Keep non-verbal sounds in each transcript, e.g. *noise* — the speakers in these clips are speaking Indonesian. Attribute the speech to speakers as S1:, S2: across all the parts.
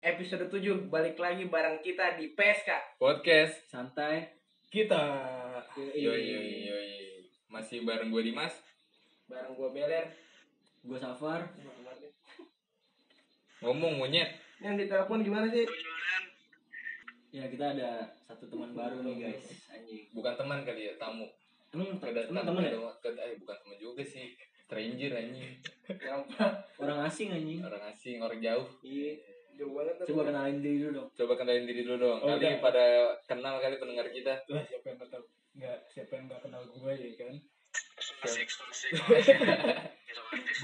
S1: episode 7 balik lagi bareng kita di PSK
S2: podcast
S3: santai
S4: kita
S2: yoi yoi yoi masih bareng gue Dimas
S1: bareng gue Beler
S3: gue Safar
S2: ngomong monyet
S1: yang ditelepon gimana sih
S3: ya kita ada satu teman baru nih guys anjing
S2: bukan teman kali ya tamu
S3: emang
S2: Kedat-
S3: teman teman ya
S2: kedat- kedat- eh, bukan teman juga sih stranger anjing
S1: yang apa?
S3: orang asing anjing
S2: orang asing orang jauh
S1: iya jauh banget tuh.
S3: coba kenalin diri dulu dong
S2: coba kenalin diri dulu dong
S4: Oh,
S2: kali
S4: udah.
S2: pada kenal kali pendengar kita
S4: lah siapa yang nggak tahu nggak siapa yang nggak kenal gue ya kan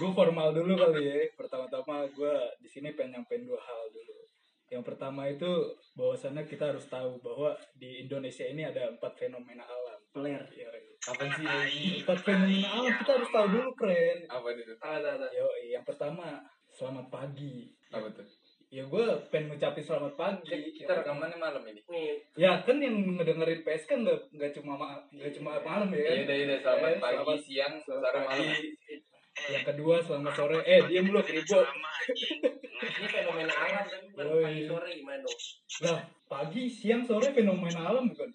S4: gue formal dulu kali ya pertama-tama gue di sini pengen nyampein dua hal dulu yang pertama itu bahwasannya kita harus tahu bahwa di Indonesia ini ada empat fenomena alam
S3: peler
S4: Ya,
S2: apa sih anjing?
S4: empat fenomena alam kita harus tahu dulu keren
S2: apa itu
S1: Ah, ada ada
S4: yo yang pertama selamat pagi
S2: apa tuh
S4: ya gue pengen ngucapin selamat pagi
S2: kita rekamannya malam ini
S1: nih
S4: ya kan yang ngedengerin PS kan nggak nggak cuma ma- nggak cuma malam ya kan?
S2: Iya udah udah selamat
S4: Eh,
S2: pagi
S4: selamat-
S2: siang
S4: selamat
S2: sore
S4: pagi.
S2: malam
S4: yang kedua selamat sore eh dia belum ribu
S1: ini fenomena alam tapi bukan
S4: Yoi.
S1: pagi sore gimana *laughs* dong
S4: lah pagi siang sore fenomena alam bukan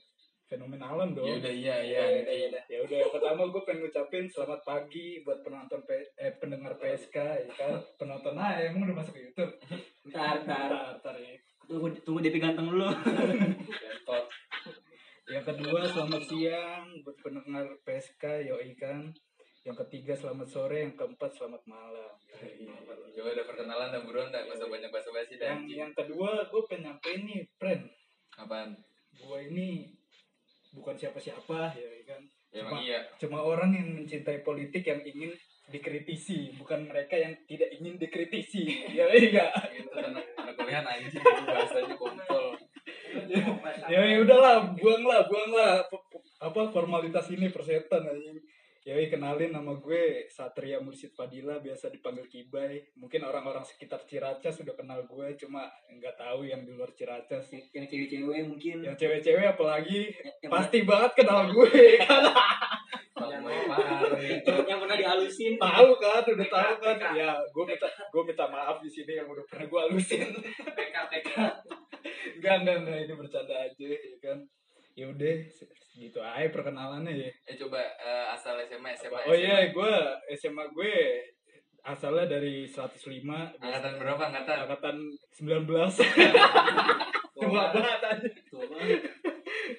S4: fenomena alam dong
S2: ya udah iya iya
S4: ya udah ya udah. Ya udah, yang pertama gue pengen ngucapin selamat pagi buat penonton P- eh pendengar PSK ya kan penonton ah emang udah masuk ke YouTube
S3: ntar ntar
S4: Ntar, ntar ya.
S3: tunggu tunggu DP ganteng dulu
S2: tot
S4: Yang kedua selamat siang buat pendengar PSK yoi kan. Yang ketiga selamat sore, yang keempat selamat malam. Yoi.
S2: Iya, coba ada perkenalan dah buruan dah gak usah banyak basa basi dah
S4: Yang
S2: anjing
S4: yang kedua gue pengen nyampein nih, friend.
S2: apaan
S4: Gue ini bukan siapa-siapa yoi kan.
S2: ya emang iya
S4: Cuma orang yang mencintai politik yang ingin dikritisi, bukan mereka yang tidak ingin dikritisi. Ya, iya. Yoi enggak.
S2: itu
S4: *laughs*
S2: anak anak kuliahan anjing itu bahasanya kontol
S1: Iya,
S4: Yoi Ya, udahlah, buanglah, buanglah P- p- apa formalitas ini persetan anjing. Yoi kenalin nama gue Satria Mursid Fadila, biasa dipanggil Kibai. Mungkin orang-orang sekitar Ciracas sudah kenal gue, cuma nggak tahu yang di luar Ciracas sih.
S3: *laughs* yang cewek-cewek mungkin
S4: Yang cewek-cewek apalagi
S3: yang- yang
S4: pasti banget kenal gue. kan?
S2: Tahu
S4: Iya,
S2: mau parah
S3: pernah- yang pernah dihalusin
S4: tahu kan, udah tahu kan. Ya, gue minta gue minta maaf di sini yang udah pernah gue halusin.
S1: PK PK
S4: Enggak, enggak, enggak ini bercanda aja ya kan. Ya udah, gitu aja perkenalannya ya.
S2: Eh coba eh, asal SMA SMA.
S4: oh iya,
S2: SMA.
S4: gue SMA gue asalnya dari 105
S2: Angkatan berapa angkatan?
S4: angkatan 19. Tua banget aja.
S3: Tua banget.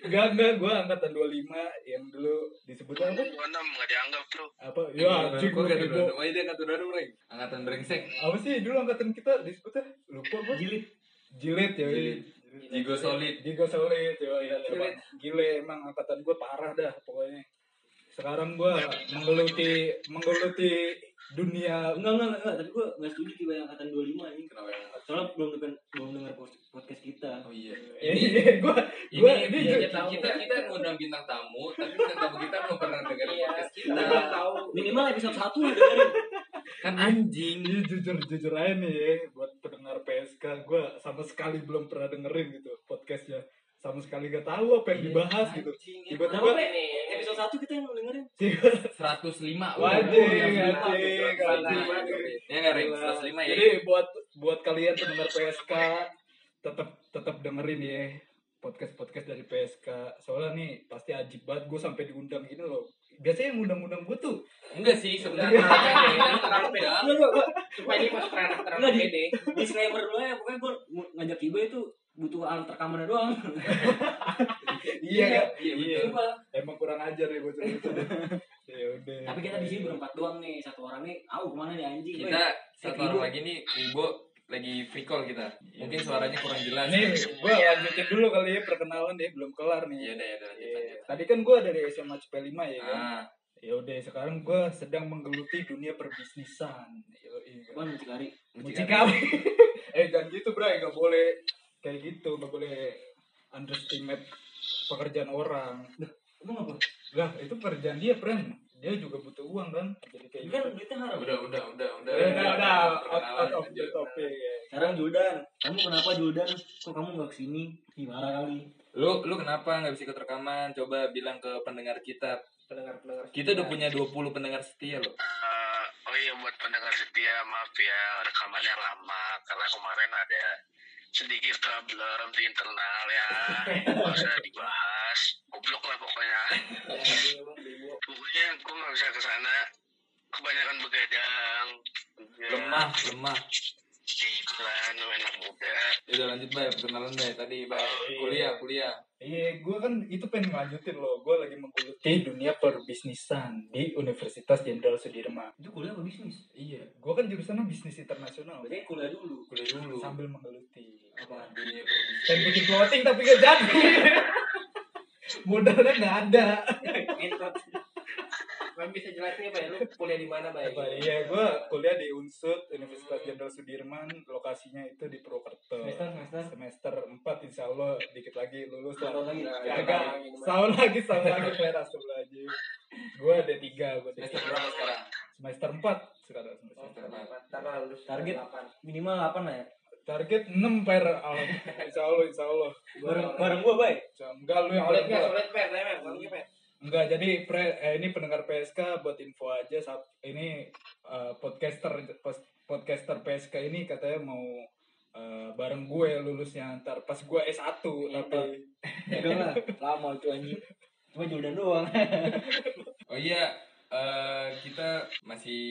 S4: Enggak, enggak, gue angkatan 25 yang dulu disebut apa?
S5: Gua enam nggak dianggap tuh.
S4: Apa? Ya, anjing
S2: Gua
S4: gua
S2: angkatan
S4: kepo.
S2: dua-dua. Oh iya dia angkatan dua Reng. Angkatan brengsek.
S4: Apa sih dulu angkatan kita disebutnya? Lupa gue.
S3: jilid
S4: Jilid ya.
S2: Jilid. Jigo solid.
S4: Giga solid ya. ya,
S1: Gile.
S4: emang. Gile emang angkatan gue parah dah pokoknya. Sekarang gue menggeluti menggeluti dunia
S3: enggak enggak enggak tapi gue nggak setuju tiba yang angkatan 25 anjing
S2: Kenapa ya?
S3: soalnya belum dengar belum dengar pod- podcast kita
S2: Oh iya.
S4: ini gue
S2: Ini,
S4: Gua-
S2: ini,
S4: ini
S2: kita,
S1: juga tahu.
S2: kita kita ngundang bintang tamu, tapi bintang tamu kita belum pernah dengerin
S1: iya
S2: podcast
S1: kita
S2: kita.
S1: nggak tahu
S3: minimal episode 1 udah dengerin *laughs*
S2: Kan anjing.
S4: Ini jujur jujur aja nih ya, buat pendengar PSK gue sama sekali belum pernah dengerin gitu podcastnya sama sekali gak tahu apa yang dibahas gitu
S3: kenapa
S4: tiba-tiba
S3: Pe? Eh, episode 1 kita yang dengerin
S2: 105
S4: Wajib,
S2: Udah,
S4: wajib,
S2: 105.
S4: wajib.
S2: Ya nggak Reng? 105 ya.
S4: Iya. jadi buat buat kalian pendengar PSK tetap tetap dengerin ya podcast podcast dari PSK soalnya nih pasti ajib banget gue sampai diundang gini loh biasanya yang undang-undang gue tuh
S2: Enggak sih
S4: Iya,
S2: sebenarnya. Kita terlalu beda.
S3: enggak enggak gua-
S1: supaya dia masuk ranah terlalu
S3: Nggak, di-
S1: pede
S3: disclaimer dulu ya pokoknya gue ngajak ibu itu butuh alat rekamannya doang
S4: iya kan?
S2: Iya, betul.
S3: Sumpah.
S4: emang kurang ajar ya gue *laughs* ya udah
S3: tapi kita di sini berempat doang nih satu orang nih tahu kemana nih anjing
S2: Kita
S3: weh.
S2: satu orang lagi nih Kubo lagi free call kita. Mungkin suaranya kurang jelas.
S4: Nih, gue lanjutin dulu kali ya perkenalan deh, belum kelar
S2: Iya
S4: nih.
S2: deh, ya udah lanjut
S4: Iya.
S2: lanjut.
S4: Tadi kan gue dari SMA CP5 ya kan.
S2: Ah,
S4: Ya udah, sekarang gue sedang menggeluti dunia perbisnisan. Yoi.
S3: Apaan mucikari
S4: Mucikari. eh jangan gitu bray, gak boleh kayak gitu, gak boleh underestimate pekerjaan orang.
S3: emang apa
S4: Lah itu pekerjaan dia, friend. Dia juga butuh uang kan. Jadi kayak
S3: Ini
S4: gitu. Eh,
S3: kan duitnya haram
S2: Udah, udah, udah, udah.
S4: Udah, udah, udah, out,
S2: Perkenalan,
S4: out of the
S2: lanjut.
S4: topic ya.
S3: sekarang Juldan kamu kenapa Juldan kok kamu nggak kesini Ih, marah kali
S2: Lu lu kenapa nggak bisa ikut rekaman? Coba bilang ke pendengar kita.
S1: pendengar pendengar
S2: Kita
S4: Iya.
S2: udah punya 20 pendengar setia loh.
S5: Eh, oh iya buat pendengar setia maaf ya rekamannya lama karena kemarin ada sedikit problem di internal ya nggak usah dibahas goblok lah pokoknya pokoknya gue nggak bisa ke sana kebanyakan begadang Ya,
S2: lemah lemah
S5: gitu kan lu anak muda
S2: ya udah lanjut bay perkenalan bay tadi bay kuliah kuliah
S4: Iya, gue kan itu pengen lanjutin loh. Gue lagi menggeluti dunia perbisnisan di Universitas Jenderal Sudirman.
S3: Itu kuliah apa bisnis?
S4: Iya, gue kan jurusannya bisnis internasional.
S3: Berarti kuliah dulu.
S2: kuliah dulu
S4: Sambil menggeluti.
S3: Apaan?
S2: dunia berbisnis.
S4: Dan bikin clothing tapi gak jadi. *laughs* Modalnya gak ada.
S3: *laughs*
S1: Ngentot. Bang bisa jelasin ya, Bay? Lu kuliah di mana, Bay?
S4: Apa, iya, gue kuliah di Unsud Universitas Jenderal Sudirman. Lokasinya itu di Purwokerto.
S3: Semester semester.
S4: Semester 4 insya Allah dikit lagi lulus
S3: Dua tahun
S4: lah.
S3: lagi.
S1: Nah,
S4: Kagak. Setahun lagi, setahun lagi. Peras sebelah aja. Gue ada tiga, gue
S2: semester berapa sekarang
S4: Semester 4 sekarang. Semester
S1: Oh, Ntar lah, lulus
S3: Target.
S1: delapan.
S3: Minimal 8 lah ya.
S4: Target 6 per Allah. Insya Allah, insya Allah.
S3: Bareng bareng gua, *laughs* Bay.
S4: Insya- Enggak lu yang
S1: Solid,
S4: paling
S1: Bay.
S4: enggak.
S1: Solid, Bay. Saya, Bay. Solid, Bay.
S4: Enggak, jadi pre- eh, ini pendengar PSK buat info aja saat ini eh, podcaster pos- podcaster PSK ini katanya mau eh, bareng gue lulusnya ntar pas gue S1 tapi
S3: Enggak lah. Lama itu anjing. Cuma Jordan doang. *laughs*
S2: oh iya eh, kita masih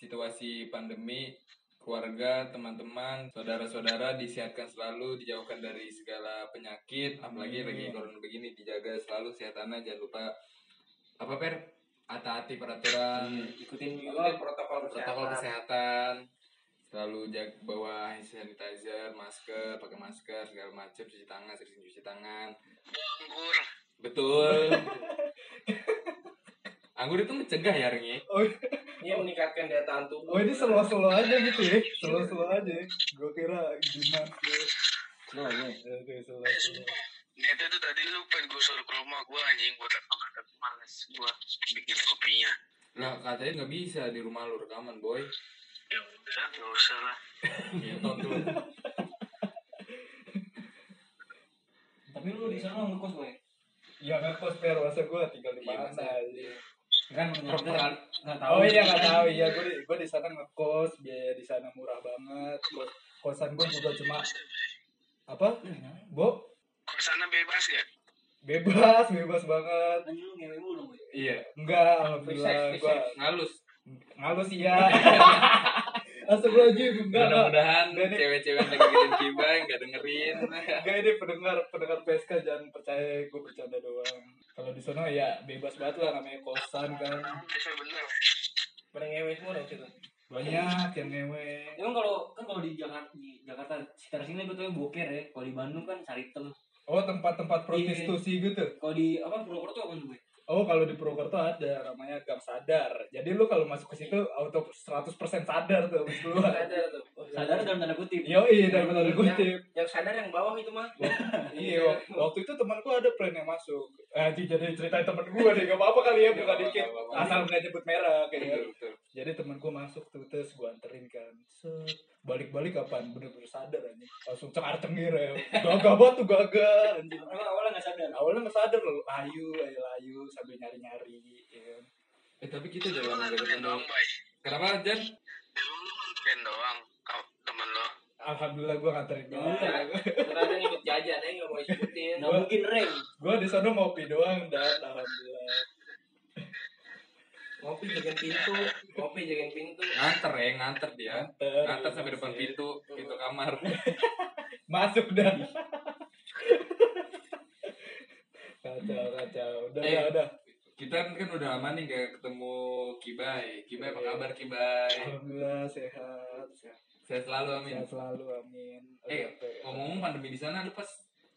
S2: situasi pandemi keluarga, teman-teman, saudara-saudara disihatkan selalu, dijauhkan dari segala penyakit, apalagi lagi corona begini dijaga selalu kesehatannya, jangan lupa apa per hati-hati peraturan,
S3: Ikutin
S1: Ikutin protokol
S2: protokol
S1: kesehatan.
S2: Iya, kesehatan selalu jaga bawa hand sanitizer masker pakai masker segala macam cuci tangan sering cuci tangan
S5: anggur
S2: betul anggur itu mencegah ya Rengi
S4: oh,
S1: Iya, meningkatkan daya tahan tubuh.
S4: oh ini slow-slow aja gitu ya slow-slow aja gue kira gimana sih Iya,
S3: Slow, Bay.
S4: Oke, slow-slow.
S5: niatnya tuh tadi lu pengen gue suruh ke rumah gue anjing gue tak banget males gue bikin kopinya
S2: lah katanya nggak bisa di rumah lu rekaman boy
S5: ya udah nggak usah lah
S2: ya tuh
S3: Tapi lu di sana ngekos, Bay.
S4: Ya nggak kos per masa gue tinggal di
S2: Iya,
S4: mana?
S2: masa.
S4: aja.
S3: Kan mendengar kita enggak tahu.
S4: Oh iya nggak tahu ya gue gue di sana ngekos biaya di sana murah banget. Kos- Kosan gue juga cuma apa? Bo
S5: kesana bebas ya
S4: bebas bebas banget.
S3: Anjing lu ngewe mulu, Bay.
S2: iya
S4: Enggak
S1: Free sex,
S4: alhamdulillah
S1: free
S4: gue
S1: sex.
S2: ngalus
S4: ngalus ya. *laughs* Astagfirullahaladzim enggak enggak.
S2: mudah-mudahan
S4: Enggak, nih.
S2: cewek-cewek yang dengerin kibay nggak
S4: *laughs*
S2: dengerin
S4: Enggak ini pendengar pendengar PSK jangan percaya gue bercanda doang. Kalau di sana ya bebas banget lah namanya kosan kan.
S5: bisa bener
S1: Pada ngewe semua dong, situ.
S4: Banyak yang ngewe.
S3: Emang kalau kan kalau di Jakarta di Jakarta sekitar sini gue tuh boker ya. Kalau di Bandung kan saritem.
S4: Oh tempat-tempat prostitusi gitu.
S3: Kalau di apa Purwokerto apa tuh, Bay?
S4: Oh, kalau di Purwokerto ada namanya Gang Sadar. Jadi lu kalau masuk ke situ auto 100% sadar tuh habis keluar.
S1: Sadar tuh. Oh,
S3: Sadar dalam tanda kutip.
S4: Yoi, dari benar kutip.
S1: Yang sadar yang bawah itu mah.
S4: Iya, waktu itu teman gua ada friend yang masuk. Eh, jadi- jadi ceritain temen gua deh, gak apa-apa kali ya,
S2: Nggak
S4: bukan
S2: apa-apa,
S4: dikit.
S2: nggak apa-apa.
S4: Asal nggak nyebut merah
S2: betul
S4: kayak gitu.
S2: betul
S4: Jadi temen gua masuk tuh, terus gua anterin kan. Set. Balik-balik kapan? Bener-bener sadar anjing. Langsung cengar cengir ya. Gagah banget tuh gagah anjing.
S3: Emang awalnya nggak sadar.
S4: Awalnya nggak sadar loh, layu, ayo layu sambil nyari-nyari. Ya.
S2: eh tapi kita
S5: lu
S2: jangan
S5: nganterin
S2: ngomong
S5: doang bay
S2: kenapa Jan
S5: lu nganterin doang kau temen lo
S4: Alhamdulillah gua nganterin doang.
S1: Iya. Ternyata ngikut jajan aja nggak mau disebutin.
S3: Nggak mungkin reng.
S4: Gua di sana ngopi doang dan alhamdulillah.
S1: Ngopi jagain pintu. Ngopi jagain pintu.
S2: nganter ya nganter dia
S4: Nganter,
S2: nganter
S4: ya,
S2: sampai depan
S4: masih.
S2: pintu pintu kamar
S4: Masuk dah.
S2: Iya.
S4: *laughs* kacau kacau. Udah
S2: Eh.
S4: udah udah.
S2: kita kan udah lama nih gak ketemu Kibai. Kibai apa kabar Kibai?
S4: Alhamdulillah sehat. Sehat,
S2: Saya selalu amin.
S4: sehat selalu amin.
S2: Eh,
S4: Oke, oke.
S2: Ngomong-ngomong pandemi di sana, lu pas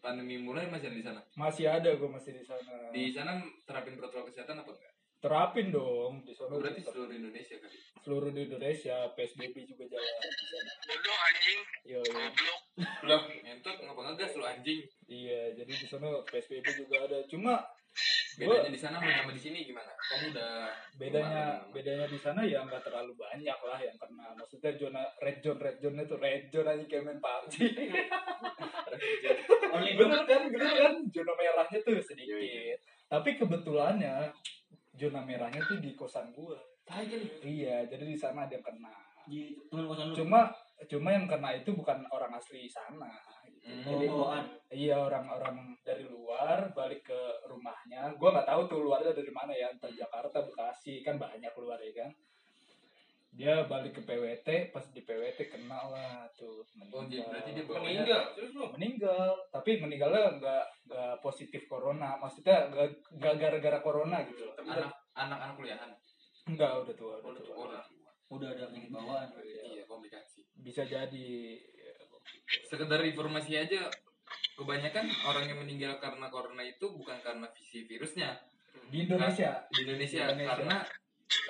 S2: pandemi mulai masih ada di sana.
S4: masih ada gua masih di sana.
S2: Di sana terapin protokol kesehatan apa enggak?
S4: Terapin dong di sana.
S2: Oh, Berarti
S4: tetap.
S2: seluruh Indonesia kali.
S4: seluruh di Indonesia PSBB juga jalan. di sana.
S5: bodoh anjing
S4: Yo, yo.
S5: goblok
S2: Loh, entot ngapa ngegas lu anjing?
S4: Iya, jadi di sana PSBB juga ada. Cuma
S2: Bedanya di sana sama sama di sini gimana? Kamu udah
S4: bedanya
S2: kemarin.
S4: bedanya di sana ya nggak terlalu banyak lah yang kena maksudnya zona red zone red zone itu red zone aja kayak main *laughs* PUBG
S3: Only
S4: bener kan bener kan zona merahnya tuh sedikit
S2: Iya,
S4: tapi kebetulannya zona merahnya tuh di kosan gua
S3: kan.
S2: Tai kali.
S4: iya jadi di sana ada yang kena
S3: di teman kosan lu.
S4: cuma cuma yang kena itu bukan orang asli sana gitu.
S2: Hmm.
S4: jadi iya orang-orang dari luar balik ke rumahnya gua nggak tahu tuh luarnya dari mana ya entah Jakarta Bekasi kan banyak keluar ya kan dia balik ke PWT pas di PWT kena lah tuh
S2: Oh, jadi berarti dia bawa-
S1: meninggal terus lu
S4: meninggal tapi meninggalnya nggak nggak positif corona maksudnya nggak nggak gara-gara corona gitu loh
S1: temen
S2: anak anak-anak kuliahan. Oh,
S4: nggak udah tua udah
S1: Udah
S4: tua
S1: tua.
S3: udah ada penyakit bawaan
S2: Iya, komplikasi.
S4: bisa jadi
S2: Sekedar informasi aja, kebanyakan orang yang meninggal karena corona itu bukan karena visi virusnya
S4: di Indonesia
S2: di Indonesia,
S4: Indonesia.
S2: karena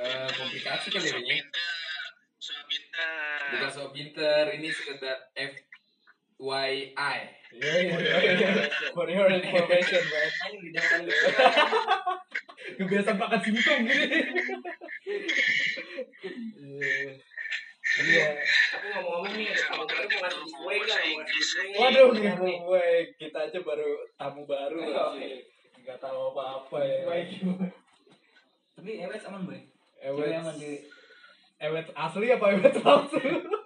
S2: eh, komplikasi kali ya. Bang, ya.
S5: Sabita.
S2: Bukan soal pinter, ini sekedar FYI.
S4: yeah, yeah, yeah, yeah. Iya, for your information man
S1: anjing di dalam gitu.
S4: kebiasaan makan singkong gini iya
S1: tapi ngomong-ngomong nih sama kemarin mau ngasih kue nggak? Mau ngasih kue nggak?
S4: waduh
S1: Iya,
S4: gitu
S1: nih.
S4: gue kita aja baru tamu baru
S1: Iya,
S4: lagi
S1: iya.
S4: nggak tahu apa-apa ya
S3: tapi Ewes aman boy
S4: Ewet
S3: Cewek aman di
S4: Ewet asli apa ewet palsu?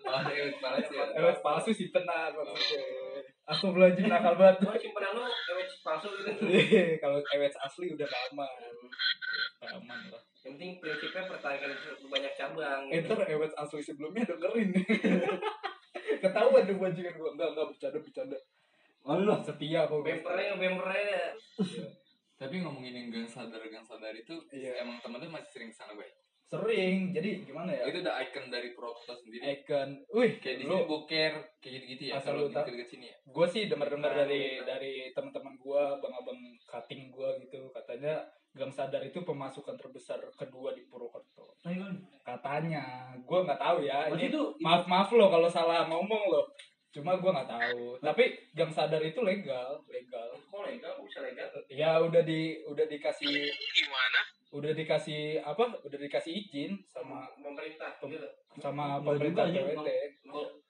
S2: Wah, ini parah sih ya.
S4: ewet palsu sih tenang maksudnya. Aku belanja nakal banget.
S1: Oh, simpanan lu ewet palsu gitu.
S4: Iya, kalau ewet asli udah gak aman. Gak aman lah.
S1: Yang penting prinsipnya pertanian itu banyak cabang.
S4: Eh, Ntar ewet asli sebelumnya *laughs* dengerin. Ketahuan deh bajingan gua. Enggak, enggak bercanda bercanda.
S3: Allah
S4: Setia kok. gua.
S1: Bempernya bempernya.
S2: Tapi ngomongin yang gang sadar gang sadar itu
S4: Iya.
S2: emang temen lu masih sering kesana bay.
S4: Sering. Jadi gimana ya?
S2: Itu udah icon dari Proto sendiri.
S4: Icon. Wih,
S2: Kayak di sini
S4: lu
S2: boker kayak gitu-gitu ya.
S4: Asal
S2: Kalau
S4: lu tau.
S2: deket-deket sini ya.
S4: gue sih denger-denger dari dari teman-teman gua, abang-abang cutting gua gitu katanya Gang Sadar itu pemasukan terbesar kedua di Purwokerto.
S3: tapi kan
S4: Katanya, gua nggak tahu ya.
S3: waktu
S4: Ini
S3: itu
S4: maaf maaf lo kalau salah ngomong lo cuma gua nggak tahu tapi gang sadar itu legal legal
S1: Kok legal? Kok bisa legal?
S4: ya udah di udah dikasih
S5: Gimana?
S4: udah dikasih apa udah dikasih izin sama
S1: pemerintah.
S4: Pem-
S2: Iya,
S1: gitu.
S4: sama
S3: Nggak
S4: pemerintah
S3: juga, ya,
S4: PWT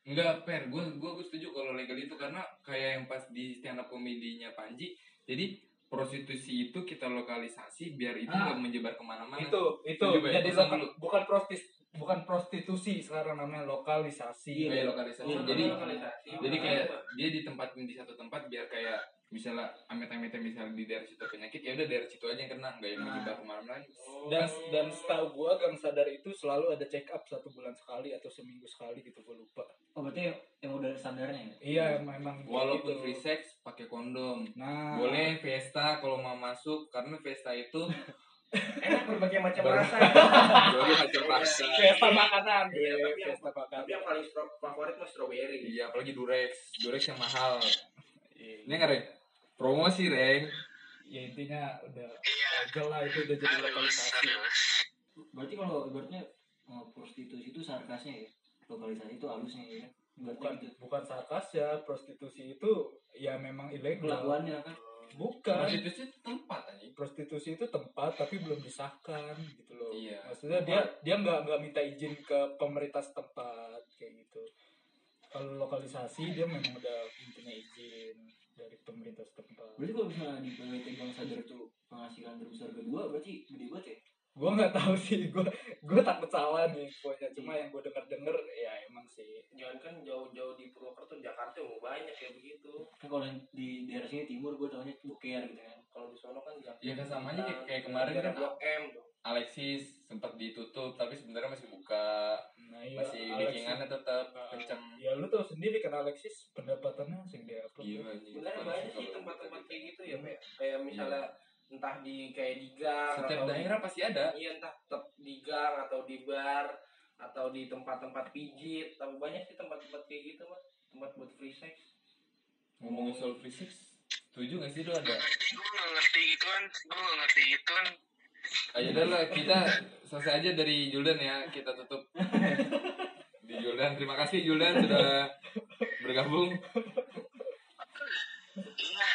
S2: Enggak, Per. Gue gua, gua setuju kalau legal itu karena kayak yang pas di stand up komedinya Panji. Jadi prostitusi itu kita lokalisasi biar itu
S4: Ah.
S2: nggak menyebar kemana-mana.
S4: itu itu
S2: Setuju, Bay.
S4: jadi
S2: Pesan
S4: lokal
S2: dulu.
S4: bukan prostis bukan prostitusi sekarang namanya lokalisasi
S2: Kayak lokalisasi.
S3: Iya,
S2: jadi
S1: Lokalisasi.
S2: jadi kayak
S4: Iya.
S2: dia ditempatin di satu tempat biar kayak misalnya amit-amit misalnya di daerah situ penyakit ya udah daerah situ aja yang kena nggak yang
S4: Nah.
S2: menyebar kemana-mana
S1: Oh.
S4: dan dan setahu gua gang sadar itu selalu ada check up satu bulan sekali atau seminggu sekali gitu gua lupa
S3: oh berarti yang udah ada standarnya ya
S4: iya memang
S2: walaupun
S4: gitu.
S2: free sex pakai kondom
S4: nah
S2: boleh Vesta kalau mau masuk karena Vesta itu
S1: *laughs* Enak berbagai macam
S2: Baru- *laughs*
S1: rasa.
S2: baru hasil vaksin
S4: pesta makanan
S1: Iya,
S4: Bay.
S1: tapi yang-
S4: pesta makanan
S1: Tapi yang paling stro- favorit mah strawberry.
S2: iya apalagi Durex Durex yang mahal
S4: Iya.
S2: ini nggak Reng promosi Reng
S4: ya intinya udah
S5: Iya.
S4: legal lah itu udah jadi
S5: Harus,
S4: lokalisasi
S5: harus.
S3: berarti kalau ibaratnya eh, prostitusi itu sarkasnya ya lokalisasi itu halusnya ya berarti
S4: bukan
S3: gitu
S4: bukan sarkas ya prostitusi itu ya memang ilegal
S3: kelakuannya kan
S4: bukan
S2: prostitusi itu tempat anjing
S4: prostitusi itu tempat tapi belum disahkan gitu loh
S2: Iya.
S4: maksudnya dia dia nggak nggak minta izin ke pemerintah setempat kayak gitu kalau lokalisasi dia memang udah punya izin dari pemerintah setempat
S3: berarti kalau misalnya di PWT Gang Sadar itu penghasilan terbesar kedua berarti gede banget ya
S4: gua nggak tahu sih gua gua takut salah nih pokoknya cuma
S2: Iya.
S4: yang gua denger denger ya emang sih
S1: Jangan kan jauh-jauh di Purwokerto, Jakarta mau banyak ya begitu.
S3: kan kalau yang di daerah sini timur gue taunya boker gitu kan
S1: Kalau di sono kan Jakarta.
S2: ya kesamanya kayak, kayak kemarin kan
S1: Blok M tuh.
S2: Alexis sempat ditutup tapi sebenarnya masih buka
S4: nah, iya,
S2: masih
S4: Alex-
S2: backingannya tetap
S4: Ah,
S2: kencang
S4: ya lu tau sendiri kan Alexis pendapatannya sing dia upload
S2: gila anjing.
S1: Sebenarnya Iya,
S2: Parah
S1: banyak sih
S2: kalau Hmm.
S1: tempat-tempat
S2: kita-
S1: kayak gitu ya, Pak. Kayak misalnya entah di kayak di gang
S2: Iya. setiap
S1: atau
S2: daerah pasti ada
S1: iya entah tep- di gang atau di bar atau di tempat-tempat pijit, tapi banyak sih tempat-tempat kayak gitu, Mas. Tempat buat free sex.
S2: ngomongin soal free sex setuju gak sih lu ada
S5: Ngerti, gue gak ngerti gituan. Gue gak ngerti gituan.
S2: Ayo udah Ah, lah, kita selesai aja dari Juldan ya, kita tutup di Juldan. Terima kasih Juldan sudah bergabung.
S5: Iya.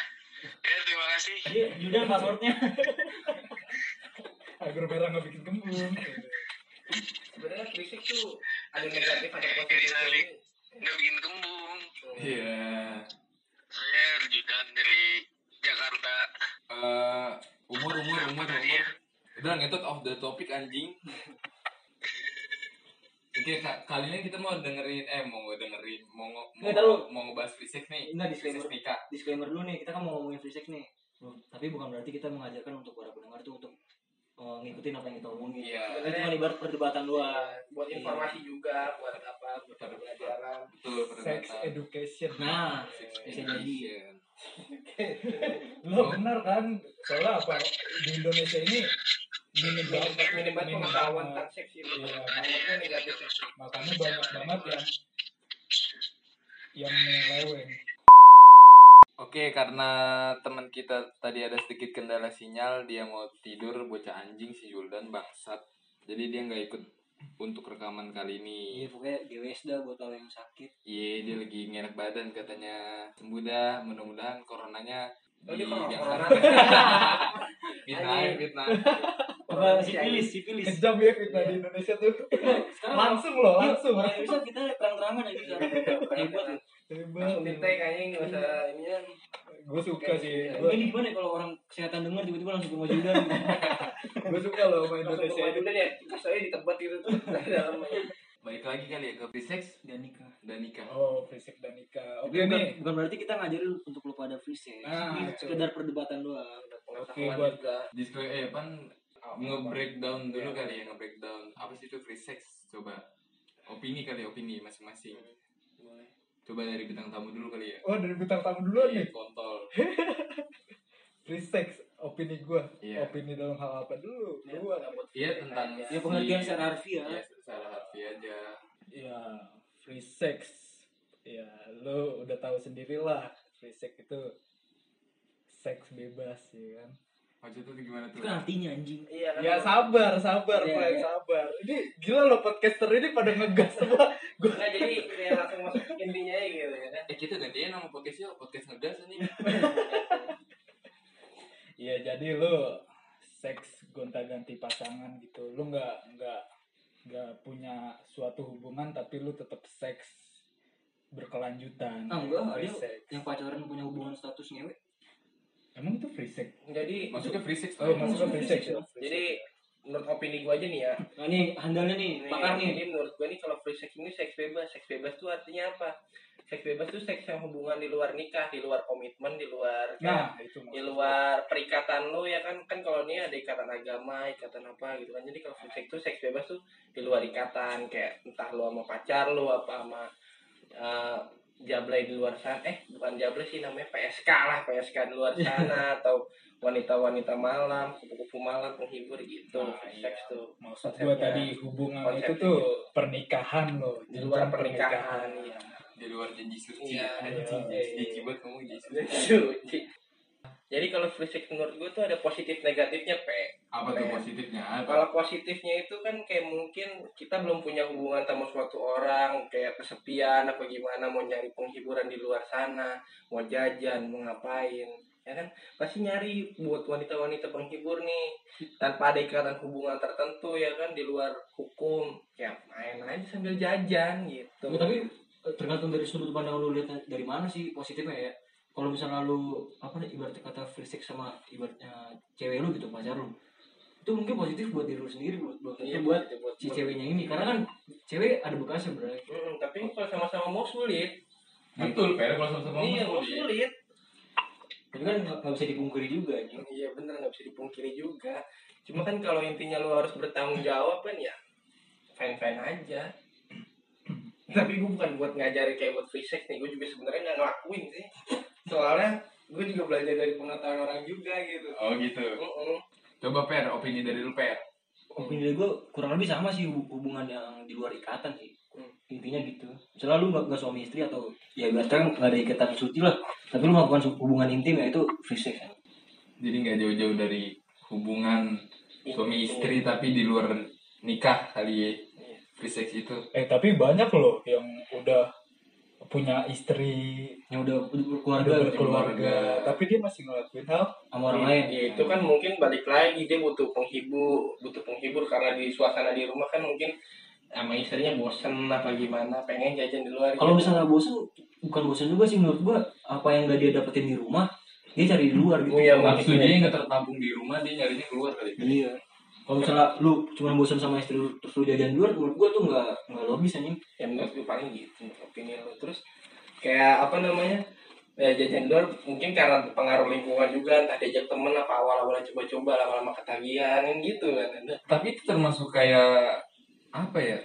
S5: Ya, terima kasih.
S3: iya Yudan passwordnya
S4: agar merah nggak bikin
S2: *laughs*
S4: kembung
S1: Sebenarnya free sex tuh ada negatif ada
S5: Jadi
S1: positif.
S5: sari. Gak bikin kembung.
S2: Iya.
S5: Saya Rujudan dari Jakarta.
S2: Eh, umur umur umur
S5: Apa
S2: umur.
S5: tadi ya?
S2: Udah ngetot off the topic anjing. Oke, Kak, kali ini kita mau dengerin eh mau dengerin mau ngo- mau,
S3: Nggak tahu.
S2: mau ngebahas free sex nih.
S3: Enggak
S2: Free sex
S3: disclaimer.
S2: nikah.
S3: Disclaimer dulu nih, kita kan mau ngomongin free sex nih. Tapi bukan berarti kita mengajarkan untuk para pendengar tuh untuk eh, ngikutin apa yang kita omongin.
S2: Iya,
S3: Itu cuma ibarat perdebatan doang.
S1: buat informasi juga buat apa buat pembelajaran
S2: betul
S4: Sex
S2: perdebatan.
S4: education. Iya.
S3: Nah,
S2: Sex
S3: bisa jadi.
S2: education.
S4: Lo benar kan? Soalnya apa? Di Indonesia ini minim
S1: minim minim
S4: banget.
S1: banget
S4: minim
S1: pengetahuan
S4: banget.
S1: tentang seks itu
S4: Iya.
S1: banyaknya negatifnya
S4: Makanya banyak banget yang yang meleweng.
S2: Oke, karena teman kita tadi ada sedikit kendala sinyal, dia mau tidur bocah anjing si Juldan bangsat. Jadi dia nggak ikut untuk rekaman kali ini.
S3: Iya, pokoknya GWS dah buat kalau yang sakit.
S2: Iya, dia lagi ngenak badan katanya. Sembuh dah, mudah-mudahan coronanya
S1: Oh, dia
S2: diangkat.
S1: *laughs*
S2: *laughs*
S1: corona.
S2: fitnah,
S1: Anjing.
S2: fitnah.
S3: Apa sipilis, sipilis.
S4: Kejam ya fitnah
S1: Iya.
S4: di Indonesia tuh.
S1: Ah.
S3: Sekarang
S4: Langsung loh, langsung.
S3: Iya, bisa kita terang-terangan aja *laughs* sekarang. Hebat. loh.
S4: Hebat.
S1: langsung ditek kayaknya nggak usah ya. ininya
S4: Gue suka sih.
S3: Ini gimana kalau orang kesehatan dengar tiba-tiba langsung ke Mojudan? *laughs*
S4: Gue suka loh sama
S1: langsung ke
S4: Indonesia ini.
S1: Madura ya saya ditebat gitu dari *laughs* dalam
S2: Baik lagi kali ya ke free sex
S3: Dan nikah.
S2: dan nikah.
S4: Oh, fisik dan nikah.
S3: Tapi
S4: Oke
S3: bukan,
S4: nih.
S3: bukan berarti kita ngajarin untuk lo pada free sex.
S4: Nah,
S3: Ini
S1: itu.
S3: sekedar perdebatan doang.
S1: pengetahuan
S4: buat-
S1: juga
S2: Disclaimer eh pan nge-breakdown dulu
S1: Iya.
S2: kali ya, nge-breakdown. Apa sih itu free sex? Coba opini kali, opini masing-masing.
S1: Boleh.
S2: Coba dari bintang tamu dulu kali ya.
S4: Oh, dari bintang tamu dulu
S2: Iya,
S4: nih.
S2: kontol.
S4: Free sex, opini gue.
S2: Iya.
S4: Opini dalam hal apa dulu? Gua.
S1: Nggak buat
S2: Iya tentang
S1: aja.
S3: Ya pengertian
S2: si-
S3: secara harfiah.
S2: Iya, secara harfiah aja.
S4: ya free sex ya lo udah tahu sendirilah free sex itu seks bebas ya kan
S2: Maksud itu gimana tuh?
S3: Itu kan artinya anjing.
S1: iya kan
S4: ya sabar sabar
S3: Iya,
S4: Frank,
S3: iya.
S4: sabar ini gila lo podcaster ini pada ngegas *laughs* semua gue
S1: Nggak, jadi kayak langsung masuk ke intinya aja gitu ya kan
S2: Eh kita gantian nama podcastnya podcast ngedas nih.
S4: ya jadi lo seks gonta ganti pasangan gitu lo nggak nggak nggak punya suatu hubungan tapi lo tetap seks berkelanjutan
S3: Ah, enggak,
S4: free
S3: dia-
S4: sex
S3: Yang pacaran punya hubungan status ngewe.
S4: emang itu free sex
S1: jadi
S2: Maksudnya free sex
S4: oh
S2: lah. ya.
S4: maksudnya free sex ya?
S1: jadi menurut opini gue aja nih ya
S3: Nah ini handalnya nih,
S1: Nih,
S3: pakar
S1: Jadi
S3: nih.
S1: menurut gue nih kalau free sex ini seks bebas. Seks bebas tuh artinya apa? Seks bebas tuh seks yang hubungan di luar nikah, di luar komitmen, di luar kayak-
S4: nah itu
S1: di
S4: maksud gua.
S1: luar perikatan lo ya kan kan kalau ini ada ikatan agama, ikatan apa gitu kan. Jadi kalau free sex tuh seks bebas tuh di luar ikatan kayak entah lo sama pacar lo apa sama eh, jablay di luar sana eh bukan jablay sih namanya PSK lah PSK di
S4: *laughs*
S1: luar sana atau wanita-wanita malam kupu-kupu malam penghibur gitu
S4: Nah,
S1: free
S4: iya.
S1: sex tuh
S4: maksud gue tadi hubungan Nah, itu
S1: Konsepnya. gitu.
S4: tuh pernikahan loh
S1: di luar
S4: jenjang
S1: pernikahan *laughs* ya.
S2: Di luar janji suci.
S1: Iya,
S2: Anjing,
S1: iya, iya.
S2: Jijik banget ngomong janji suci.
S1: Suci. Jadi kalau free sex menurut gue tuh ada positif negatifnya, Pe.
S2: Apa tuh positifnya? Iya. Apa?
S1: Kalau positifnya itu kan kayak mungkin kita belum punya hubungan sama suatu orang, kayak kesepian apa gimana, mau nyari penghiburan di luar sana, mau jajan, mau ngapain. Ya kan? Pasti nyari buat wanita-wanita penghibur nih. Tanpa ada ikatan hubungan tertentu ya kan, di luar hukum. Ya main aja sambil jajan gitu.
S3: Ya, tapi eh, tergantung dari sudut pandang lu lihat dari mana sih positifnya ya. Kalau misalnya lu apa nih ibaratnya kata free sex sama ibaratnya cewek lu gitu pacar lu. Itu mungkin positif buat diri lu sendiri buat buat,
S1: Iya,
S3: buat
S1: gitu, buat-
S3: si ceweknya ini karena kan cewek ada bekasnya bro.
S1: Mm, tapi kalau sama-sama mau sulit.
S2: Betul, Per. Kalau sama-sama
S1: iya, mau
S2: ngomong sulit.
S1: sulit.
S3: Tapi kan nggak nggak bisa dipungkiri juga anjing.
S1: Iya bener nggak bisa dipungkiri juga. Cuma kan kalau intinya lu harus bertanggung jawab kan ya fine fine aja. Tapi gue bukan buat ngajarin kayak buat free sex nih, gue juga sebenarnya nggak ngelakuin sih. Soalnya gue juga belajar dari pengetahuan orang juga gitu.
S2: Oh gitu.
S1: Mm-mm.
S2: Coba Per, opini dari lu Per.
S3: Opini dari gue kurang lebih sama sih hub- hubungan yang di luar ikatan sih.
S1: Hmm.
S3: Intinya gitu. Misalnya lu gak, suami istri atau ya biasanya gak ada ikatan suci lah. Tapi lu melakukan su- hubungan intim ya itu free sex.
S2: Jadi nggak jauh-jauh dari hubungan suami istri tapi di luar nikah kali ya.
S1: Iya.
S2: Free sex itu.
S4: eh tapi banyak loh yang udah punya istri
S3: Yang udah
S4: udah
S3: berkeluarga
S2: ber-
S3: gitu,
S4: berkeluarga tapi dia masih ngelakuin hal
S3: sama orang lain.
S1: Ya itu kan mungkin balik lagi dia butuh penghibur, butuh penghibur karena di suasana di rumah kan mungkin sama istrinya bosen apa gimana, pengen jajan di luar.
S3: Kalau
S1: gitu.
S3: misalnya bosen, bukan bosen juga sih menurut gue. Apa yang gak dia dapetin di rumah, dia cari di luar gitu.
S1: Iya,
S2: Nafsu dia nggak tertampung di rumah, dia nyarinya keluar kali.
S3: Iya. kalau misalnya lu cuma bosan sama istri lu terus lu jajan di luar menurut gua tuh nggak nggak logis anjing
S1: ya menurut gue paling gitu opini lu terus kayak apa namanya ya jajan luar mungkin karena pengaruh lingkungan juga entah diajak temen apa awal-awalnya coba-coba lama-lama ketagihan kan gitu kan ada
S2: Tapi itu termasuk kayak apa ya?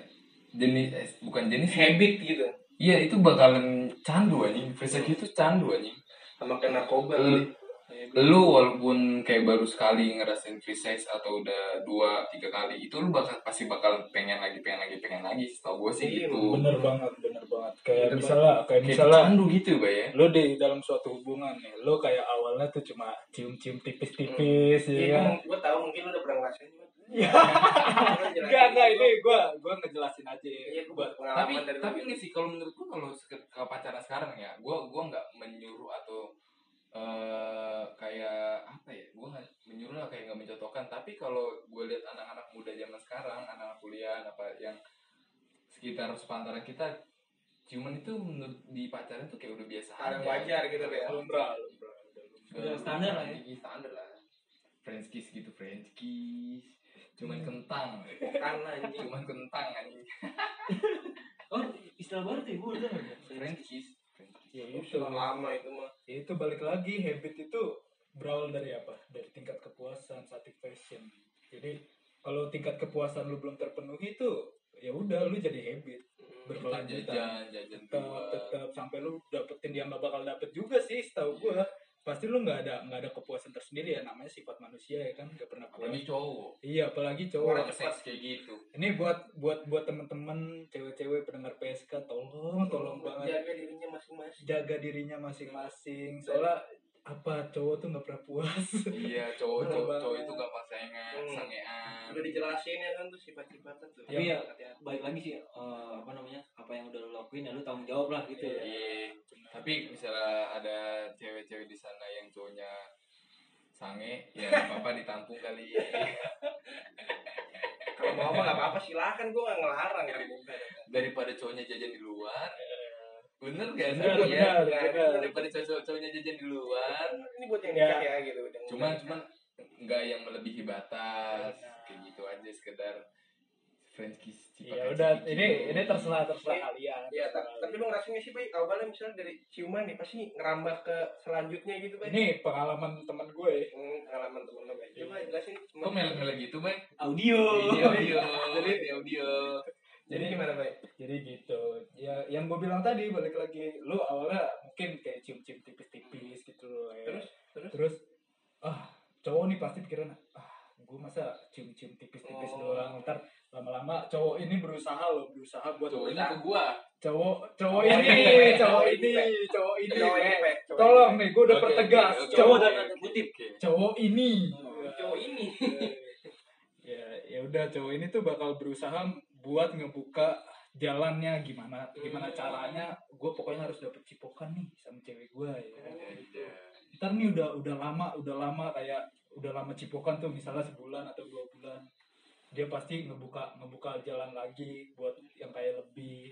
S2: Jenis eh, bukan jenis.
S1: habit gitu
S2: Iya, itu bakalan candu anjing. Frisek itu candu anjing.
S1: sama kena narkoba
S2: Lu-
S1: gitu. Habit.
S2: Lu walaupun kayak baru sekali ngerasain free sex atau udah dua tiga kali itu lu bakal pasti bakal pengen lagi pengen lagi pengen lagi setahu gue sih
S1: Iya,
S2: gitu
S4: bener banget bener banget kayak
S2: Bener
S4: misalnya kayak
S2: kayak
S4: misalnya
S2: candu gitu Bay, ya
S4: lu di dalam suatu hubungan nih lu kayak awalnya tuh cuma cium-cium tipis-tipis ya
S1: Iya,
S4: kan
S1: gua- gua tahu mungkin lu udah pernah ngerasain.
S4: Iya.
S1: Enggak,
S4: enggak enggak ini gua gua ngejelasin aja
S1: Iya,
S4: ya
S1: gua
S4: buat
S1: pengalaman
S2: tapi
S1: dari
S2: tapi ini sih kalau menurut gua kalau sek- kalau pacaran sekarang ya gua gua nggak menyuruh atau eh kayak apa ya gua nggak menyuruh lah kayak nggak mencontohkan tapi kalau gue lihat anak-anak muda zaman sekarang anak-anak kuliah apa yang sekitar sepantaran kita ciuman itu menurut di pacaran tuh kayak udah biasa
S1: Hal yang wajar gitu, Bel.
S4: lumrah lumrah
S3: Udah standar lah ya.
S2: Iya, standar lah French kiss gitu French kiss
S3: Hmm.
S2: cuman kentang
S1: bukan Kan, anjing.
S2: cuman kentang anjing
S3: oh istilah baru tuh gua udah
S2: French kiss French kiss.
S4: ya itu
S1: Itu lama itu mah.
S4: Ya, itu balik lagi habit itu berawal dari apa dari tingkat kepuasan satisfaction jadi kalau tingkat kepuasan lu belum terpenuhi itu ya udah lu jadi habit
S2: Hmm, Kita
S4: berkelanjutan
S2: jajan jajan
S4: tetap
S2: keluar.
S4: tetap sampai lu dapetin yang gak bakal dapet juga sih setahu gua pasti lu nggak ada nggak ada kepuasan tersendiri ya namanya sifat manusia ya kan nggak pernah puas
S2: apalagi cowok
S4: iya apalagi cowok
S2: orang seks kayak gitu
S4: ini buat buat buat temen-temen cewek-cewek pendengar PSK tolong tolong banget
S1: Jaga dirinya masing-masing.
S4: jaga dirinya masing-masing soalnya apa cowok tuh nggak pernah puas
S1: *laughs*
S2: iya cowok
S4: Bener
S2: cowok, cowok
S4: banget.
S2: itu gampang saingan
S1: Hmm.
S2: sangean
S1: Udah dijelasin ya kan tuh sifat-sifatnya tuh.
S3: Tapi ya-
S1: Hati-hati.
S3: baik lagi sih eh, apa namanya apa yang udah lu lakuin ya lu tanggung jawab lah gitu ya
S2: iya tapi misalnya ada cewek-cewek di sana yang cowoknya sange ya nggak apa-apa ditampung
S4: *laughs*
S2: kali
S1: Kalau mau mah nggak apa-apa silakan gua nggak ngelarang ya.
S2: daripada cowoknya jajan di luar bener gak
S4: Iya. Bener,
S2: sih ya
S4: benar benar
S2: daripada cowok- cowoknya jajan di luar
S1: Kan Ini buat yang nikah ya gitu. udah
S2: cuman
S1: ngomong.
S2: cuman nggak yang melebihi batas
S4: Iya.
S2: kayak gitu aja sekedar French kiss cipak
S4: ya
S1: Iya,
S2: aja
S4: udah
S2: gitu.
S4: ini ini terserah terserah kalian
S1: Ya, ta-
S4: terserah.
S1: tapi lu ngerasainnya sih, Bay, awalnya misalnya dari ciuman nih, pasti ngerambah ke selanjutnya gitu, Bay.
S4: ini pengalaman teman gue ya.
S1: Hmm, pengalaman temen lu, Bay. Coba
S4: Iya.
S1: jelasin.
S2: kok melek-melek gitu bay
S3: audio
S2: Di audio
S4: Jadi-
S2: di audio
S1: Jadi gimana, Bay?
S4: jadi gitu ya yang gue bilang tadi balik lagi lu awalnya mungkin kayak cium-cium tipis-tipis gitu loh ya.
S1: Terus? Terus?
S4: terus ah cowok nih pasti pikiran ah gue masa cium-cium tipis-tipis
S1: Oh.
S4: doang ntar lama-lama cowok ini berusaha loh berusaha buat
S2: cowoknya ke
S4: bertahan.
S2: gua
S4: cowok cowok
S1: Cowok
S4: ini
S1: ini,
S4: cowok
S1: cowok
S4: ini
S1: ini,
S4: cowok ini
S1: iya, Cowok ini,
S4: Pe.
S1: Bay. Cowok ini,
S4: tolong
S1: Bay.
S4: nih gue udah
S2: Oke,
S4: pertegas
S2: oke, oke,
S4: cowok
S2: oke,
S4: dan
S2: oke.
S3: kutip.
S2: Oke.
S4: cowok ini
S1: Cowok ini.
S4: ya ya udah cowok ini tuh bakal berusaha buat ngebuka jalannya gimana gimana
S1: Hmm.
S4: caranya gue pokoknya harus dapet cipokan nih sama cewek gue ya
S1: Oh, gitu.
S4: ntar nih udah udah lama udah lama kayak udah lama cipokan tuh misalnya sebulan atau dua bulan dia pasti ngebuka ngebuka jalan lagi buat yang kayak lebih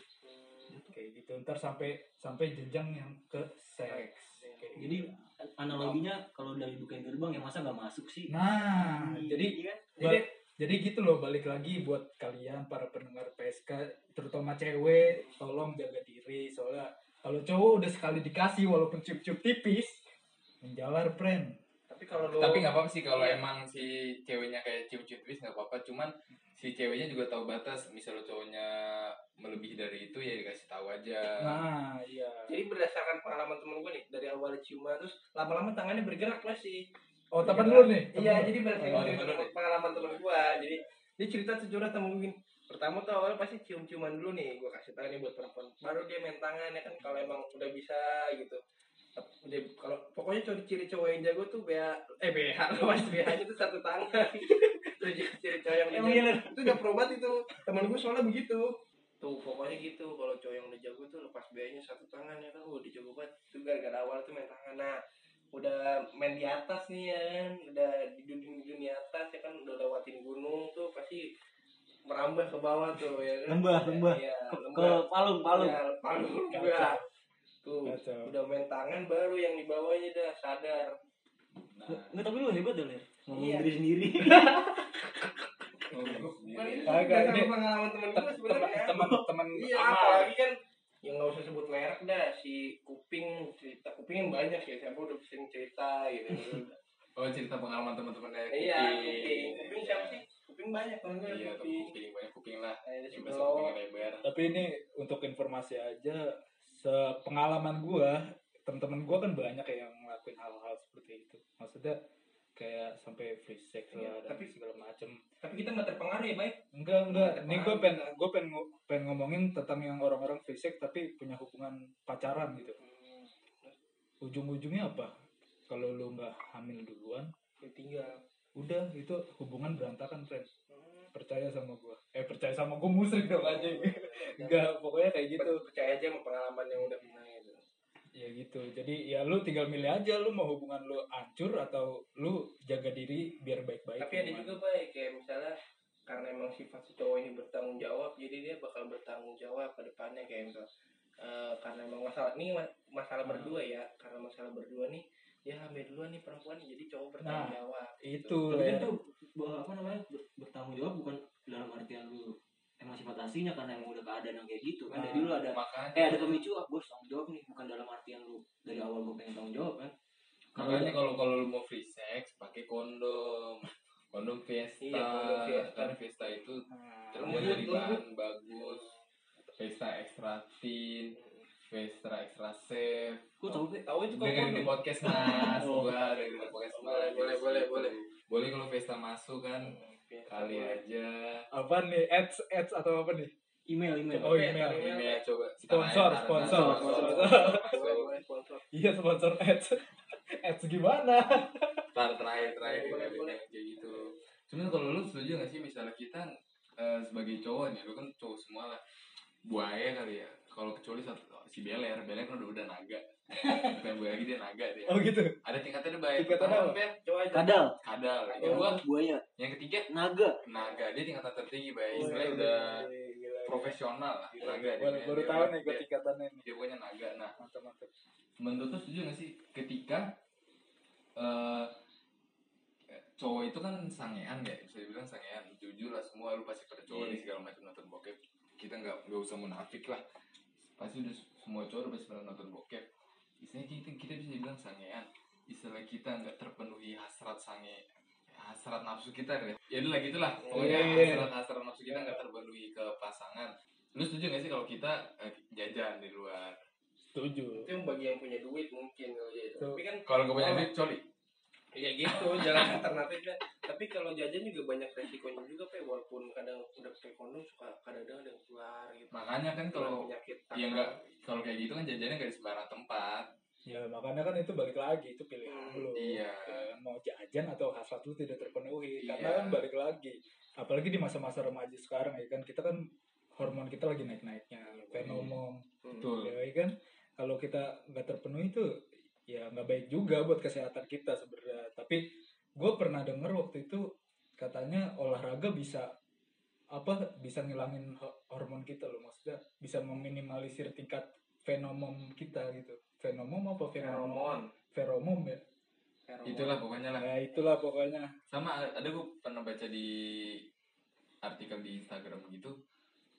S4: kayak gitu ntar sampai sampai jenjang yang ke seks Kayak gitu.
S3: Jadi, analoginya kalau dari bukain gerbang ya masa nggak masuk sih
S4: nah jadi
S3: Iya kan?
S4: jadi jadi gitu loh balik lagi buat kalian para pendengar PSK terutama cewek tolong jaga diri soalnya kalau cowok udah sekali dikasih walaupun cium-cium tipis menjalar friend
S1: Tapi kalau lu
S2: tapi nggak apa-apa sih kalau emang si ceweknya kayak cium-cium twist nggak apa-apa cuman si ceweknya juga tahu batas misalnya cowoknya melebihi dari itu ya dikasih tahu aja
S4: nah iya
S1: Jadi berdasarkan pengalaman temen gue nih dari awal ciuman terus lama-lama tangannya bergerak lah sih.
S4: oh temen
S1: Bergerak.
S4: lu nih temen
S1: Iya,
S4: lu.
S1: jadi
S4: Oh,
S1: berdasarkan
S2: temen
S1: cerita-
S2: lu nih.
S1: pengalaman temen gue. Jadi dia cerita sejurah temen gue gini. Pertama tuh awalnya pasti cium-ciuman dulu nih, gue kasih tangan nih buat perempuan. Baru dia main tangan ya kan kalau emang udah bisa gitu. Dia, kalau pokoknya cowok ciri cowok yang jago tuh BH eh BH *laughs* lawan BH nya tuh satu tangan. *laughs* Terus ciri cowok yang
S3: Emang
S1: jago.
S3: iya Ler?
S1: itu udah probat itu temen gue soalnya begitu tuh pokoknya gitu kalau cowok yang udah jago tuh lepas biayanya satu tangan ya kan udah jago banget itu gara-gara awal tuh main tangan nah udah main di atas nih ya kan udah di dunia, dunia atas ya kan udah lewatin gunung tuh pasti merambah ke bawah tuh ya kan
S3: Lembah, lembah.
S1: Iya,
S3: ke
S1: lembah
S3: palung palung
S1: Ya, palung lembah tuh udah main tangan baru yang di bawahnya dah sadar
S2: nah,
S3: Nggak, tapi lu hebat deh, Ler. Ngomong
S1: Iya.
S3: diri sendiri.
S2: iya,
S1: Ini
S4: Kagak,
S1: berdasarkan
S4: ini-
S1: pengalaman temen gue sebenarnya.
S4: teman-teman
S1: Iya, apalagi kan yang nggak usah sebut merek dah si kuping cerita kuping banyak ya siapa udah sering cerita
S2: *laughs*
S1: gitu
S2: Oh cerita pengalaman teman-teman dari
S1: iya kuping
S2: kuping.
S1: kuping siapa sih kuping banyak kan
S2: Iya, atau
S1: kuping
S2: kuping banyak kuping lah.
S1: ada si
S2: Yang biasa kuping
S1: belok
S2: lebar.
S4: tapi ini untuk informasi aja sepengalaman gua teman-teman gua kan banyak yang ngelakuin hal-hal seperti itu maksudnya kayak sampai free sex
S1: Iya,
S4: lah dan
S1: tapi-
S4: segala macem
S1: tapi kita nggak terpengaruh ya baik
S4: enggak enggak ini gua
S1: Terpengaruh.
S4: pengen gua pengen ngo- pengen ngomongin tentang yang orang-orang free sex tapi punya hubungan pacaran gitu
S2: Hmm.
S4: ujung-ujungnya apa kalau lu nggak hamil duluan
S1: ditinggal
S4: udah itu hubungan berantakan friend
S1: Hmm.
S4: percaya sama gua eh percaya sama gua musrik dong aja enggak pokoknya kayak gitu
S1: percaya aja sama pengalaman yang udah pernah gitu
S4: ya gitu jadi ya lu tinggal milih aja lu mau hubungan lu hancur atau lu jaga diri biar baik-baik
S1: tapi ada
S4: hubungan.
S1: juga baik kayak misalnya karena emang sifat si cowok ini bertanggung jawab jadi dia bakal bertanggung jawab ke depannya kayak misal eh, karena emang masalah ini ma- masalah
S4: Hmm.
S1: berdua ya karena masalah berdua nih dia hamil duluan nih perempuan jadi cowok bertanggung
S4: Nah,
S1: jawab gitu.
S4: itu
S3: tapi kan
S4: ya.
S3: tuh bahwa apa namanya ber- bertanggung jawab bukan dalam artian lu emang sifat aslinya karena emang udah keadaan yang kayak gitu kan
S4: Nah.
S3: jadi lu ada
S2: Makanya.
S3: eh ada pemicu ah gue harus tanggung jawab nih bukan dalam artian lu dari awal gue pengen tanggung jawab kan
S1: Iya.
S3: kalau
S2: Makanya
S3: udah-
S2: kalau kalau lu mau free sex pakai kondom. Kondom Fiesta.
S1: Iya, kondom Fiesta.
S2: Karena Fiesta itu
S4: Nah,
S2: terbuat
S1: Lembut,
S2: dari
S1: lembut.
S2: bahan bagus. Fiesta extra thin, Fiesta extra safe.
S3: gue tahu Pe.
S1: tahu itu kok
S2: Dengerin di podcast Mas,
S3: Oh.
S2: gua dengerin di podcast Mas.
S1: Boleh, boleh, boleh, boleh.
S2: Boleh kalau Fiesta masuk kan kali aja.
S4: apa nih ads ads atau apa nih
S3: eh, email email
S4: Oh, iya. email.
S2: Ini ya coba
S4: Sponsor,
S2: Tanah air,
S4: sponsor,
S2: tanah air,
S4: sponsor.
S1: *laughs* boleh boleh sponsor
S4: iya sponsor ads *laughs* ads gimana
S2: Tar terakhir terakhir
S1: Boleh, boleh.
S2: boleh boleh kayak gitu. Sebenarnya kalau lu setuju gak sih misalnya kita eh, sebagai cowok nih, lu kan cowok semua lah. Buaya kali ya. Kalau kecuali satu si Beler, Beler kan udah, udah
S4: *laughs*
S2: naga. Bukan buaya lagi dia naga dia.
S4: oh gitu
S2: Ada tingkatannya baik.
S4: Tingkatan
S2: Pertama,
S4: apa? Oh.
S2: Bel,
S1: coba aja
S3: kadal
S2: Kadal. Yang kedua,
S3: Kadal, buaya
S2: yang ketiga
S3: naga
S2: naga. Dia tingkatan tertinggi, Bay.
S4: Wih,
S2: Istilahnya udah
S4: gila, gila.
S2: profesional lah
S4: Gila,
S2: naga dia.
S4: iya, baru,
S2: Dia-
S4: baru
S2: dia-
S4: tahu nih gue
S2: dia-
S4: tingkatannya nih
S2: Dia pokoknya naga. Nah,
S4: mantap mantap
S2: menurut lu setuju gak sih ketika eh cowok itu kan sangean ya bisa dibilang sangean jujur lah semua lu pasti pada cowok nih segala macam nonton bokep kita nggak nggak usah munafik lah pasti udah s- semua cowok udah pasti pernah nonton bokep istilahnya kita kita bisa dibilang sangean istilah kita nggak terpenuhi hasrat sange hasrat nafsu kita deh ya udah lah gitulah pokoknya
S4: Iya, iya, iya.
S2: hasrat hasrat nafsu kita nggak terpenuhi ke pasangan lu setuju gak sih kalau kita eh, jajan di luar
S4: setuju
S1: itu yang bagi yang punya duit mungkin kalau dia itu.
S4: Tuh.
S1: tapi kan
S2: kalau nggak punya
S1: Oh.
S2: duit coli
S1: Ya gitu, jalan alternatif dah. Tapi kalau jajan juga banyak resikonya juga, Pe. Walaupun kadang udah pakai kondom, suka kadang-kadang ada yang keluar gitu.
S2: makanya kan
S4: Iya,
S2: kalau
S1: penyakit
S2: ya nggak kalau kayak gitu kan jajannya nggak di sembarang tempat
S4: ya makanya kan itu balik lagi itu pilihan
S1: Hmm,
S4: lu
S2: iya.
S4: Eh, mau jajan atau hasrat lu tidak terpenuhi karena
S2: Iya.
S4: kan balik lagi apalagi di masa-masa remaja sekarang ya kan kita kan hormon kita lagi naik-naiknya
S2: Hmm.
S4: fenomon
S1: Hmm.
S2: betul
S4: ya kan kalau kita nggak terpenuhi itu ya nggak baik juga buat kesehatan kita sebenarnya tapi gue pernah dengar waktu itu katanya olahraga bisa apa bisa ngilangin ho- hormon kita loh maksudnya bisa meminimalisir tingkat fenomon kita gitu fenomon apa fenomon
S1: Feromon.
S4: feromon ya
S1: Feromon.
S2: ya. itulah pokoknya lah
S4: nah itulah pokoknya
S2: sama ada gue pernah baca di artikel di Instagram gitu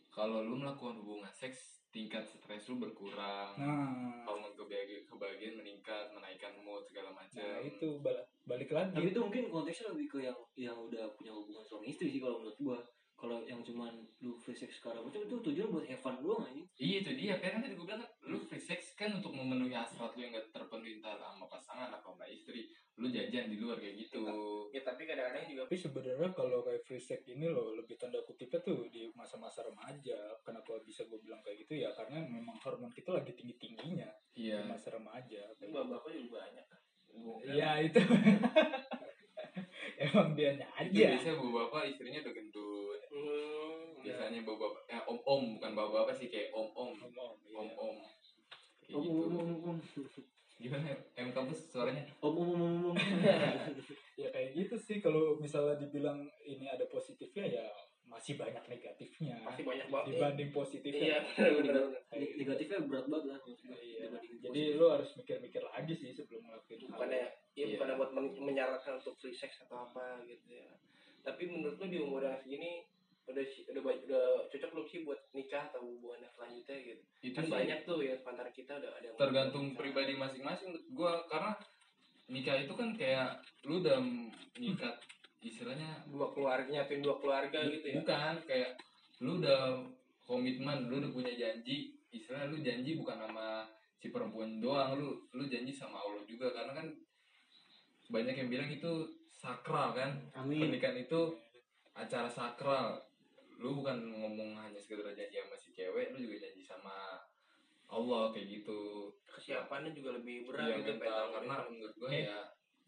S2: kalau lu melakukan hubungan seks tingkat stres lu berkurang
S4: nah,
S2: hormon kebahagiaan, kebahagiaan meningkat menaikkan mood segala macam
S4: nah itu bal- balik lagi
S3: tapi itu mungkin konteksnya lebih ke yang yang udah punya hubungan suami istri sih kalau menurut gua kalau yang cuman lu free sex sekarang macam itu tujuan buat have fun doang aja
S2: iya itu dia karena tadi gue bilang kan lu free sex kan untuk memenuhi hasrat lu yang gak terpenuhi entah sama pasangan atau sama istri lu jajan di luar kayak gitu
S1: Ya, tapi kadang-kadang juga
S4: tapi sebenarnya kalau kayak free sex ini loh lebih tanda kutipnya tuh di masa-masa remaja kenapa bisa gue bilang kayak gitu ya karena memang hormon kita lagi tinggi tingginya
S2: iya
S4: di masa remaja
S1: tapi bapak juga banyak.
S4: ya itu *laughs* emang dianya
S2: Itu
S4: aja
S2: biasanya bapak-bapak istrinya udah gendut.
S1: Hmm, ya.
S2: Biasanya bapak-bapak eh, om-om bukan bapak-bapak sih kayak om-om,
S4: Ngomong, iya.
S2: om-om. Kayak
S3: om om om
S2: gitu.
S3: om
S4: *laughs*
S3: om
S2: Gimana? ya? Em kampus suaranya?
S3: om om om
S4: *laughs*
S3: om, om.
S4: ya kayak gitu sih kalau misalnya dibilang ini ada positifnya ya masih banyak negatifnya
S1: Masih banyak banget.
S4: dibanding positifnya
S1: Iya, benar-benar.
S4: Kayak gitu.
S3: negatifnya berat banget lah menurut gua,
S4: Iya.
S3: dibanding
S4: jadi
S3: positif.
S4: lu harus mikir-mikir lagi sih sebelum ngelakuin hal
S1: bukannya ya
S2: Iya.
S1: bukannya buat men- menyarankan untuk free sex atau apa gitu ya tapi menurut lu di umur yang segini udah si- udah ba- udah cocok belum sih buat nikah atau hubungan yang selanjutnya gitu
S2: itu
S1: kan
S2: Iya sih
S1: banyak tuh ya antara kita udah ada yang udah
S2: tergantung pribadi masing-masing menurut gua karena nikah itu kan kayak lu udah nikah istilahnya
S1: dua keluarga nyiapin dua keluarga
S2: Iya.
S1: gitu ya
S2: bukan kayak lu udah komitmen lu udah punya janji istilah lu janji bukan sama si perempuan doang lu lu janji sama Allah juga karena kan banyak yang bilang itu sakral kan
S3: Amin.
S2: pernikahan itu acara sakral lu bukan ngomong hanya sekedar janji sama si cewek lu juga janji sama Allah kayak gitu
S1: kesiapannya juga lebih berat
S2: Iya
S1: gitu Iya.
S2: mental
S1: mental.
S2: karena menurut gue ya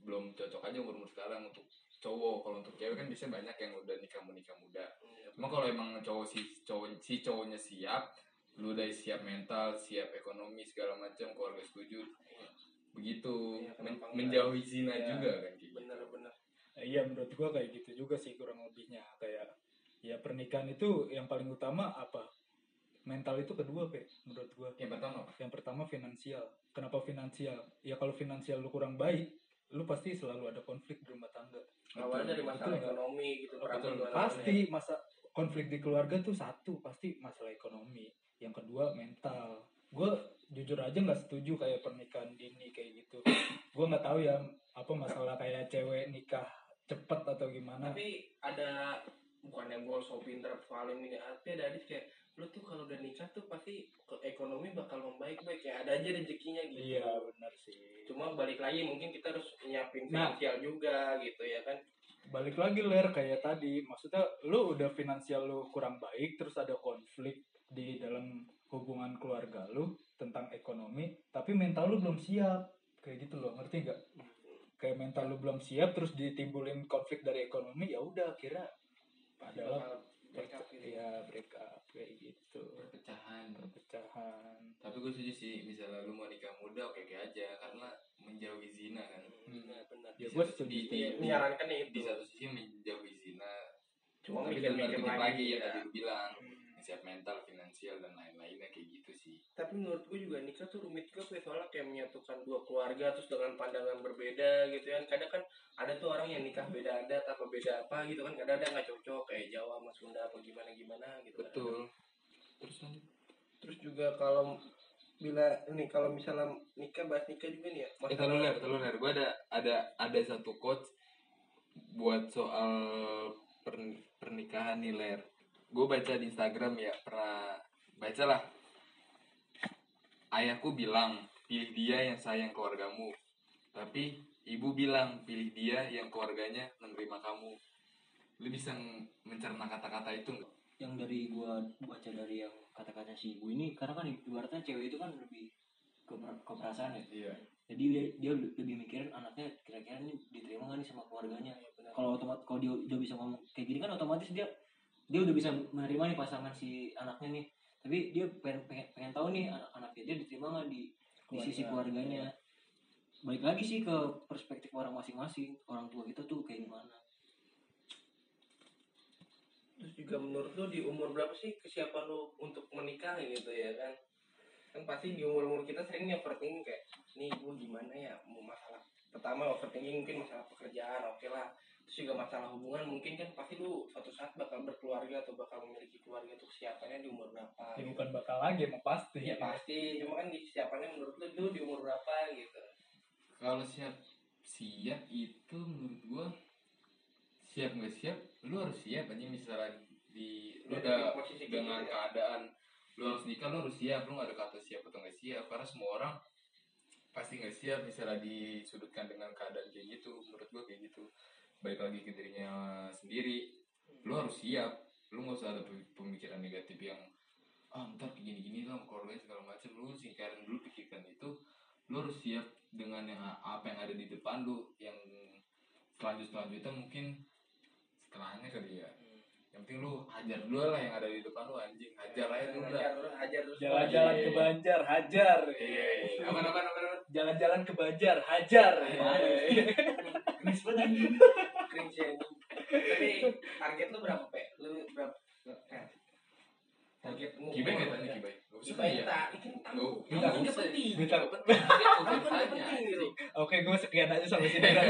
S2: belum cocok aja umur umur sekarang untuk cowok kalau untuk cewek kan biasanya banyak yang udah nikah mu- nikah muda
S1: Iya,
S2: cuma kalau emang cowok si cowok si cowoknya siap lu udah siap mental siap ekonomi segala macam keluarga setuju begitu
S1: Iya,
S2: Men-
S1: kenapa enggak?
S2: menjauhi zina
S1: Iya,
S2: juga kan kayak gitu
S1: bener-bener
S4: Eh, Iya menurut gua kayak gitu juga sih kurang lebihnya kayak ya pernikahan itu yang paling utama apa mental itu kedua pe menurut gua
S2: yang pertama apa?
S4: yang pertama finansial kenapa finansial ya kalau finansial lu kurang baik lu pasti selalu ada konflik di rumah tangga
S1: awalnya dari masalah
S4: betul.
S1: ekonomi gitu ya.
S2: Betul,
S1: perabot
S4: pasti masa konflik di keluarga tuh satu pasti masalah ekonomi yang kedua mental gue jujur aja nggak setuju kayak pernikahan dini kayak gitu gue nggak tahu ya apa masalah kayak cewek nikah cepet atau gimana
S1: tapi ada bukannya gue so pinter paling ini ah, tapi ada adik kayak lu tuh kalau udah nikah tuh pasti ke- ekonomi bakal membaik baik ya ada aja rezekinya gitu
S4: iya benar sih
S1: cuma balik lagi mungkin kita harus nyiapin
S4: Nah.
S1: finansial juga gitu ya kan
S4: balik lagi ler kayak tadi maksudnya lu udah finansial lu kurang baik terus ada konflik di dalam hubungan keluarga lu tentang ekonomi tapi mental lu belum siap kayak gitu loh ngerti nggak kayak mental lu belum siap terus ditimbulin konflik dari ekonomi ya udah akhirnya padahal
S1: bakal break up
S4: perce-
S1: gitu.
S2: iya.
S4: ya break up kayak gitu
S2: perpecahan
S4: perpecahan
S2: tapi gue setuju sih misalnya lu mau nikah muda oke oke aja karena menjauhi zina
S1: Hmm,
S2: kan
S1: benar benar
S4: ya
S2: Di
S4: gue
S2: satu-
S4: setuju
S2: di-
S4: sih.
S2: di-
S1: Ini nyarankan ya
S2: di
S1: itu
S2: satu sisi menjauhi zina
S1: cuma
S2: tapi
S1: mikir
S2: dalam
S1: mikir
S2: tanda kutip
S1: lagi,
S2: lagi ya
S1: ya.
S2: tadi lu bilang
S1: Hmm.
S2: siap mental finansial dan lain-lainnya kayak gitu sih
S1: tapi menurut gue juga nikah tuh rumit juga Pe. soalnya kayak menyatukan dua keluarga terus dengan pandangan berbeda gitu kan kadang kan ada tuh orang yang nikah beda adat apa beda apa gitu kan kadang ada nggak cocok kayak Jawa sama Sunda apa gimana gimana gitu kan.
S2: terus lanjut
S1: terus juga kalau bila nih kalau misalnya nikah bahas nikah juga nih ya
S2: eh teluler teluler gue ada ada ada satu quotes buat soal pern- pernikahan nih ler gue baca di Instagram ya pernah bacalah ayahku bilang pilih dia yang sayang keluargamu tapi ibu bilang pilih dia yang keluarganya menerima kamu lu bisa ng- mencerna kata-kata itu nggak?
S3: Yang dari gua baca dari yang kata-kata si ibu ini karena kan ibaratnya cewek itu kan lebih ke, ke perasaan ya.
S2: Iya.
S3: Jadi dia, dia lebih mikirin anaknya kira-kira ini diterima gak nih sama keluarganya. ya Kalau otomat kalau dia udah bisa ngomong kayak gini kan otomatis dia dia udah bisa menerima nih pasangan si anaknya nih. Tapi dia pengen pengen, pengen tahu nih anak anaknya dia diterima nggak di di sisi keluarganya balik lagi sih ke perspektif orang masing-masing orang tua kita tuh kayak gimana
S1: terus juga menurut lu di umur berapa sih kesiapan lu untuk menikah gitu ya kan kan pasti di umur umur kita sering nih overthinking kayak nih gue gimana ya mau masalah pertama overthinking mungkin masalah pekerjaan oke lah terus juga masalah hubungan mungkin kan pasti lu suatu saat bakal berkeluarga atau bakal memiliki keluarga tuh kesiapannya di umur berapa
S4: ya
S1: gitu.
S4: bukan bakal lagi emang pasti
S1: ya pasti cuma kan di kesiapannya menurut lu dulu di umur berapa gitu
S2: kalau siap siap itu menurut gua siap nggak siap lu harus siap aja misalnya di lu udah
S1: posisi kayak
S2: dengan
S1: gitu ya.
S2: keadaan lu harus nikah lu harus siap lu nggak ada kata siap atau nggak siap karena semua orang pasti nggak siap misalnya disudutkan dengan keadaan kayak gitu menurut gua kayak gitu baik lagi ke dirinya sendiri lu harus siap lu nggak usah ada pem- pemikiran negatif yang ah ntar kayak gini gini lah sama keluarganya segala macam lu singkarin dulu pikirkan itu lu harus siap dengan yang apa yang ada di depan lu yang selanjut selanjutnya mungkin setelahnya kali ya yang penting lu hajar dulu lah yang ada di depan lu anjing hajar aja dulu lah
S1: hajar terus hajar terus
S4: jalan-jalan ke Banjar hajar
S2: iya iya apa apa apa
S4: jalan-jalan ke Banjar hajar
S1: Cringe ya. Tapi target lu berapa, Pe? Lu berapa? Eh, Targetmu.
S2: kibai nggak tanya kibai nggak usah
S1: Kibai
S2: tanya
S1: tak. Ikan tamu.
S2: Lu-
S1: Kamu
S2: nggak
S1: kan
S2: usah.
S1: penting.
S2: Nggak penting. Nggak
S1: Kamu kan
S2: usah tanya,
S1: penting gitu.
S2: anjing. *laughs* Iya, ya,
S4: Oke, gue sekian aja sampai sini. Bang.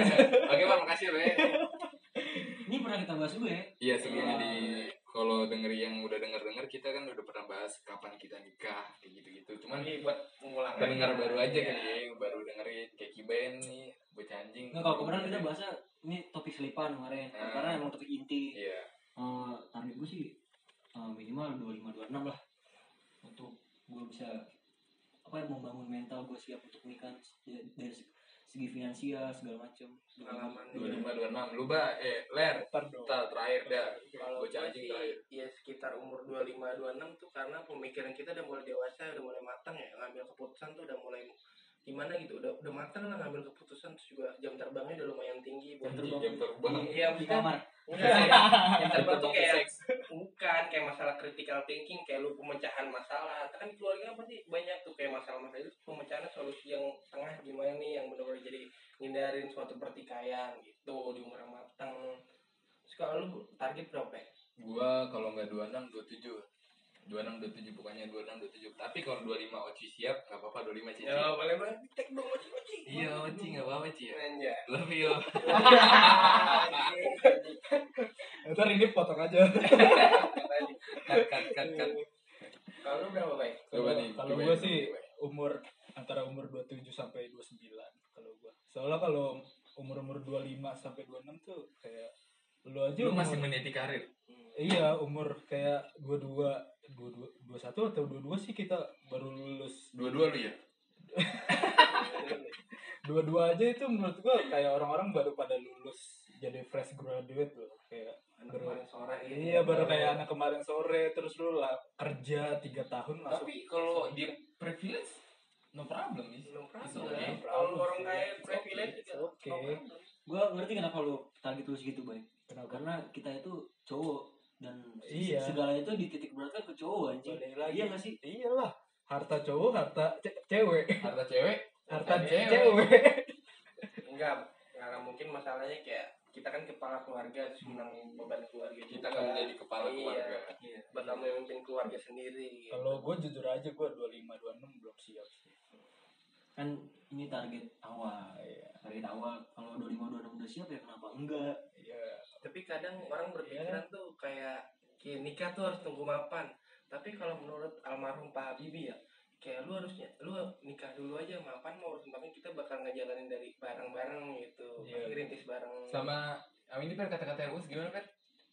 S2: Oke, Pak, makasih, Pak.
S3: Ini pernah kita bahas juga ya.
S2: Iya sebelumnya di kalau denger yang udah denger denger kita kan udah pernah bahas kapan kita nikah kayak gitu gitu. Cuman
S1: Ini buat mengulang.
S2: pendengar baru aja
S1: Iya.
S2: kali ya yang baru dengerin kayak Kiben nih bocah anjing.
S3: Nggak, kalau kemarin kita bahasnya ini topik selipan kemarin.
S2: Hmm.
S3: Karena emang topik inti.
S2: Iya.
S3: Eh, target gue sih eh, minimal 25 26 lah untuk gue bisa apa ya, membangun mental gue siap untuk nikah dari, dari se- segi finansial segala macam
S1: Pengalaman.
S2: Dua lima dua enam. Lu ba eh ler.
S4: Ntar dong.
S2: Kita terakhir dah.
S1: Kalau
S2: ya. Bocah
S1: gue
S2: anjing
S1: sih
S2: terakhir.
S1: ya sekitar umur 25-26 tuh karena pemikiran kita udah mulai dewasa, udah mulai matang ya, ngambil keputusan tuh udah mulai gimana gitu, udah udah matang lah ngambil keputusan terus juga jam terbangnya udah lumayan tinggi buat
S2: Jam terbang. Jam terbang.
S1: Iya,
S3: di
S1: maksudnya
S3: kamar
S1: Enggak,
S2: *laughs*
S1: ya. yang
S2: Jam
S1: terbang tuh
S2: terbang ke
S1: kayak
S2: seks.
S1: bukan kayak masalah critical thinking kayak lu pemecahan masalah kan keluarga pasti banyak tuh kayak masalah-masalah itu pemecahan solusi yang tengah gimana nih yang benar-benar jadi ngindarin suatu pertikaian gitu di umur yang matang terus kalau lu target berapa ya?
S2: Gua kalau nggak dua enam dua tujuh. Dua enam dua tujuh bukannya dua enam dua tujuh. Tapi kalau dua lima oci siap nggak apa-apa dua lima cici.
S1: ya boleh banget cek dong oci oci
S2: Iya oci nggak apa-apa cici.
S1: Anjay.
S2: Love you.
S4: Eh, Ntar ini potong aja.
S2: Cut cut cut cut.
S1: kalau lu berapa baik
S2: kan. Coba nih.
S4: Kalau
S2: Kiben,
S4: gue
S2: coba
S4: sih
S2: Kiben.
S4: umur antara umur 27 sampai 29 kalau gue. Soalnya kalau umur-umur 25 sampai 26 tuh kayak lu aja
S2: Lu
S4: umur-
S2: masih meniti karir.
S4: Iya, umur kayak 22 22 21 atau 22 sih kita baru lulus.
S2: Dua-dua lu ya?
S4: 22 aja itu menurut gua kayak orang-orang baru pada lulus jadi fresh graduate loh kayak
S1: anak
S4: baru
S1: kemarin sore gitu.
S4: Iya, baru kayak anak kemarin sore terus lu lah kerja 3 tahun masuk.
S2: Tapi kalau dia privilege, no problem is.
S1: No
S2: It's
S1: problem.
S2: okay.
S1: kalau orang kaya
S4: It's okay,
S1: privilege
S4: it's
S1: juga no
S4: okay.
S1: problem.
S3: gue ngerti kenapa lu target lu segitu baik
S4: Kenapa?
S3: karena kita itu cowok dan
S4: Iya.
S3: segala itu dititik beratkan ke cowok anjing
S4: Balik lagi.
S3: iya gak sih
S4: Iyalah, harta cowok, harta ce- cewek,
S2: Harta cewek,
S4: harta
S2: Harta
S4: cewek.
S2: cewek.
S1: enggak karena mungkin masalahnya kayak kita kan kepala keluarga terus menanggung beban keluarga
S2: kita nggak menjadi kepala
S1: Iya.
S2: keluarga.
S1: bakal memimpin keluarga sendiri
S4: Kalau gua jujur aja gua 25 26 belum siap sih.
S3: kan ini target awal
S4: Iya.
S3: target awal kalau 25 26 udah siap ya kenapa enggak
S4: Iya.
S1: tapi kadang orang berpikiran tuh kayak kayak nikah tuh harus tunggu mapan tapi kalau menurut almarhum Pak Habibie ya kayak lu harusnya lu nikah dulu aja mapan mau urusan makan kita bakal ngejalanin dari bareng-bareng gitu
S4: Iya.
S1: pasti rintis bareng
S2: Sama Amin ini per kata-kata yang us gimana per?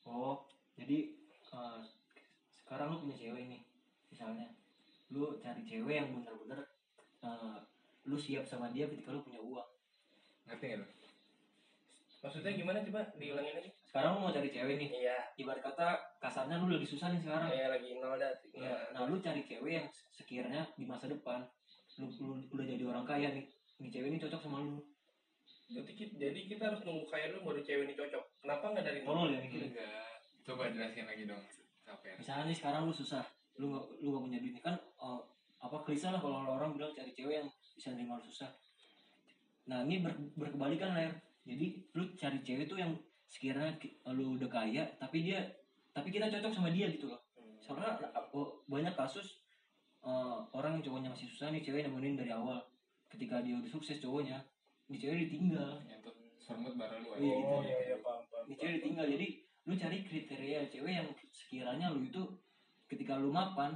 S3: Oh, jadi eh, sekarang lu punya cewek nih, misalnya, lu cari cewek yang bener-bener eh, lu siap sama dia ketika lu punya uang.
S2: Ngerti nggak lu?
S1: maksudnya gimana coba diulangin aja
S3: Sekarang lu mau cari cewek nih,
S1: iya
S3: ibarat kata kasarnya lu lagi susah nih sekarang.
S1: kayak lagi nol dah sih.
S3: Ya, nah lu cari cewek yang sekiranya di masa depan, lu, lu udah jadi orang kaya nih, nih cewek ini cocok sama lu.
S1: jadi kita, jadi kita harus nunggu kayak lu baru cewek ini cocok kenapa nggak dari nol
S3: Tolol ya mikirnya.
S2: Enggak. Coba jelasin lagi dong. ya? Sampai.
S3: Misalnya nih sekarang lu susah, lu gak, lu gak punya duit kan eh, apa klise lah kalau orang bilang cari cewek yang bisa nerima lu susah. Nah ini ber, berkebalikan lah Jadi lu cari cewek tuh yang sekiranya ki- lu udah kaya tapi dia tapi kita cocok sama dia gitu loh. Soalnya eh, banyak kasus eh, orang yang cowoknya masih susah nih cewek nemenin dari awal. Ketika dia udah sukses cowoknya, nih cewek ditinggal.
S2: Nyentut sermut bareng lu.
S3: Iya, gitu.
S4: Oh, iya iya paham paham.
S3: Nih cewek ditinggal jadi lu cari kriteria cewek yang sekiranya lu itu ketika lu mapan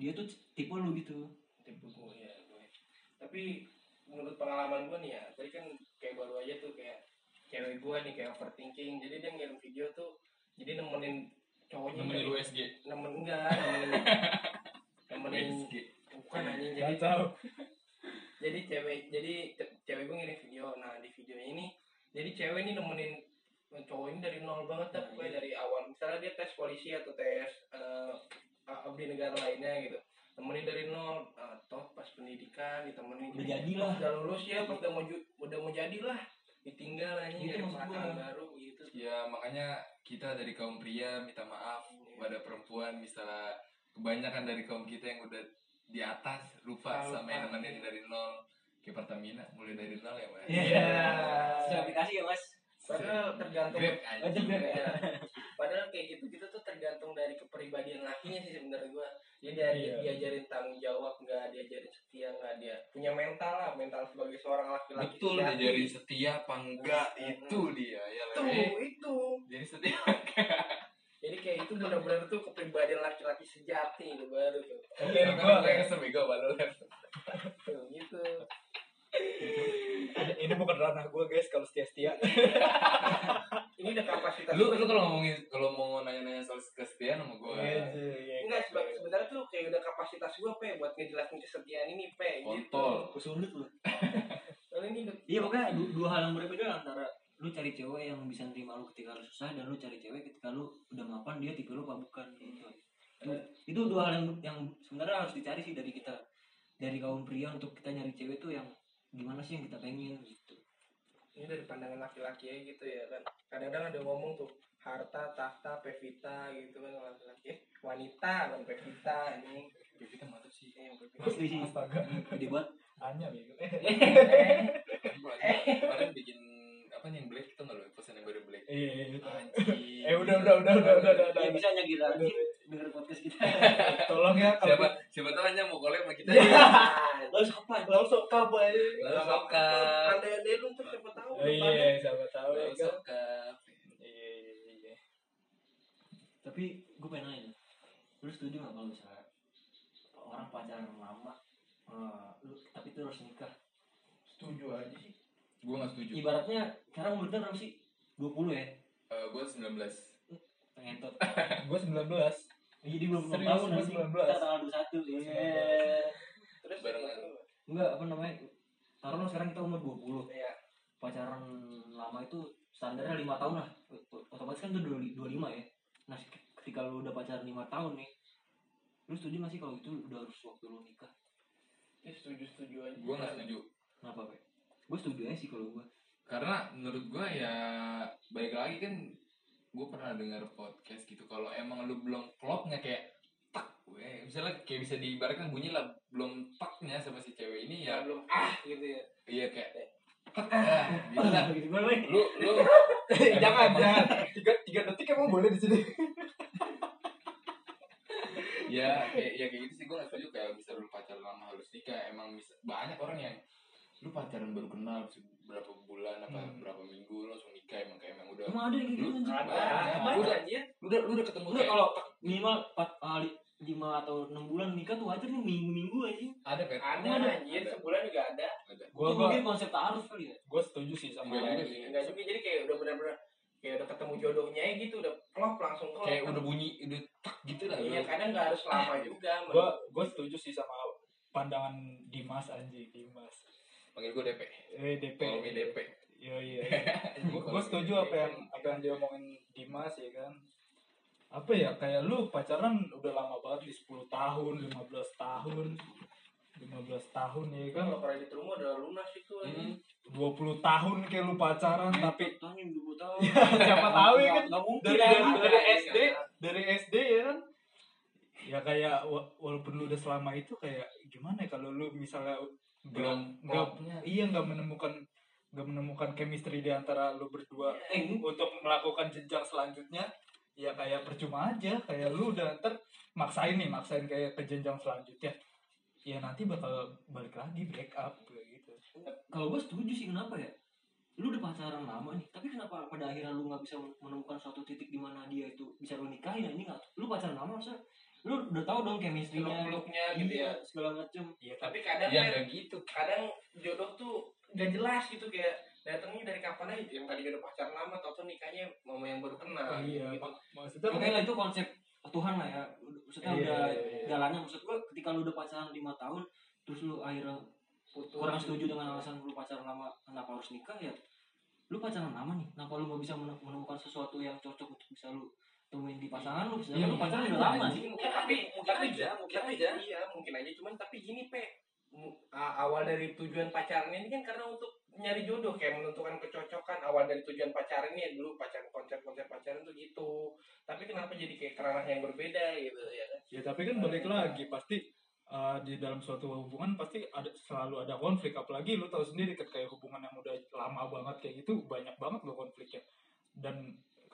S3: dia tuh tipe lu gitu
S1: tipe gue ya gue. tapi menurut pengalaman gue nih ya tadi kan kayak baru aja tuh kayak cewek gue nih kayak overthinking jadi dia ngirim video tuh jadi nemenin cowoknya
S2: Nemenin lu
S1: dari-
S2: SG.
S1: nemen enggak nemenin nemenin
S2: SG.
S1: bukan anjing jadi
S4: Kacau.
S1: jadi cewek jadi ce- cewek gue ngirim video nah di video ini jadi cewek ini nemenin cowok ini dari nol banget dah pokoknya dari awal misalnya dia tes polisi atau tes eh, abdi negara lainnya gitu nemenin dari nol eh, toh pas pendidikan ditemenin
S3: udah
S1: gitu.
S3: jadi
S1: Pas
S3: lah
S1: udah lulus ya pas udah mau ju- udah mau jadi lah ditinggal aja
S3: Gitu
S1: nyari
S3: maksud
S1: pasangan
S3: gua.
S1: baru gitu
S2: Ya makanya kita dari kaum pria minta maaf kepada perempuan misalnya kebanyakan dari kaum kita yang udah di atas lupa
S1: Lupa.
S2: sama yang nemenin dari nol ke Pertamina mulai dari nol ya mas.
S3: Iya. Sesuai aplikasi ya mas
S1: padahal tergantung
S2: Grab
S1: Aja
S2: anjing.
S1: Grab ya. Padahal kayak gitu kita tuh tergantung dari kepribadian lakinya sih sebenarnya gua. dia dari
S4: Iya.
S1: diajarin tanggung jawab nggak diajarin setia nggak dia punya mental lah mental sebagai seorang laki-laki
S2: betul
S1: sejati.
S2: diajarin setia apa enggak itu dia ya
S1: itu
S2: Le.
S1: itu
S2: jadi setia
S1: jadi kayak itu benar-benar tuh kepribadian laki-laki sejati itu baru tuh
S4: Oke,
S2: Karena
S4: gua-
S2: gue kesel bego sama lu, Le.
S1: Tuh, gitu
S4: ini, ini bukan ranah gue guys kalau setia-setia.
S1: ini udah kapasitas
S2: lu lu kalau ngomongin kalau mau nanya-nanya soal kesetiaan sama gue
S4: Iya,
S1: Enggak, seba- sebenarnya tuh kayak udah kapasitas gue pe buat ngejelasin kesetiaan ini
S4: iya.
S1: pe.
S2: kontol
S3: Gua sulit lu.
S1: Lalu ini udah
S3: Iya pokoknya du- dua hal yang berbeda antara lu cari cewek yang bisa nerima lu ketika lu susah dan lu cari cewek ketika lu udah mapan dia tipe lu apa bukan gitu. Itu, itu dua hal yang yang sebenarnya harus dicari sih dari kita dari kaum pria untuk kita nyari cewek tuh yang gimana sih yang kita pengen gitu.
S1: ini dari pandangan laki-laki aja gitu ya kan. Kadang-kadang ada ngomong tuh harta, tahta, pevita gitu kan kalau laki-laki. Eh, wanita kan pevita ini.
S2: kita mantap sih
S1: Eh, yang pevita.
S3: Asli sih
S4: Astaga,
S3: gede banget.
S4: hanya bego.
S1: Eh,
S4: iya.
S2: kemarin bikin apa nih yang black itu nggak lo pesan yang baru black
S4: Iya, iya, iya.
S2: Anjing.
S4: Eh udah udah udah udah udah udah.
S3: Dia
S4: udah.
S3: Iya, bisa nyagira denger podcast kita. *laughs*
S4: Tolong ya kalau
S2: siapa siapa tahu hanya mau collab sama kita
S4: Iya.
S3: Lu
S1: *laughs*
S3: sopan.
S4: langsung kabar.
S2: Lalu sokap
S1: Andai-andai lu tuh siapa tahu. depannya.
S4: Iya, siapa tahu ya.
S2: lalu
S4: kan?
S2: sokap
S4: Iya, iya, iya.
S3: Tapi gue pengen nanya. Lu setuju gak kalau misalnya orang pacaran lama eh, lu, tapi itu harus nikah
S1: Setuju aja sih.
S2: gue nggak setuju
S3: ibaratnya sekarang umurnya berapa sih? 20 ya?
S2: Eh gue 19
S3: Pengentot.
S4: Gue 19.
S3: Jadi belum
S4: Serius,
S3: tahun
S4: lu
S3: nanti
S4: 19?
S3: kita tanggal 21. Iya.
S1: Terus
S2: Barengan.
S3: Enggak apa namanya? Taruh lo sekarang kita umur 20.
S1: Iya.
S3: Pacaran lama itu standarnya 5 tahun lah. O- Otomatis kan itu 25 ya. Nah, se- ketika lu udah pacaran 5 tahun nih, lu setuju gak sih kalau itu udah harus waktu lu nikah?
S1: Ya, setuju-setuju aja.
S2: gue nggak setuju
S3: Kenapa, Pak? Gue setuju aja sih kalau gue.
S2: karena menurut gue ya balik lagi kan gue pernah dengar podcast gitu kalau emang lu belum klopnya kayak tak gue misalnya kayak bisa diibaratkan bunyi lah belum taknya sama si cewek ini
S1: Ya
S2: ya
S1: belum ah gitu ya.
S2: iya kayak tak ah, gitu lah
S3: gitu gue,
S2: lu lu
S4: Eh, jangan, jangan. Tiga, tiga detik emang boleh di sini.
S2: ya kayak ya kayak gitu sih gue gak setuju kayak bisa lu pacaran lama harus nikah emang bisa, banyak orang yang lu pacaran baru kenal berapa bulan apa
S4: Hmm.
S2: berapa minggu lu langsung nikah emang kayak emang udah
S3: Emang ada yang kayak gitu
S2: Lu-
S3: anjing?
S1: Ada,
S2: Banyak.
S1: banyak
S2: Udah.
S1: aja.
S2: lu udah lu udah ketemu
S3: Enggak
S2: kayak
S3: kalau minimal 4 kali 5 atau 6 bulan nikah tuh wajar nih minggu-minggu aja.
S2: ada pet
S1: Ada
S3: Ada.
S1: anjir, sebulan juga ada.
S2: ada
S3: Itu
S4: Gue
S3: mungkin konsep taaruf kali ya.
S4: gue setuju sih sama
S2: Enggak
S4: lo.
S2: juga sih.
S1: Enggak juga jadi kayak udah benar-benar kayak udah ketemu jodohnya aja gitu udah klop langsung klop.
S2: kayak udah bunyi udah tak gitu lah
S1: Iya
S2: lu
S1: kadang nggak harus lama juga.
S4: Gue gue setuju sih sama pandangan Dimas anjing Dimas.
S2: panggil gue DP
S4: Eh DP.
S2: kalau mi DP
S4: Iya iya. Gue setuju apa yang apa yang diomongin Dimas ya kan. Apa ya kayak lu pacaran udah lama banget di 10 tahun, 15 tahun. 15 tahun ya
S1: kan
S4: kan
S1: kalau pernah diterima udah lunas itu
S2: Hmm,
S1: anjing.
S2: iya.
S4: 20 tahun kayak lu pacaran Hmm, tapi *laughs*
S3: Tanya dulu tahu.
S4: siapa tahu ya kan
S3: Enggak mungkin.
S4: dari
S3: kan?
S4: dari, dari SD dari SD ya kan ya kayak wa- walaupun lu udah selama itu kayak gimana ya kalau lu misalnya nggak
S2: belum
S4: nggak
S2: klopnya
S4: iya nggak menemukan nggak menemukan chemistry di antara lu berdua
S3: Eh, enggak.
S4: untuk melakukan jenjang selanjutnya ya kayak percuma aja kayak lu udah ntar maksain nih maksain kayak ke jenjang selanjutnya ya nanti bakal balik lagi break up kayak gitu
S3: kalau gue setuju sih kenapa ya? Lu udah pacaran lama nih, tapi kenapa pada akhirnya lu nggak bisa menemukan suatu titik di mana dia itu bisa lu nikahin ini nggak? Lu pacaran lama masa lu udah tahu dong chemistry-nya
S1: Peluk-peluknya gitu ya.
S3: Iya, segala macam.
S4: ya tapi
S1: Tapi kadang
S2: ya
S1: kan,
S2: nggak gitu
S1: kadang jodoh tuh nggak jelas gitu kayak datangnya dari kapan aja yang tadi udah pacaran lama atau tuh nikahnya mama yang baru kenal.
S4: iya
S1: gitu.
S4: mak- maksudnya
S3: Oke lah itu konsep Tuhan lah ya. Maksudnya
S4: Iya,
S3: udah
S4: iya, iya.
S3: jalannya maksud gua ketika lu udah pacaran 5 tahun terus lu akhirnya
S1: Putus.
S3: kurang setuju dengan alasan lu pacaran lama kenapa harus nikah ya lu pacaran lama nih kenapa lu gak bisa menem- menemukan sesuatu yang cocok untuk bisa lu temuin di pasangan lu
S1: Ya,
S2: Iya,
S3: misalnya lu pacaran udah
S2: iya,
S3: lama
S2: iya.
S3: sih
S1: Mungkin tapi mungkin
S2: Tapi
S1: aja,
S2: ja-
S1: mungkin
S2: tapi
S1: aja.
S2: ja.
S1: Iya, mungkin aja cuman tapi gini, Pe. Mu- a- awal dari tujuan pacaran ini kan karena untuk nyari jodoh kayak menentukan kecocokan awal dari tujuan pacaran ini ya dulu pacaran konsep-konsep pacaran tuh gitu tapi kenapa jadi kayak kerana yang berbeda gitu ya kan
S4: Ya tapi kan balik lagi pasti uh, di dalam suatu hubungan pasti ada selalu ada konflik apalagi lu tahu sendiri kan kayak hubungan yang udah lama banget kayak gitu banyak banget lo konfliknya dan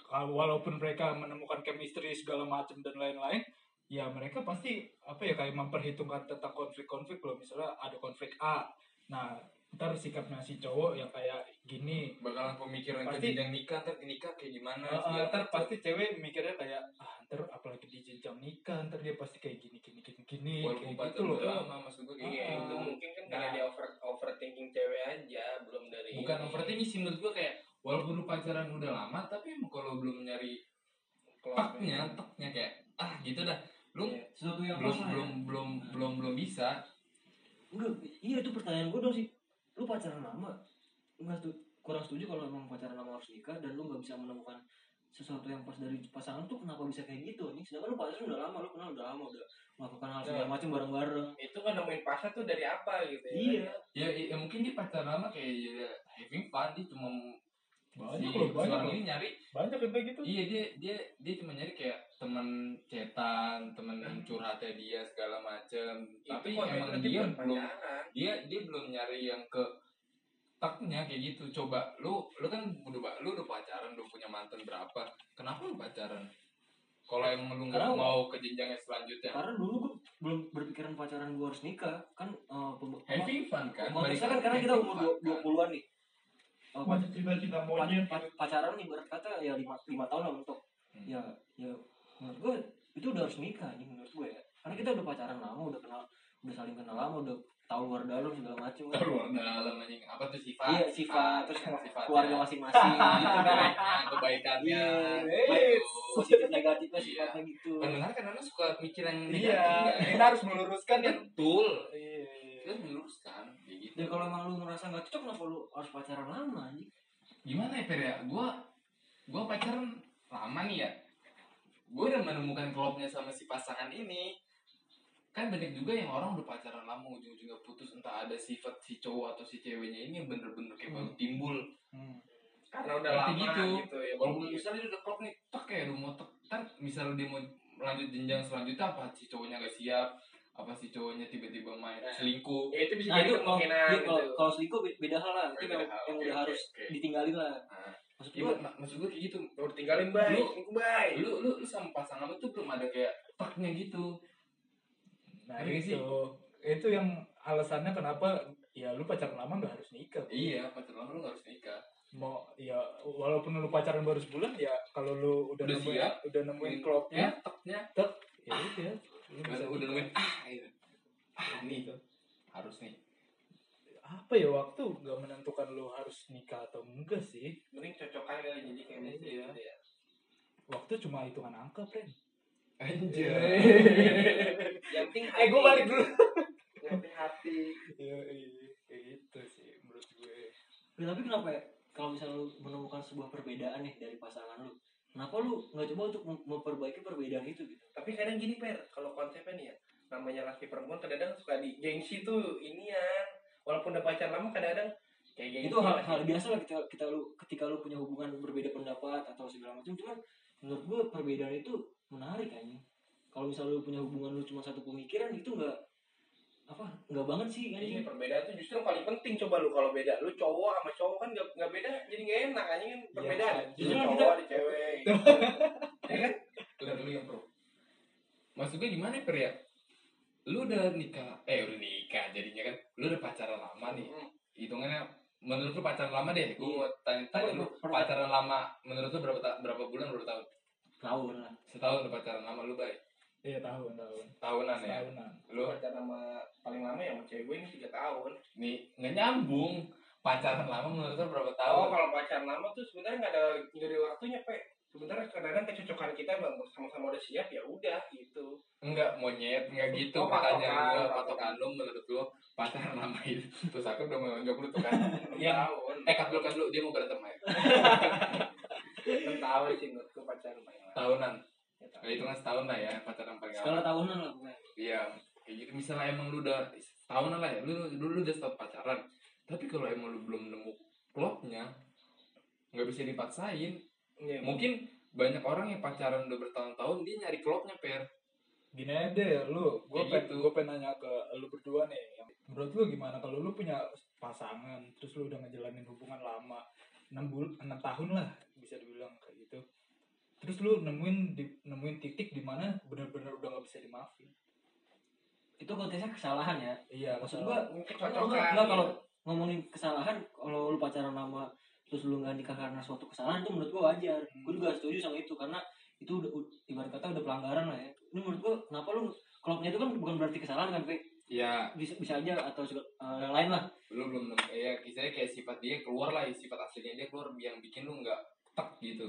S4: kalau- walaupun mereka menemukan chemistry segala macam dan lain-lain ya mereka pasti apa ya kayak memperhitungkan tentang konflik-konflik loh misalnya ada konflik A nah ntar sikapnya si cowok yang kayak gini
S2: bakalan pemikiran ke
S4: Pasti-
S2: jenjang nikah ntar nikah kayak gimana
S4: Eh,
S2: segala
S4: ntar
S2: macam.
S4: pasti cewek mikirnya kayak ah, ntar apalagi di jenjang nikah ntar dia pasti kayak gini gini gini gini
S2: walaupun
S4: kayak gitu
S2: pacaran
S4: loh
S2: udah lama maksud gue kayak gitu.
S1: Iya,
S4: Ah.
S1: itu mungkin kan karena
S4: Nah.
S1: dia over overthinking cewek aja, belum dari
S2: bukan
S1: ini.
S2: overthinking sih menurut gue kayak walaupun lu pacaran udah lama tapi emang kalau belum nyari paknya teknya kayak ah gitu dah lu
S1: Iya.
S3: sesuatu yang
S2: belum
S3: pas lah ya.
S2: belum belum belum belum bisa
S3: Enggak, iya itu pertanyaan gue dong sih. Lu pacaran lama? Enggak tuh kurang setuju kalau emang pacaran lama harus nikah dan lu nggak bisa menemukan sesuatu yang pas dari pasangan tuh kenapa bisa kayak gitu nih sedangkan lu pacaran udah lama lu kenal udah lama udah melakukan hal segala macam bareng-bareng
S1: Itu kan nemuin pasnya tuh dari apa gitu ya.
S3: iya
S2: ya, ya mungkin dia pacaran lama kayak ya, having fun dia cuma
S4: Banyak loh, banyak
S2: seorang
S4: loh.
S2: ini nyari
S4: banyak yang kayak gitu
S2: Iya dia dia dia cuma nyari kayak teman cetan, teman
S3: Hmm.
S2: curhatnya dia segala macem. Tapi
S1: itu
S2: emang
S1: komitmen bukan
S2: dia
S3: ya?
S2: belum
S1: pacaran.
S2: dia dia belum nyari yang ke taknya kayak gitu. Coba lu lu kan udah ba- lu udah pacaran, lu punya mantan berapa? Kenapa lu pacaran? Kalau emang lu nggak
S3: Karena-
S2: mau ke jenjang yang selanjutnya,
S3: karena dulu gue belum berpikiran pacaran gue harus nikah kan eh pem-
S2: having fun kan?
S3: konteksnya
S2: Balik
S3: kan karena
S2: lagi,
S3: kita
S2: having
S3: umur
S2: fun
S3: dua-
S2: kan?
S3: dua puluh an nih Eh, pac-
S4: cinta-cinta
S3: pac- pac- pacaran ibarat kata ya lima lima tahun lah untuk
S2: Hmm.
S3: ya ya menurut gue itu udah harus nikah nih menurut gue ya karena kita udah pacaran lama udah kenal udah saling kenal lama udah tahu luar dalam segala macam kan.
S2: Taruh dalam anjing apa tuh sifat?
S3: iya sifat terus
S2: sifatnya.
S3: keluarga
S2: *laughs*
S3: masing-masing gitu kan
S2: Kebaikannya, ya. kebaikannya.
S3: Iya,
S2: Baik.
S3: positif negatifnya
S2: Iya.
S3: sifatnya gitu
S2: pendengar kadang-kadang suka mikir yang negatif
S4: iya
S2: kan?
S4: kita harus meluruskan
S2: kan
S4: kan
S2: betul
S4: iya iya.
S2: kita harus meluruskan kayak gitu
S3: dan kalau emang lu ngerasa nggak cocok kenapa lu harus pacaran lama anjing
S2: gimana ya Fer ya gue gue pacaran lama nih ya gue udah menemukan klopnya sama si pasangan ini kan banyak juga yang orang udah pacaran lama ujung-ujungnya putus entah ada sifat si cowok atau si ceweknya ini yang bener-bener kayak baru timbul
S4: Hmm.
S1: Karena udah lama
S2: Berarti gitu.
S1: gitu, ya.
S2: walaupun misalnya dia udah klop nih tek kayak udah mau tek kan misalnya dia mau lanjut jenjang selanjutnya apa si cowoknya gak siap apa si cowoknya tiba-tiba main
S1: Nah.
S2: selingkuh
S1: ya itu bisa
S3: nah
S1: jadi
S3: itu kalau
S1: kemungkinan
S3: iya, kalau
S1: gitu.
S3: kalau selingkuh be- beda hal lah itu
S2: Beda
S3: yang,
S2: hal,
S3: yang
S2: oke,
S3: udah
S2: oke,
S3: harus
S2: oke.
S3: ditinggalin lah
S2: Nah,
S3: maksud
S2: iya,
S3: gue
S2: mak- maksud gue kayak gitu
S1: Baru tinggalin baik,
S2: Lu-
S1: selingkuh baik.
S2: lu lu lu sama pasangan lu tuh belum ada kayak taknya gitu
S4: Nah
S2: Ngerti
S4: itu, itu yang alasannya kenapa ya lu pacaran lama nggak harus nikah. Bro.
S2: iya pacaran lama lu gak harus nikah
S4: Mau ya walaupun lu pacaran baru sebulan ya kalau lu udah,
S2: Udah
S4: nemuin
S2: siap.
S4: udah nemuin klopnya,
S2: ya taknya
S4: tek ya udah. Lu
S2: udah udah
S4: bisa nikah. Gitu.
S2: nemuin ah gitu ah nih harus nih
S4: apa ya waktu nggak menentukan lu harus nikah atau enggak sih.
S1: Mending cocok aja kali jadi kayak gitu
S4: Iya.
S1: gitu ya.
S4: Waktu cuma hitungan angka, friend.
S2: anjir *laughs*
S1: Yang penting
S4: eh gue balik dulu.
S1: Yang penting hati.
S4: Iya iya kayak gitu sih menurut gue.
S3: Ya, tapi kenapa ya? Kalau misalnya lu menemukan sebuah perbedaan nih dari pasangan lu, kenapa lu nggak coba untuk mem- memperbaiki perbedaan itu gitu?
S1: Tapi kadang gini, Per, kalau konsepnya nih ya, namanya laki perempuan kadang suka di gengsi tuh ini ya. Walaupun udah pacar lama kadang kayak gengsi.
S3: Itu hal,
S1: masih.
S3: hal biasa lah kita, kita lu ketika lu punya hubungan berbeda pendapat atau segala macam. Cuman menurut gua perbedaan itu menarik kan. Kalau misalnya lu punya hubungan lu cuma satu pemikiran itu nggak apa nggak banget sih
S1: Iya,
S3: anjing.
S1: perbedaan tuh justru yang paling penting coba lu kalau beda lu cowok sama cowok kan gak, gak beda jadi gak enak anjing kan perbedaan
S4: Iya,
S1: Lu
S4: jujur
S1: cowok
S3: kita-
S1: ada cewek gitu. ya kan
S2: udah dulu yang pro maksud gue gimana ya, per ya lu udah nikah eh udah nikah jadinya kan lu udah pacaran lama nih hitungannya menurut lu pacaran lama deh gue mau tanya tanya lu
S3: Per- per-
S2: pacaran lama menurut lu berapa ta- berapa bulan berapa tahun
S3: Tahun lah.
S2: setahun lu pacaran lama lu baik
S4: Iya tahun tahun.
S2: tahunan ya
S4: Tahunan.
S1: Lu
S2: lu
S1: pacaran sama paling lama ya sama cewek gue ini 3 tahun
S2: nih nggak nyambung pacaran lama menurut lu berapa tahun
S1: oh kalau pacaran lama tuh sebenarnya gak ada nggak ada waktunya pe sebenarnya kadang kecocokan kita bang sama-sama udah siap ya udah gitu
S2: enggak monyet enggak gitu
S1: Oh,
S2: pertanyaan
S1: patokan,
S2: gua
S1: patokan.
S2: patokan lu menurut lu pacaran lama itu terus aku udah mau jawab lu tuh
S1: *laughs*
S2: kan
S1: ya.
S2: yang
S1: tahun
S2: eh cut dulu cut dulu dia mau berantem ya
S1: enam tahun sih menurutku pacaran paling lama
S2: tahunan
S1: Ya,
S2: ya,
S1: tahun.
S2: hitungan setahun lah ya pacaran paling lama
S3: Skala tahunan lah pokoknya.
S2: Iya, kayak gitu. Misalnya emang lu udah setahunan lah ya, lu lu, lu udah setahun pacaran. Tapi kalau emang lu belum nemu klopnya, nggak bisa dipaksain.
S1: Iya,
S2: Mungkin banyak orang yang pacaran udah bertahun-tahun dia nyari klopnya per.
S4: gini aja deh lu
S2: Kayak
S4: gue pengen
S2: gitu.
S4: gue pengen nanya ke lu berdua nih yang- menurut lu gimana kalau lu punya pasangan terus lu udah ngejalanin hubungan lama enam bulan enam tahun lah bisa dibilang kayak gitu terus lu nemuin di- nemuin titik di mana benar-benar udah nggak bisa dimaafin
S3: itu konteksnya kesalahan ya
S4: iya
S3: maksud
S4: masalah-
S3: gua kalau
S1: kecocokan
S3: enggak kalau ngomongin kesalahan kalau lu pacaran lama terus lu nggak nikah karena suatu kesalahan itu menurut gua wajar gua juga setuju sama itu karena itu udah u- ibarat kata udah pelanggaran lah ya ini menurut gua kenapa lu klubnya itu kan bukan berarti kesalahan kan Fe?
S2: ya
S3: bisa bisa aja atau juga, eh, yang lain lah
S2: lu belum nem- eh, ya kisahnya kayak sifat dia keluar lah sifat aslinya dia keluar yang bikin lu nggak tek gitu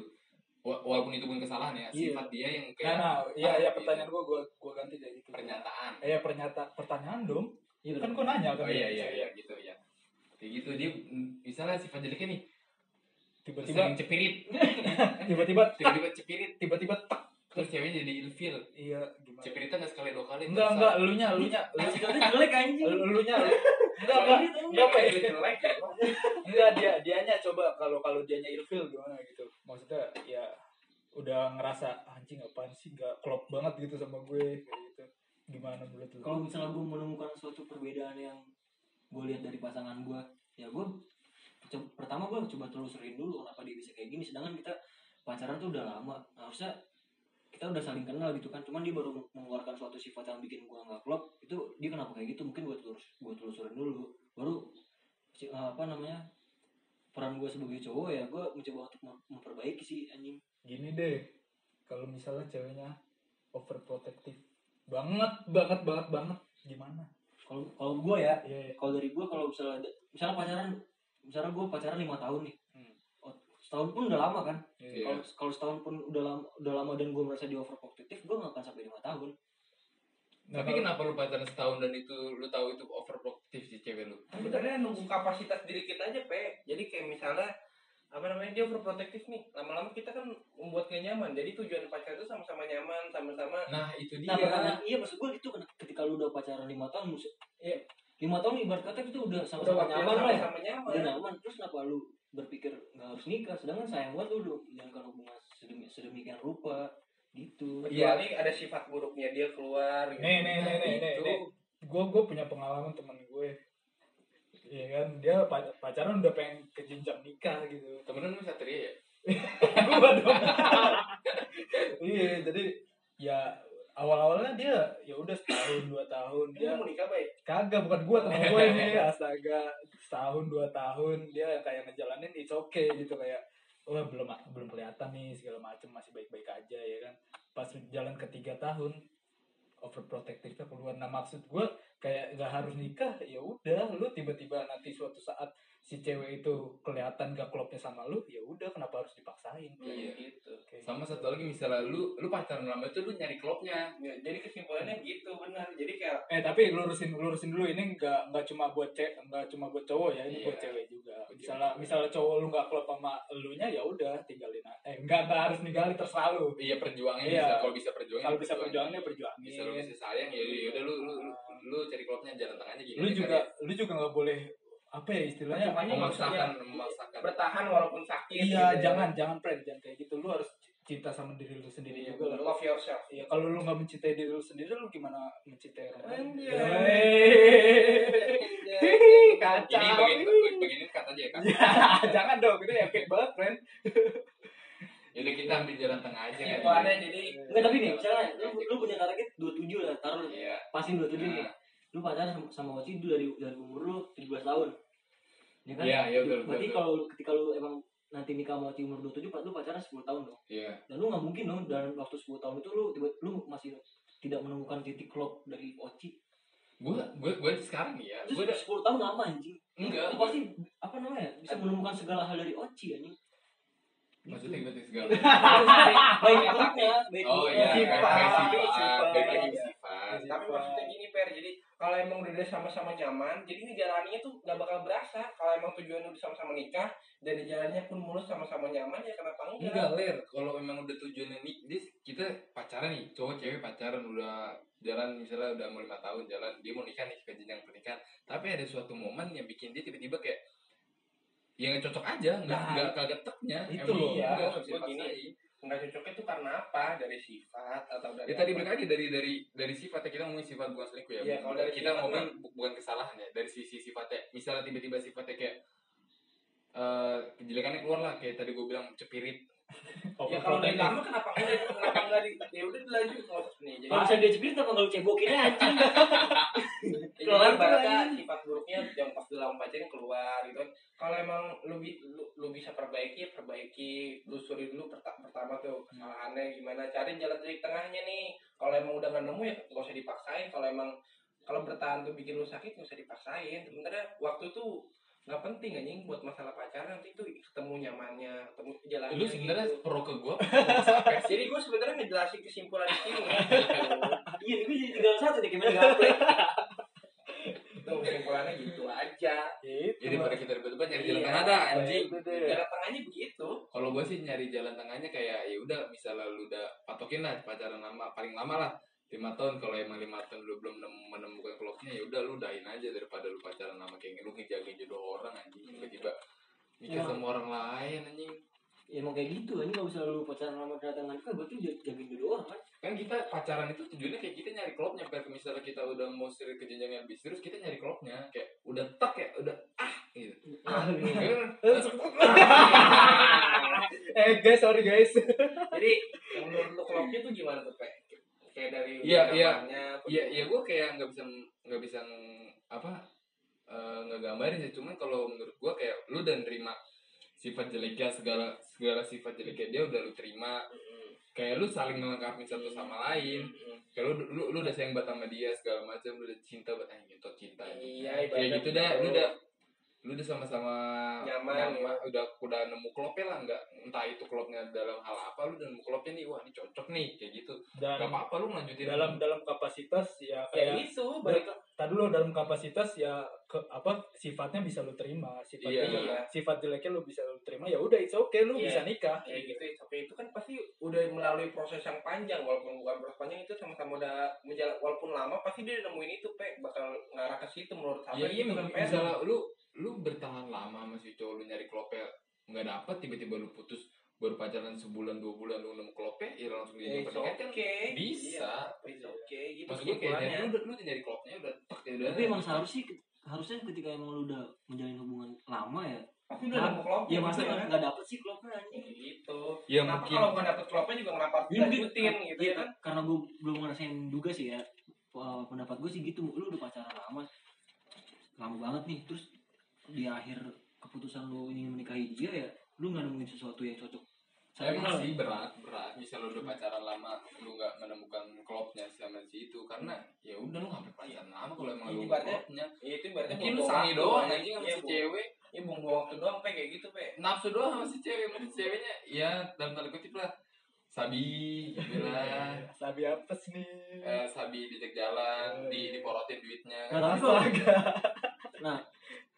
S2: Wa- walaupun itu bukan kesalahan ya
S4: Iya.
S2: sifat dia yang
S4: nah
S2: kayak
S4: nah iya
S2: apa
S4: iya
S2: gitu.
S4: pertanyaan gua gua gua ganti kayak gitu
S2: pernyataan
S4: Eh, pernyata pertanyaan dong
S3: Iya,
S4: kan gua nanya
S2: oh
S4: kan
S2: iya iya iya gitu ya kayak gitu dia mm, misalnya sifat jeleknya nih
S4: tiba-tiba
S2: sering cepirit
S4: tiba-tiba tak,
S2: tiba-tiba cepirit
S4: tiba-tiba tak
S2: terus ceweknya jadi ilfil
S4: iya gimana
S2: cepirita nggak sekali dua kali
S4: enggak enggak elunya *laughs* elunya
S3: Jelek, jelek anjing
S4: elu- elunya elu- enggak enggak
S2: Iya,
S4: enggak apa ya?
S2: gitu.
S4: enggak dia dianya coba kalau kalau dianya ilfil gimana gitu maksudnya ya udah ngerasa anjing apaan sih nggak klop banget gitu sama gue kayak gitu gimana menurut lu
S3: kalau misalnya gue menemukan suatu perbedaan yang gue lihat dari pasangan gue ya gue pertama gue coba telusurin dulu kenapa dia bisa kayak gini sedangkan kita pacaran tuh udah lama Nah, harusnya kita udah saling kenal gitu kan cuman dia baru mengeluarkan suatu sifat yang bikin gue nggak klop itu dia kenapa kayak gitu mungkin gue telus gue telusurin dulu baru si- eh, apa namanya peran gue sebagai cowok ya gue mencoba untuk mem- memperbaiki sih anjing
S4: gini deh kalau misalnya ceweknya overprotective banget banget banget banget gimana
S3: kalau kalau gue ya
S4: iya iya
S3: kalau dari gue kalau misalnya ada- misalnya pacaran misalnya gue pacaran lima tahun nih
S4: Hmm.
S3: Oh, setahun pun udah lama kan
S4: Iya.
S3: kalau kalau setahun pun udah lama udah lama dan gue merasa di overprotective gue gak akan sampai lima tahun
S4: Nah,
S2: tapi
S4: kalau-
S2: kenapa lu pacaran setahun dan itu lu tahu itu overprotective si cewek lu
S1: sebenarnya nunggu kapasitas diri kita aja pe jadi kayak misalnya apa namanya dia overprotective nih lama-lama kita kan membuat gak nyaman jadi tujuan pacar itu sama-sama nyaman sama-sama
S2: nah itu dia
S3: nah pertanyaan iya maksud gue gitu kan ketika lu udah pacaran lima tahun maksud
S1: Iya.
S3: lima tahun ibarat kata itu udah
S1: udah
S3: sama-sama nyaman lah ya
S1: sama-sama nyaman
S3: udah nyaman terus kenapa lu berpikir nggak harus nikah sedangkan sayang banget lu udah menjalankan hubungan sedemi- sedemikian rupa gitu
S1: kecuali ada sifat buruknya dia keluar gitu.
S4: nih nih nih nih nih,
S2: Nah, Itu.
S4: nih. gue gue punya pengalaman teman gue Iya kan dia pac- pacaran udah pengen ke jenjang nikah gitu *laughs*
S2: temenan lu satria ya
S4: Gua dong. iya jadi ya awal-awalnya dia ya udah setahun dua tahun dia
S1: dia mau nikah baik
S4: kagak bukan gua teman gue ini astaga setahun dua tahun dia kayak ngejalanin it's okay gitu kayak wah belum belum kelihatan nih segala macem masih baik-baik aja ya kan pas jalan ketiga tahun overprotective-nya keluar nah maksud gue kayak nggak harus nikah ya udah lu tiba-tiba nanti suatu saat si cewek itu kelihatan gak klopnya sama lu ya udah kenapa harus dipaksain
S2: Iya.
S1: gitu
S4: Kayak
S2: sama
S4: gitu.
S2: satu lagi misalnya lu lu pacaran lama itu lu nyari klopnya
S1: Ya, jadi kesimpulannya gitu benar jadi kayak
S4: eh tapi lurusin lurusin dulu ini nggak nggak cuma buat cek nggak cuma buat cowok ya
S2: Iya.
S4: ini buat cewek juga
S2: Buat
S4: misalnya
S2: cewek.
S4: misalnya cowok lu nggak klop sama elunya ya udah tinggalin a- eh nggak nggak harus ninggalin terserah lu
S2: iya perjuangannya
S4: Iya.
S2: bisa kalau bisa perjuangin
S4: kalau bisa ya perjuangannya perjuangin
S2: iya. bisa lu bisa sayang ya udah lu lu lu, lu cari klopnya jalan tengahnya gini
S4: lu
S2: deh,
S4: juga
S2: kan
S4: lu juga nggak boleh apa ya istilahnya
S1: Perjuangan
S2: ya. memaksakan memaksakan
S1: bertahan walaupun sakit
S4: iya
S1: gitu ya.
S4: jangan jangan friend jangan kayak gitu lu harus cinta sama diri lu sendiri
S1: Iya,
S4: juga lah
S1: love yourself
S4: Iya, kalau lu nggak mencintai diri lu sendiri, lu gimana mencintai orang lain? Iya.
S1: *laughs* Anjay. iya.
S4: Hehehe,
S1: Kan?
S4: Kacau.
S2: ini begini begini, begini kata aja ya kak
S4: *laughs* Jangan dong, itu epic banget, friend.
S2: Yaudah Ya kita ambil jalan tengah aja
S4: Iya,
S2: kan.
S1: itu ada Gitu jadi
S3: Enggak tapi nih misalnya lu, lu punya target 27 lah taruh
S2: Iya.
S3: pasin 27 nih
S2: Nah,
S3: lu pacaran sama, sama Oci itu dari dari umur lu 17 tahun ya kan
S2: Iya, iya, betul, betul,
S3: berarti
S2: betul.
S3: kalau lu- ketika lu emang nanti nikah sama Oci umur 27 pak lu pacaran 10 tahun dong
S2: Iya.
S3: dan lu nggak mungkin dong dalam waktu 10 tahun itu lu tiba lu masih tidak menemukan titik klop dari Oci
S2: Gua gua gua sekarang nih ya.
S3: itu
S2: Gua udah
S3: 10 tahun lama anjing
S2: enggak.
S3: lu pasti apa namanya bisa menemukan segala hal dari Oci anjing
S2: Maksudnya
S3: Gitu.
S2: gue tuh segala.
S4: Iya.
S3: baik buruknya baik
S2: Oh
S3: buruknya.
S2: iya,
S4: Sifat.
S2: kayak Ah, sifat,
S4: Sifat.
S2: balik lagi ke sifat.
S1: tapi maksudnya gini per jadi kalau emang udah dari sama-sama nyaman jadi ngejalaninnya tuh gak bakal berasa kalau emang tujuan udah sama-sama nikah dan jalannya pun mulus sama-sama nyaman ya kenapa enggak,
S2: Enggak, Ler. Kalau memang udah tujuannya nih, dis, kita pacaran nih, cowok cewek pacaran udah jalan misalnya udah mau lima tahun jalan, dia mau nikah nih ke jenjang pernikahan. Tapi ada suatu momen yang bikin dia tiba-tiba kayak ya nggak cocok aja, nggak
S4: Nah,
S2: nggak kagak teknya.
S4: itu
S2: Emang
S4: loh.
S2: nggak
S1: Iya,
S2: harus
S1: maksud gua gini.
S2: dipaksain.
S1: enggak cocoknya tuh karena apa dari sifat atau dari
S2: Ya tadi
S1: apa?
S2: balik lagi dari dari dari sifatnya kita ngomongin sifat bukan selingkuh ya.
S1: Iya,
S2: Bu-
S1: kalau dari
S2: kita
S1: sifat
S2: ngomongin bu- bukan kesalahan ya dari sisi sifatnya. Misalnya tiba-tiba sifatnya kayak eh kejelekannya keluar lah kayak tadi gue bilang cepirit
S4: Iya,
S1: ya kalau dari lama kenapa enggak kenapa enggak di ya udah dilanjut maksudnya jadi
S6: Masa dia cebir kenapa nggak lu cebokin
S2: *laughs*
S6: aja?
S1: jadi
S6: keluar
S1: ibaratnya
S6: keluar.
S1: sifat buruknya yang pas dalam pacaran keluar gitu kan. kalau emang lu, bi- lu, lu bisa perbaiki ya perbaiki lusuri dulu perta- pertama
S2: Hmm.
S1: tuh kesalahannya gimana cari jalan dari tengahnya nih kalau emang udah nggak nemu ya nggak usah dipaksain kalau emang kalau bertahan tuh bikin lu sakit nggak usah dipaksain sebenarnya waktu tuh nggak penting anjing buat masalah pacaran nanti tuh ketemu nyamannya ketemu jalannya
S2: Lu sebenarnya *laughs*
S1: gitu.
S2: pro ke gua.
S1: Jadi gue sebenarnya ngejelasin kesimpulan di
S2: *laughs*
S1: sini. ya.
S6: Iya, gue jadi tinggal satu nih gimana ngapain?
S1: Itu kesimpulannya gitu aja.
S4: Gitu.
S2: Jadi pada kita ribet-ribet kan nyari jalan
S1: Iya.
S2: tengah dah anjing.
S4: Itu deh.
S1: Jalan tengahnya
S2: *laughs*
S1: begitu.
S2: Kalau gua sih nyari jalan tengahnya kayak ya udah bisa lalu udah patokin lah pacaran lama paling lama lah lima tahun kalau emang lima tahun lu belum nem- menemukan kloknya ya udah lu dahin aja daripada lu pacaran lama kayak lu ngejagain jodoh orang anjing tiba-tiba nikah
S6: Iya.
S2: sama orang lain anjing
S6: Ya emang kayak gitu, ini nggak usah lu pacaran sama kedatangan kan berarti lu jagain dulu orang kan?
S1: *laughs*
S2: kan kita pacaran itu tujuannya kayak kita nyari klopnya biar misalnya kita udah mau serius ke jenjang yang lebih serius kita nyari klopnya kayak udah tak ya udah ah gitu
S6: Ah,
S1: iya.
S6: gini.
S4: Eh, *laughs* Eh guys, sorry
S2: *laughs*
S4: guys.
S1: Jadi yang menurut lu klopnya tuh gimana tuh kayak kayak dari
S2: Iya, iya.
S1: nyamannya,
S2: Iya, iya gue kayak nggak bisa nggak bisa ng- apa eh, ngegambarin ya. Cuman kalau menurut gue kayak lu dan terima sifat jeleknya segala segala sifat jeleknya dia udah lu terima. Kayak lu saling melengkapi satu sama lain.
S1: Hmm,
S2: Kayak lu lu, lu udah sayang banget sama dia segala macam, lu udah cinta banget eh, gitu cinta.
S1: Iya,
S2: Kayak
S1: ibaratnya Ya,
S2: gitu dah, lu udah lu udah sama-sama
S1: Nyaman, ya.
S2: udah udah nemu klopnya lah nggak entah itu klopnya dalam hal apa lu udah nemu klopnya nih wah ini cocok nih kayak gitu nggak
S4: Dan
S2: apa-apa lu lanjutin
S4: dalam dalam kapasitas
S1: Ya
S4: ya
S2: iya.
S4: kayak
S1: itu balik ke
S4: tadi lo dalam kapasitas ya ke, apa sifatnya bisa lo terima sifatnya
S2: Iya.
S4: lo- sifat jeleknya lo bisa lo terima ya udah it's okay lo
S1: Iya.
S4: bisa nikah
S1: ya gitu tapi itu kan pasti udah melalui proses yang panjang walaupun bukan proses panjang itu sama-sama udah menjalan walaupun lama pasti dia nemuin itu pe bakal ngarah ke situ menurut
S2: Iya
S1: saya
S2: iya
S1: itu kan
S2: mi-
S1: pe
S2: misalnya lu lu bertahan lama sama si cowok lu nyari klope nggak dapet tiba-tiba lu putus baru pacaran sebulan dua bulan lu nemu klope ya langsung jadi
S1: It's
S2: pernikahan kan
S1: okay.
S2: bisa.
S1: Eh, Iya, It's okay. Gitu
S2: maksud gue kayak nyari
S1: kesimpulannya.
S2: lu udah lu udah nyari klopnya udah tek ya udah
S6: Tapi emang seharusnya harusnya ketika emang lu udah menjalin hubungan lama ya,
S1: Pasti udah nemu kelompok.
S2: Iya,
S6: ya masa
S1: gitu
S2: kan?
S6: nggak nggak dapet sih klopnya anjing.
S1: Gitu.
S2: ya
S1: Kenapa
S2: mungkin
S1: kalau nggak dapet kelompoknya juga kenapa harus
S6: Iya,
S1: dilanjutin
S6: mungkin.
S1: gitu ya kan?
S6: karena gue belum ngerasain juga sih ya eh, pendapat gue sih gitu lu udah pacaran lama lama banget nih terus di akhir keputusan lu ingin menikahi dia ya lu nggak nemuin sesuatu yang cocok
S2: saya
S6: kenal
S2: masih berat berat misalnya lu udah pacaran lama lu nggak menemukan klopnya sama si itu karena ya udah lu ngapain pacaran lama kalau emang
S1: Iya,
S2: lu nggak
S1: ibaratnya-
S2: klopnya
S1: Iya itu berarti
S2: mungkin lu sangi doang anjing sama
S1: Iya,
S2: si
S1: bu-
S2: cewek
S1: Iya buang-buang waktu doang pe kayak gitu pe.
S2: nafsu doang sama si cewek mungkin si ceweknya ya dalam tanda kutip lah sabi gitu lah
S4: Nah, sabi apa sih nih
S2: eh, Sabi diajak jalan, di diporotin duitnya.
S6: Nah, tapi kalau
S4: Astaga.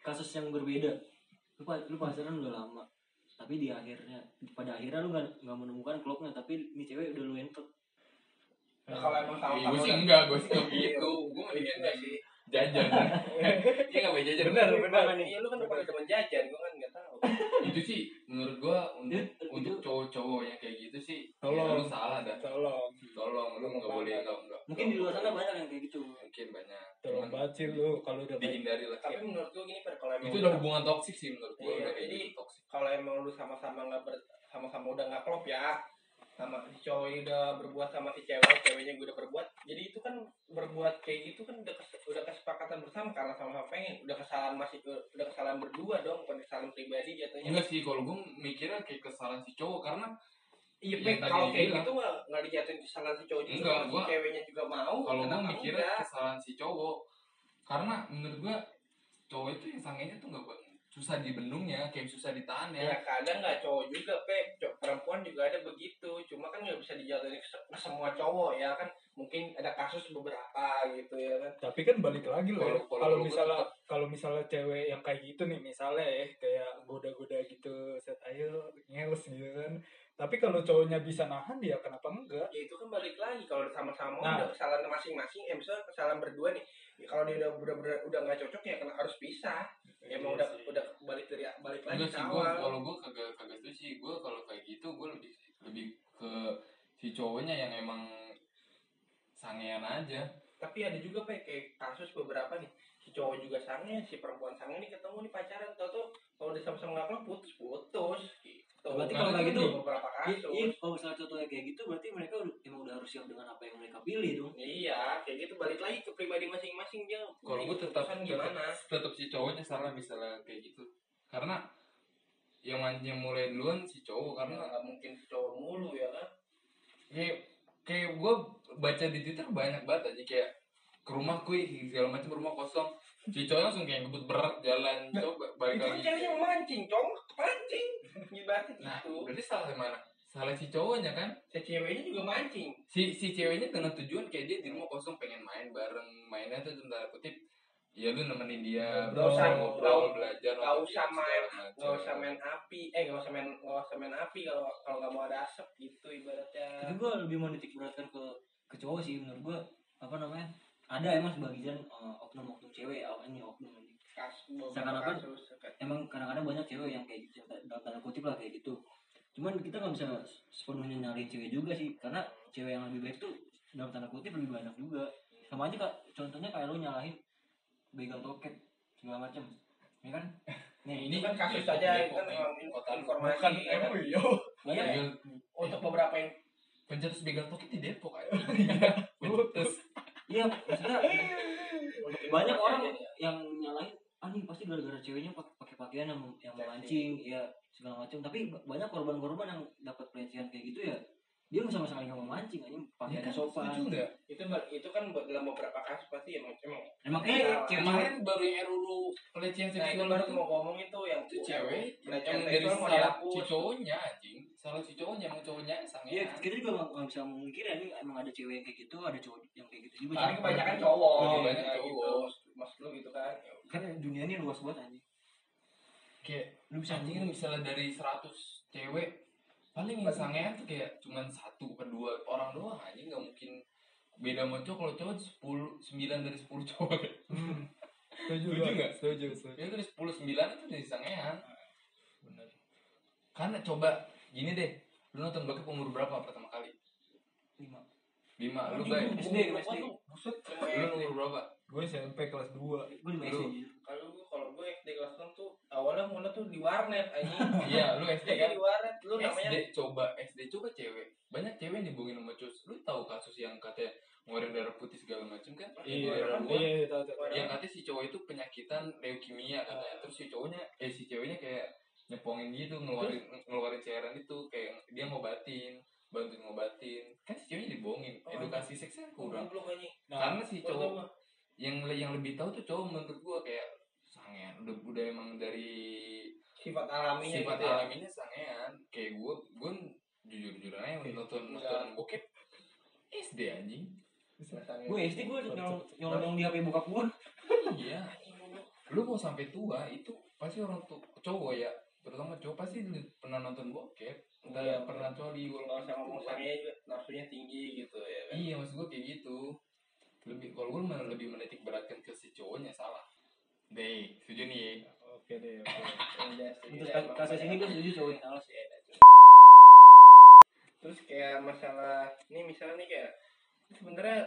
S6: kasus yang berbeda lu, pa- lu pacaran udah lama tapi di akhirnya pada akhirnya lu nggak nggak menemukan klopnya tapi ini cewek udah lu entek
S1: Nah, kalau emang tahu
S2: Ih, gue Hmm. Iya, sih enggak, gue sih
S1: Iya,
S2: enggak gitu. Gue mendingan
S1: enggak sih.
S2: jajan. Iya enggak boleh jajan.
S4: benar Iya, benar
S1: Iya lu kan pada teman jajan, gua kan nggak tahu.
S2: Itu sih menurut gue untuk
S6: Itu-
S2: untuk cowok-cowok yang kayak gitu sih, ya,
S4: Tolong.
S2: lu salah dah.
S4: *laughs* tolong
S2: Tolong lu nggak boleh enggak enggak.
S6: mungkin di luar sana banyak yang kayak gitu
S2: Mungkin banyak.
S4: tolong
S2: Cuman
S4: banget sih lu kalau udah kayak-
S2: dihindari lah.
S1: Tapi menurut gua gini pe kalau emang
S2: Itu udah hubungan toksik sih menurut gue.
S1: Iya,
S2: udah kayak
S1: jadi-
S2: gitu toksik.
S1: kalau emang lu sama-sama nggak ber sama-sama udah nggak klop ya sama si cowok ini udah berbuat sama si cewek ceweknya gue udah berbuat jadi itu kan berbuat kayak gitu kan udah kes- udah kesepakatan bersama karena sama-sama pengen udah kesalahan masih udah kesalahan berdua dong bukan kesalahan pribadi jatuhnya
S2: Enggak sih kalau gue mikirnya kayak kesalahan si cowok karena
S1: iya
S2: yang
S1: Pek,
S2: tadi
S1: kalau kayak
S2: dibilang.
S1: gitu mah nggak dijatuhin kesalahan si cowok juga
S2: Enggak,
S1: kalau si
S2: gua-
S1: ceweknya juga mau
S2: kalau gue
S1: Oh, kenapa
S2: mikirnya
S1: enggak?
S2: kesalahan si cowok karena menurut gue cowok itu yang sangenya tuh nggak buat- susah dibendungnya kayak susah ditahan ya
S1: ya kadang nggak cowok juga pe Cowok- perempuan juga ada begitu cuma kan nggak bisa dijatuhin ke se- ke semua cowok ya kan mungkin ada kasus beberapa gitu ya kan
S4: tapi kan balik lagi loh ya.
S2: Kalau- kalau-
S4: kalau
S2: kalau gua
S4: misalnya kalau misalnya cewek yang kayak gitu nih misalnya ya kayak goda-goda gitu set ayo ngeles gitu kan tapi kalau cowoknya bisa nahan ya kenapa enggak
S1: ya itu kan balik lagi kalau sama-sama
S4: Nah.
S1: udah kesalahan masing-masing eh misalnya kesalahan berdua nih ya, kalau dia udah udah udah, udah nggak cocok ya kena harus pisah ya emang udah udah balik dari balik lagi ke
S2: enggak sih gue
S1: awal
S2: kalau gue kagak kagak setuju sih gue kalau kayak gitu gue lebih lebih ke si cowoknya yang emang sangean aja
S1: tapi ada juga Pe, kayak kasus beberapa nih si cowok juga sange si perempuan sange nih ketemu nih pacaran tau tuh kalau udah sama-sama nggak klop putus putus gitu
S3: berarti
S2: Nah,
S3: kalau kayak
S2: itu di
S3: gitu
S2: Iya,
S1: beberapa
S3: i-
S1: kasus
S3: i- kalau misalnya contohnya kayak gitu berarti mereka udah- emang udah harus siap dengan apa yang mereka pilih dong
S1: iya kayak gitu balik lagi ke pribadi masing-masing dia
S2: kalau gue tetap
S1: Keputusan
S2: tetap,
S1: gimana
S2: tetap si cowoknya salah misalnya kayak gitu karena yang man- yang mulai duluan si cowok
S1: karena
S2: karena
S1: nggak mungkin si cowok mulu ya kan
S2: kayak kayak gue baca di twitter banyak banget aja kayak ke rumah kuy segala macam rumah kosong si cowok langsung kayak ngebut berat jalan coba balik
S1: itu kan
S2: lagi
S1: ceweknya memancing cowok kepancing ibaratnya
S2: nah
S1: gitu
S2: berarti salah di mana salah si cowoknya kan
S1: si ceweknya juga mancing
S2: si si ceweknya dengan tujuan kayak dia di rumah kosong pengen main bareng mainnya tuh dalam tanda kutip ya lu nemenin dia
S4: Ngobrol,
S1: ngobrol,
S2: belajar
S1: nggak
S2: nonton
S1: usah
S2: film,
S1: main,
S2: segala macam.
S1: nggak usah main api eh nggak usah main nggak usah main api kalau kalau nggak mau ada asap gitu
S3: tapi
S1: ibaratnya
S3: gue lebih menitik beratkan ke ke cowok sih menurut gue apa namanya ada emang sebagian eh, oknum-oknum cewek ya, ini oknum ini
S1: kasus beberapa
S3: Seakan-akan-
S1: kasus
S3: emang kadang-kadang banyak cewek yang kayak gitu dalam tanda kutip lah kayak gitu cuman kita nggak bisa sepenuhnya nyariin cewek juga sih karena cewek yang lebih baik tuh dalam tanda kutip lebih banyak juga sama aja kak contohnya kayak lo nyalahin begal toket segala macam ya kan nih
S1: ini
S3: ini
S1: kan kasus
S2: Depok,
S1: saja
S2: Depok,
S1: kan
S2: nih,
S1: memang
S2: kota lu.
S1: informasi
S4: Bukan iya.
S1: ya kan?
S4: MU, yo.
S1: banyak
S3: ya?
S2: Begal,
S1: untuk beberapa yang
S2: pencetus begal pocket di
S1: *laughs*
S2: Depok aja pencetus
S3: iya maksudnya
S1: untuk
S3: banyak
S1: informasi
S3: orang
S1: aja.
S3: yang nyalahin ah nih pasti gara-gara ceweknya pak- pakai pakaian yang yang memancing ya segala macam tapi ba- banyak korban-korban yang dapat pelecehan kayak gitu ya dia nggak sama sekali nggak memancing aja pakai
S2: ya kan
S3: sopan
S2: setuju nggak
S1: itu ber- itu kan ber- dalam beberapa kasus pasti emang emang
S3: Emang
S1: Iya,
S3: eh cewek
S2: kemarin baru yang RUU pelecehan
S1: nah itu
S2: seksual
S1: baru
S2: itu
S1: mau ngomongin tuh yang
S2: itu cewek
S1: pelecehan
S2: yang dari
S1: seksual mau
S2: salah
S1: dihapus.
S2: si cowoknya anjing salah si cowoknya emang cowoknya sange
S3: Iya, kita juga nggak nggak bisa mungkin ya ini emang ada cewek yang kayak gitu, ada cowok yang kayak gitu juga.
S1: tapi
S3: Cuman
S1: kebanyakan cowok
S2: Oh,
S1: ya,
S2: banyak
S1: gitu
S2: cowok.
S1: maksud lu gitu kan
S3: kan dunia ini luas banget anjing.
S2: kayak
S3: Lu bisa
S2: anjing
S3: anjing.
S2: misalnya dari 100 cewek paling yang sangean tuh kayak cuman satu ke dua orang doang anjing nggak mungkin beda sama cowok kalau cowok 10 9 dari 10 cowok *laughs*
S4: Setuju
S2: Setuju
S4: gua.
S2: nggak?
S4: Setuju, setuju.
S2: ya dari 10 9 itu dari sangean karena coba gini deh lu nonton bokep umur berapa pertama kali
S3: Lima.
S2: 5 lu
S3: Anjing,
S2: bay
S3: SD,
S1: Gua
S3: SD.
S1: tuh, buset
S2: lu
S1: cuma
S2: umur berapa
S4: Gue SMP kelas 2.
S3: Gue lima SD.
S2: Lu.
S3: jujur.
S1: kalau gue kalau gue SD kelas 6 tuh awalnya mulai tuh di warnet anjing
S2: *laughs*
S1: *laughs*
S2: iya lu SD kan
S1: di warnet lu namanya
S2: SD Iya, coba SD coba cewek banyak cewek yang dibohongin sama cowok lu tahu kasus yang katanya ngeluarin darah putih segala macam kan
S4: Iya,
S2: Ngeluarin
S4: iya, iya, tahu, tahu.
S1: Iya.
S2: yang katanya si cowok itu penyakitan leukemia katanya terus si cowoknya eh si ceweknya kayak nyepongin gitu ngeluarin ngeluarin cairan itu kayak dia ngobatin bantuin ngobatin kan si ceweknya dibohongin
S1: Oh,
S2: edukasi seksnya kurang
S1: goblok anjing
S2: karena si
S1: Gua tau
S2: cowok
S1: mah.
S2: yang yang lebih tahu tuh cowok menurut gua kayak sangean udah udah emang dari
S1: sifat alaminya
S2: sifat
S1: gitu ya.
S2: alaminya sangean kayak gue gue jujur jujuran aja
S1: Iya.
S2: nonton nonton bokep SD anjing
S1: Rasanya.
S3: Gue SD gue nyolong nyolong nyolong di HP bokap gue.
S2: iya lu mau sampai tua itu pasti orang tuh cowok ya terutama cowok pasti lu pernah nonton bokep entah
S1: Iya,
S2: pernah coli
S1: nggak usah ngomong
S2: Tua.
S1: sange ya, juga nafsunya tinggi gitu ya kan
S2: iya maksud gue kayak gitu lebih kalau gue malah lebih menitik beratkan ke si cowoknya salah deh setuju nih
S4: Oke deh. oke.
S1: Iya sih,
S3: Terus
S1: ya,
S3: kas- kasus
S1: makanya. ya,
S3: ini gue setuju cowok yang salah sih.
S1: gitu. terus kayak masalah ini misalnya nih kayak sebenarnya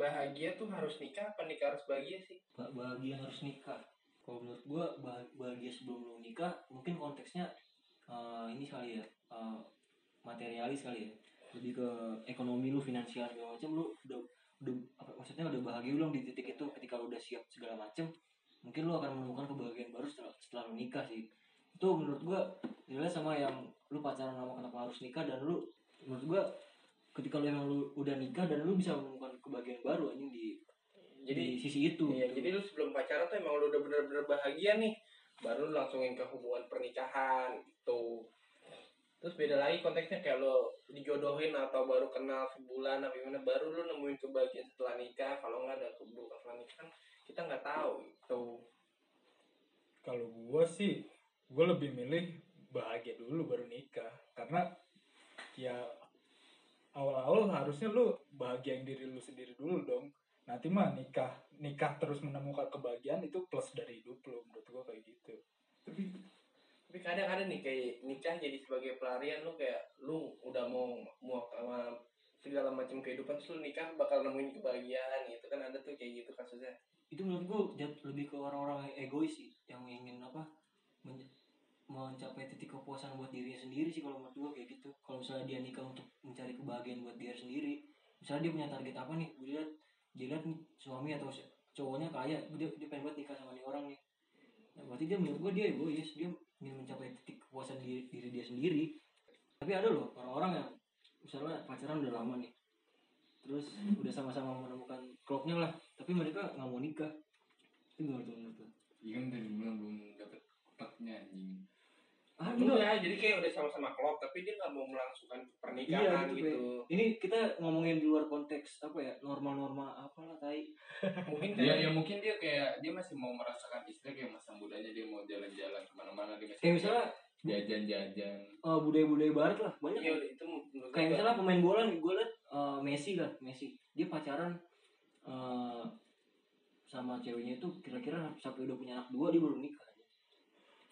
S1: bahagia tuh harus nikah apa nikah harus bahagia sih
S3: Ba- Bahagia harus nikah. Kalau menurut gue bahagia sebelum lu nikah mungkin konteksnya eh, ini kali ya eh, materialis kali ya lebih ke ekonomi lu finansial segala macam lu udah udah apa maksudnya udah bahagia belum di titik itu ketika lu udah siap segala macam mungkin lu akan menemukan kebahagiaan baru setelah, setelah lu nikah sih itu menurut gua nilai sama yang lu pacaran sama kenapa harus nikah dan lu menurut gua ketika lu emang lu udah nikah dan lu bisa menemukan kebahagiaan baru anjing di
S1: jadi
S3: di sisi itu
S1: Iya,
S3: gitu.
S1: jadi lu sebelum pacaran tuh emang lu udah bener-bener bahagia nih, baru lu langsungi ke hubungan pernikahan gitu. Terus beda lagi konteksnya kayak lu dijodohin atau baru kenal sebulan apa gimana, baru lu nemuin kebahagiaan setelah nikah. Kalau nggak ada keburukan setelah nikah kan kita nggak tahu gitu.
S4: Kalau gue sih, gue lebih milih bahagia dulu baru nikah. Karena ya awal-awal harusnya lu bahagiain diri lu sendiri dulu dong. Nanti mah nikah, nikah terus menemukan kebahagiaan itu plus dari hidup lu menurut gue kayak gitu.
S1: Tapi kadang ada nih kayak nikah jadi sebagai pelarian lu kayak lu udah mau mau sama segala macam kehidupan terus lu nikah bakal nemuin kebahagiaan gitu kan ada tuh kayak gitu kasusnya.
S3: itu menurut gue lebih ke orang-orang yang egois sih yang ingin apa men- mencapai titik kepuasan buat dirinya sendiri sih kalau menurut gue kayak gitu kalau misalnya dia nikah untuk mencari kebahagiaan buat diri sendiri misalnya dia punya target apa nih gue lihat dia lihat nih, suami atau si- cowoknya kaya dia, dia pengen banget nikah sama nih orang nih Nah, berarti dia menurut gue dia egois dia ingin mencapai titik kepuasan diri, diri dia sendiri tapi ada loh orang-orang yang misalnya pacaran udah lama nih terus udah sama-sama menemukan klopnya lah tapi mereka nggak mau nikah itu gimana tuh menurut lo?
S2: Iya kan dari bulan belum dapet tempatnya anjing.
S3: ah enggak.
S1: Iya, jadi kayak udah sama-sama klop tapi dia nggak mau melangsungkan
S3: Iya,
S1: pernikahan
S3: gitu,
S1: gitu.
S3: ini kita ngomongin di luar konteks apa ya norma-norma apalah tai
S1: *laughs* Mungkin
S2: Ya,
S1: kayak
S2: ya mungkin dia kayak dia masih mau merasakan istri kayak masa mudanya dia mau jalan-jalan kemana-mana
S1: Iya,
S2: dia masih
S3: kayak misalnya
S2: jajan-jajan.
S3: eh, budaya-budaya barat lah banyak
S1: iya itu menurut
S3: kayak
S1: gua.
S3: misalnya pemain bola nih gue liat eh, Messi lah Messi dia pacaran eh, sama ceweknya itu kira-kira sampai udah punya anak dua dia baru nikah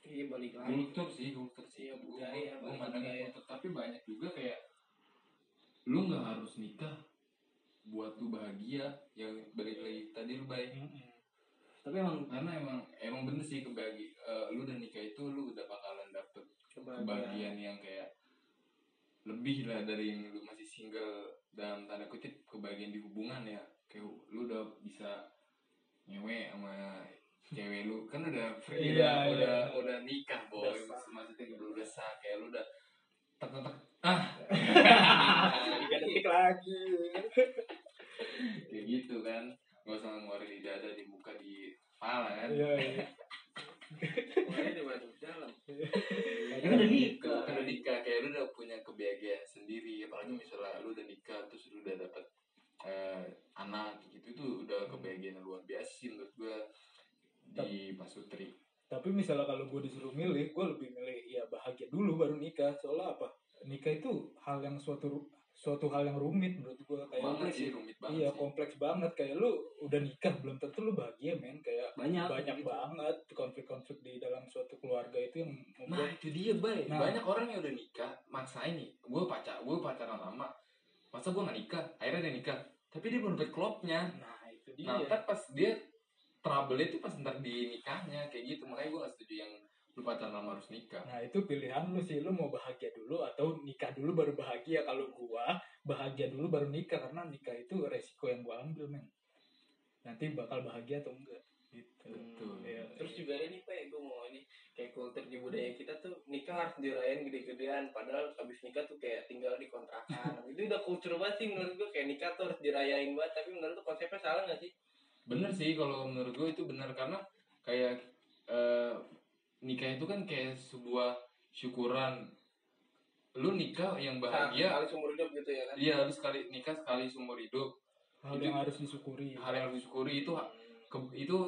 S1: iya balik lagi.
S2: Kultur sih, kultur sih.
S1: Iya,
S2: Gua-
S1: budaya,
S2: gua
S1: budaya.
S2: mandangnya kultur. Tapi banyak juga kayak lu nggak harus nikah buat lu bahagia yang balik lagi tadi lu baik
S3: tapi emang
S2: karena emang emang bener sih kebagi eh, lu udah nikah itu lu udah bakalan dapet
S1: Coba dia.
S2: kebahagiaan yang kayak lebih lah dari yang lu masih single dalam tanda kutip kebahagiaan di hubungan ya kayak lu udah bisa nyewe sama cewek lu kan udah free
S4: Iya,
S2: lah,
S4: iya.
S2: udah udah nikah boy
S1: Udah sah.
S2: maksudnya udah udah sah kayak lu udah tek tek tek. ah
S1: Iya,
S4: *laughs* tiga detik lagi
S2: kayak gitu kan gak usah ngeluarin di dada di muka di kepala kan
S4: iya iya
S1: Pokoknya di balik dalam.
S3: Ya kan udah nikah.
S2: Kan udah nikah kayak lu udah punya kebahagiaan sendiri apalagi misalnya lu udah nikah terus lu udah dapet eh, anak gitu itu udah kebahagiaan yang luar biasa sih menurut gua di Pasutri.
S4: tapi misalnya kalau gue disuruh milih gue lebih milih ya bahagia dulu baru nikah soalnya apa nikah itu hal yang suatu ru- suatu hal yang rumit menurut gue kayak
S2: Banget
S4: lu-
S2: sih rumit banget
S4: iya
S2: sih.
S4: kompleks banget kayak lu udah nikah belum tentu lu bahagia men kayak
S3: banyak
S4: banyak
S3: gitu.
S4: banget konflik-konflik di dalam suatu keluarga itu yang
S2: Nah
S4: membuat
S2: itu dia bay.
S4: Nah.
S2: Banyak orang yang udah nikah maksain nih. Gue pacar gue pacaran lama. Masa gue gak nikah? Akhirnya dia nikah. Tapi dia belum dapet klopnya.
S4: nah itu dia
S2: Nah, ntar pas dia trouble itu pas ntar di nikahnya kayak gitu. Makanya gue gak setuju yang lu pacaran lama harus nikah.
S4: Nah itu pilihan lu sih, lu mau bahagia dulu atau nikah dulu baru bahagia. Kalau gua bahagia dulu baru nikah karena nikah itu resiko yang gua ambil men. Nanti bakal bahagia atau enggak gitu.
S2: Betul.
S4: Iya.
S1: Terus juga ini Pak, gue mau ini kayak kultur di budaya kita tuh nikah harus dirayain gede-gedean padahal abis nikah tuh kayak tinggal di kontrakan. itu udah kultur banget sih menurut gue kayak nikah tuh harus dirayain banget tapi menurut lu konsepnya salah gak sih?
S2: Bener sih kalau menurut gue itu bener karena kayak eh, nikah itu kan kayak sebuah syukuran. Lu nikah yang bahagia.
S1: Kali seumur hidup gitu ya kan.
S2: Iya, harus sekali nikah sekali seumur hidup.
S4: Hal yang harus disyukuri.
S2: Hal yang harus disyukuri itu ke- itu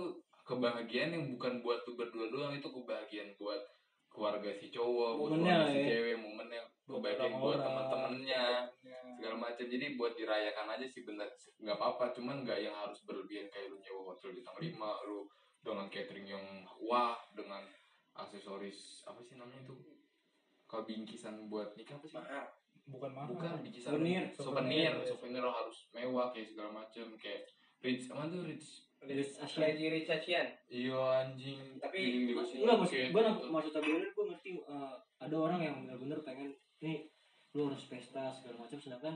S2: kebahagiaan yang bukan buat lu berdua doang itu kebahagiaan buat keluarga si cowok, buat
S3: Momennya,
S2: keluarga si
S3: ya.
S2: cewek, momennya,
S4: Buat
S2: kebahagiaan buat
S4: orang-orang.
S2: teman-temannya
S4: Iya.
S2: segala macam. Jadi buat dirayakan aja sih bener nggak apa-apa, cuman nggak yang harus berlebihan kayak lu nyewa hotel di Tangerima, lu dengan catering yang wah, dengan aksesoris apa sih namanya itu? Kalau bingkisan buat nikah apa sih?
S1: Maaf.
S4: Bukan mahal.
S2: bukan bingkisan
S3: Souvenir.
S2: souvenir
S4: Souvenir.
S2: souvenir lo harus mewah kayak segala macam kayak rich apa tuh rich
S3: Liris Aslan.
S1: Lagi Richardian.
S2: iya anjing
S1: Tapi,
S2: Dinding
S3: Mas-
S2: digosipin
S3: enggak maksud
S2: kayak
S3: gue
S2: gitu.
S3: maksud tabelin gue ngerti eh, ada orang yang benar-benar pengen nih lu harus pesta segala macam sedangkan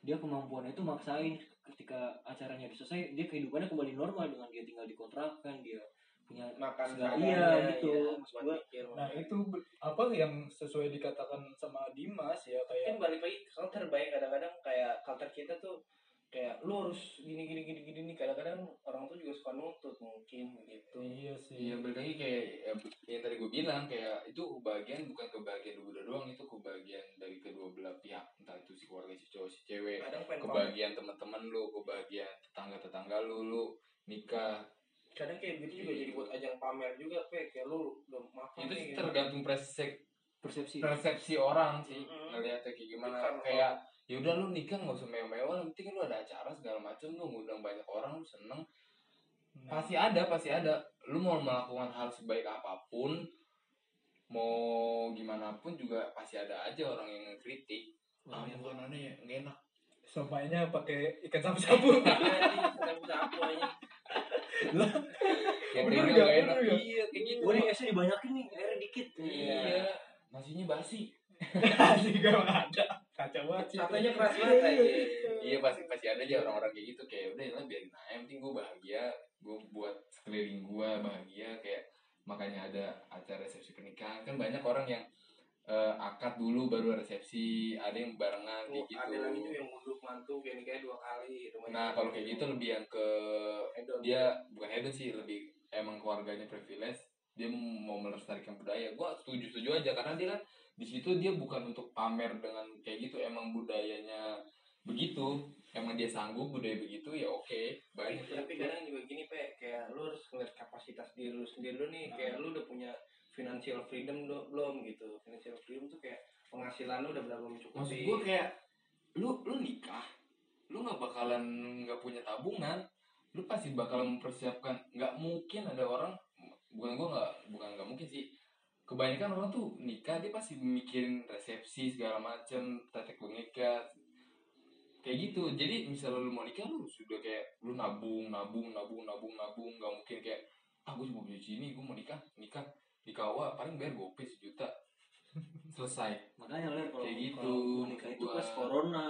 S3: dia kemampuannya itu maksain ketika acaranya udah selesai dia kehidupannya kembali normal dengan dia tinggal di kontrakan dia punya
S1: makan
S3: segala
S1: seadanya,
S3: iya gitu
S1: ya,
S3: maksud
S1: buat
S3: gue
S1: mikir.
S4: Nah itu be- apa yang sesuai dikatakan sama Dimas ya
S1: kan
S2: Iya,
S4: kayak
S1: balik lagi ke culture baik kadang-kadang kayak culture kita tuh kayak lu harus gini gini gini gini nih kadang-kadang orang tuh juga suka nuntut mungkin gitu. begitu
S4: iya sih.
S2: Iya balik lagi kayak ya, be- yang tadi gue bilang kayak itu kebahagiaan bukan kebahagiaan lu berdua doang itu kebahagiaan dari kedua belah pihak entah itu si keluarga si cowok si cewek
S1: kadang pengen pamit.
S2: kebahagiaan teman-teman lu kebahagiaan tetangga tetangga lu lu nikah
S1: kadang kayak gitu juga jadi buat ajang pamer juga kayak kayak lu udah makan
S2: itu
S1: nih, gitu.
S2: sih
S1: kayak *laughs*
S2: tergantung persepsi
S3: persepsi
S2: persepsi orang sih
S1: Mm-mm.
S2: ngeliatnya kayak gimana
S1: Bukan,
S2: kayak ya udah lu nikah nggak usah mewah-mewah yang penting lu ada acara segala macam lu ngundang banyak orang lu seneng
S4: Nah,
S2: pasti ada pasti ada lu mau melakukan hal sebaik apapun mau gimana pun juga pasti ada aja orang yang ngekritik ah makanannya ya nggak enak
S1: Iya,
S4: somainya pakai ikan sapu-sapu.
S2: *laughs*
S1: gitu. Anjing, sapu-sapu aja.
S2: Kayak tega
S4: Bener nggak?
S2: nggak enak.
S4: Bener ya. nggak?
S2: Iya, kayak gitu.
S3: Gue nih esnya dibanyakin nih, airnya dikit.
S2: Iya. Nasinya basi.
S4: Asli gak ada. Kacau banget sih.
S1: Satunya keras banget aja.
S2: Iya pasti pasti ada aja orang-orang kayak gitu kayak udah lah biarin aja yang penting gue bahagia gue buat sekeliling gue bahagia kayak makanya ada acara resepsi pernikahan kan banyak orang yang eh, akad dulu baru resepsi ada yang barengan
S1: Oh,
S2: kayak gitu
S1: ada lagi tuh yang mundur mantu kayak nikahnya dua kali. rumahnya.
S2: nah kalau kayak gitu lebih yang ke
S1: Hedon.
S2: dia bukan hedon sih lebih emang keluarganya privilege dia mau melestarikan budaya gue setuju setuju aja karena dia kan di situ dia bukan untuk pamer dengan kayak gitu emang budayanya begitu emang dia sanggup budaya begitu ya oke baik
S1: Gitu. tapi kan kadang juga gini pe kayak lu harus ngeliat kapasitas diri lu sendiri lu nih kayak lu udah punya financial freedom do- belum gitu financial freedom tuh kayak penghasilan lu udah berapa
S2: maksud
S1: mencukupi
S2: gue kayak lu lu nikah lu nggak bakalan nggak punya tabungan lu pasti bakalan mempersiapkan nggak mungkin ada orang bukan gue nggak bukan nggak mungkin sih kebanyakan orang tuh nikah dia pasti mikirin resepsi segala macem tata nikah kayak gitu jadi misalnya lu mau nikah lu sudah kayak lu nabung nabung nabung nabung nabung nggak mungkin kayak ah gue cuma punya segini gue mau nikah nikah nikah wah paling bayar gopay sejuta selesai
S3: Makanya ler kalau
S2: Kayak gitu,
S3: kalau gua nikah itu
S2: gua-
S3: pas corona.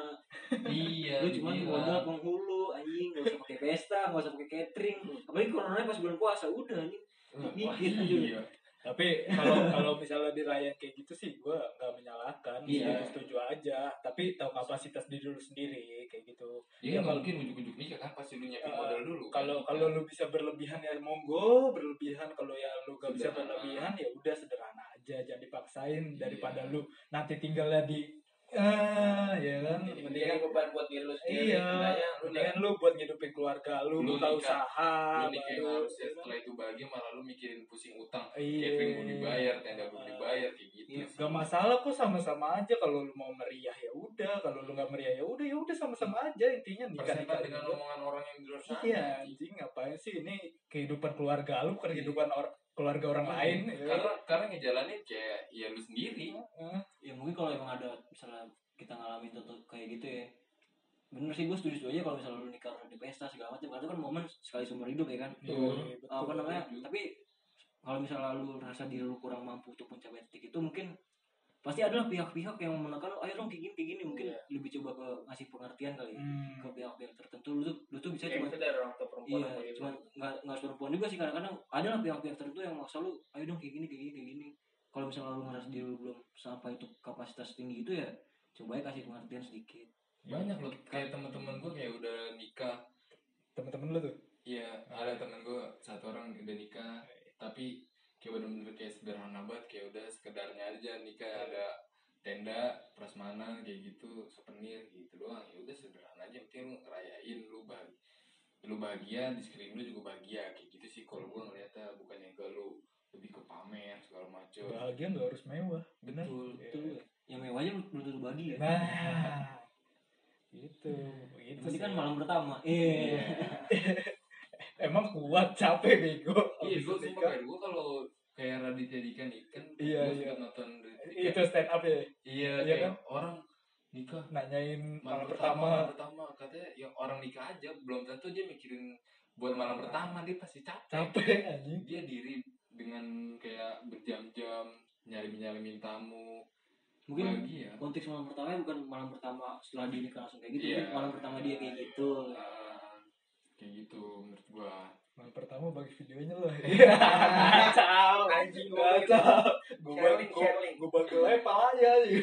S2: iya
S3: Lu cuma
S2: gila.
S3: modal penghulu anjing, gak usah pakai pesta, gak usah pakai catering. Apalagi coronanya pas bulan puasa udah anjing.
S2: Wah,
S3: Dikit
S4: gitu,
S3: aja.
S2: iya.
S4: Tapi kalau kalau misalnya dirayain kayak gitu sih gue nggak menyalahkan,
S2: Iya.
S4: setuju aja. Tapi tahu kapasitas diri lu sendiri kayak gitu.
S2: Iya
S4: Ya,
S2: nggak
S4: kalau-
S2: mungkin ujuk-ujuk nikah kan pasti lu nyiapin
S4: Eh,
S2: modal dulu. kan?
S4: Kalau kalau lu bisa berlebihan ya monggo, berlebihan kalau ya lu gak bisa
S2: Sederhana.
S4: berlebihan ya udah sederhana aja, jangan dipaksain
S2: Iya.
S4: daripada lu nanti tinggalnya di ah ya kan
S1: jadi
S4: mendingan
S1: mendingan beban buat diri lu sendiri
S4: Iya,
S1: sebenarnya lu udah
S4: mendingan lu buat ngidupin keluarga lu,
S2: gitu. Lu
S4: buka
S2: nikah.
S4: usaha,
S2: lu nikah yang
S4: baru-
S2: harusnya setelah itu bahagia malah lu mikirin pusing utang.
S4: Iya.
S2: Catering belum dibayar, tenda belum
S4: Ah.
S2: dibayar kayak gitu.
S4: Iya,
S2: sih.
S4: gak masalah kok sama-sama aja kalau lu mau meriah ya udah, kalau lu gak meriah ya udah ya udah sama-sama aja intinya nikah
S2: Persetan
S4: nikah.
S2: dengan omongan orang yang di luar sana.
S4: Iya, anjing ngapain sih ini kehidupan keluarga lu bukan kehidupan or- keluarga orang lain. ya.
S2: Iya.
S4: Iya,
S2: Karena karena ngejalanin kayak ya lu sendiri.
S4: Heeh.
S3: Ya mungkin kalau emang ada misalnya kita ngalamin contoh kayak gitu ya. Bener sih gue setuju aja kalau misalnya lu nikah di pesta segala macam. Karena itu kan momen sekali seumur hidup ya kan.
S2: Betul.
S4: Iya, betul.
S3: apa namanya
S2: setuju.
S3: tapi kalau misalnya lu rasa diri lu kurang mampu untuk mencapai titik itu mungkin pasti adalah pihak-pihak yang menekan ayo dong kayak gini kayak gini mungkin lebih coba ke ngasih pengertian kali ya.
S4: Iya. Hmm.
S3: ke pihak-pihak tertentu lu tuh lu tuh bisa
S1: kayak
S3: cuma
S1: itu dari orang tua perempuan
S3: iya
S1: apa gitu.
S3: cuma nggak nggak harus perempuan juga sih kadang-kadang ada lah pihak-pihak tertentu yang maksa lu ayo dong kayak gini kayak gini kayak gini kalau misalnya lu ngerasa diri lu belum sampai itu kapasitas tinggi itu ya coba ya kasih pengertian sedikit
S2: Banyak loh kayak teman-teman gue kayak udah nikah.
S4: Temen-temen lu tuh.
S2: Iya,
S4: Nah.
S2: ada teman gue satu orang udah nikah
S4: Iya.
S2: tapi kayak bener-bener kayak sederhana banget kayak udah sekedarnya aja
S4: Iya.
S2: nikah ada tenda prasmanan kayak gitu souvenir gitu doang ya udah sederhana aja yang penting lu ngerayain lu bahagia lu bahagia di sekeliling lu juga bahagia kayak gitu sih kalau gue ngeliatnya bukan yang ke lu lebih ke pamer segala macem
S4: Bahagia gak harus mewah, benar.
S2: Betul.
S4: Iya.
S3: itu ya. yang mewahnya belum belum tentu bagi ya
S4: Nah, itu, itu
S3: Nanti
S4: sih.
S3: kan malam pertama
S4: Iya.
S3: eh
S4: Emang kuat capek bego.
S2: iya
S4: Abis
S2: gue sumpah
S4: nikah.
S2: kayak gue kalau kayak Raditya Dika nih kan
S4: Iya,
S2: gue
S4: iya.
S2: sempet nonton Raditya
S4: Itu
S2: Dika.
S4: stand up ya,
S2: iya
S4: Iya
S2: kayak
S4: kan?
S2: orang nikah
S4: nanyain
S2: malam
S4: malam pertama.
S2: malam pertama katanya ya orang nikah aja belum tentu dia mikirin buat malam pertama dia pasti capek
S4: Capek anjing.
S2: dia diri dengan kayak berjam-jam nyari nyalimin tamu ya.
S3: mungkin
S2: bahagia
S3: konteks malam pertama ya bukan malam pertama setelah dia nikah langsung kayak gitu
S2: Iya.
S3: mungkin malam pertama dia kayak gitu
S2: Ah, kayak gitu menurut gua
S4: Malam pertama bagi videonya loh. Kacau.
S1: Anjing,
S4: Kacau. Gue
S1: Sharing,
S4: bagi
S1: sharing.
S4: gue bagi lepa aja. Iya.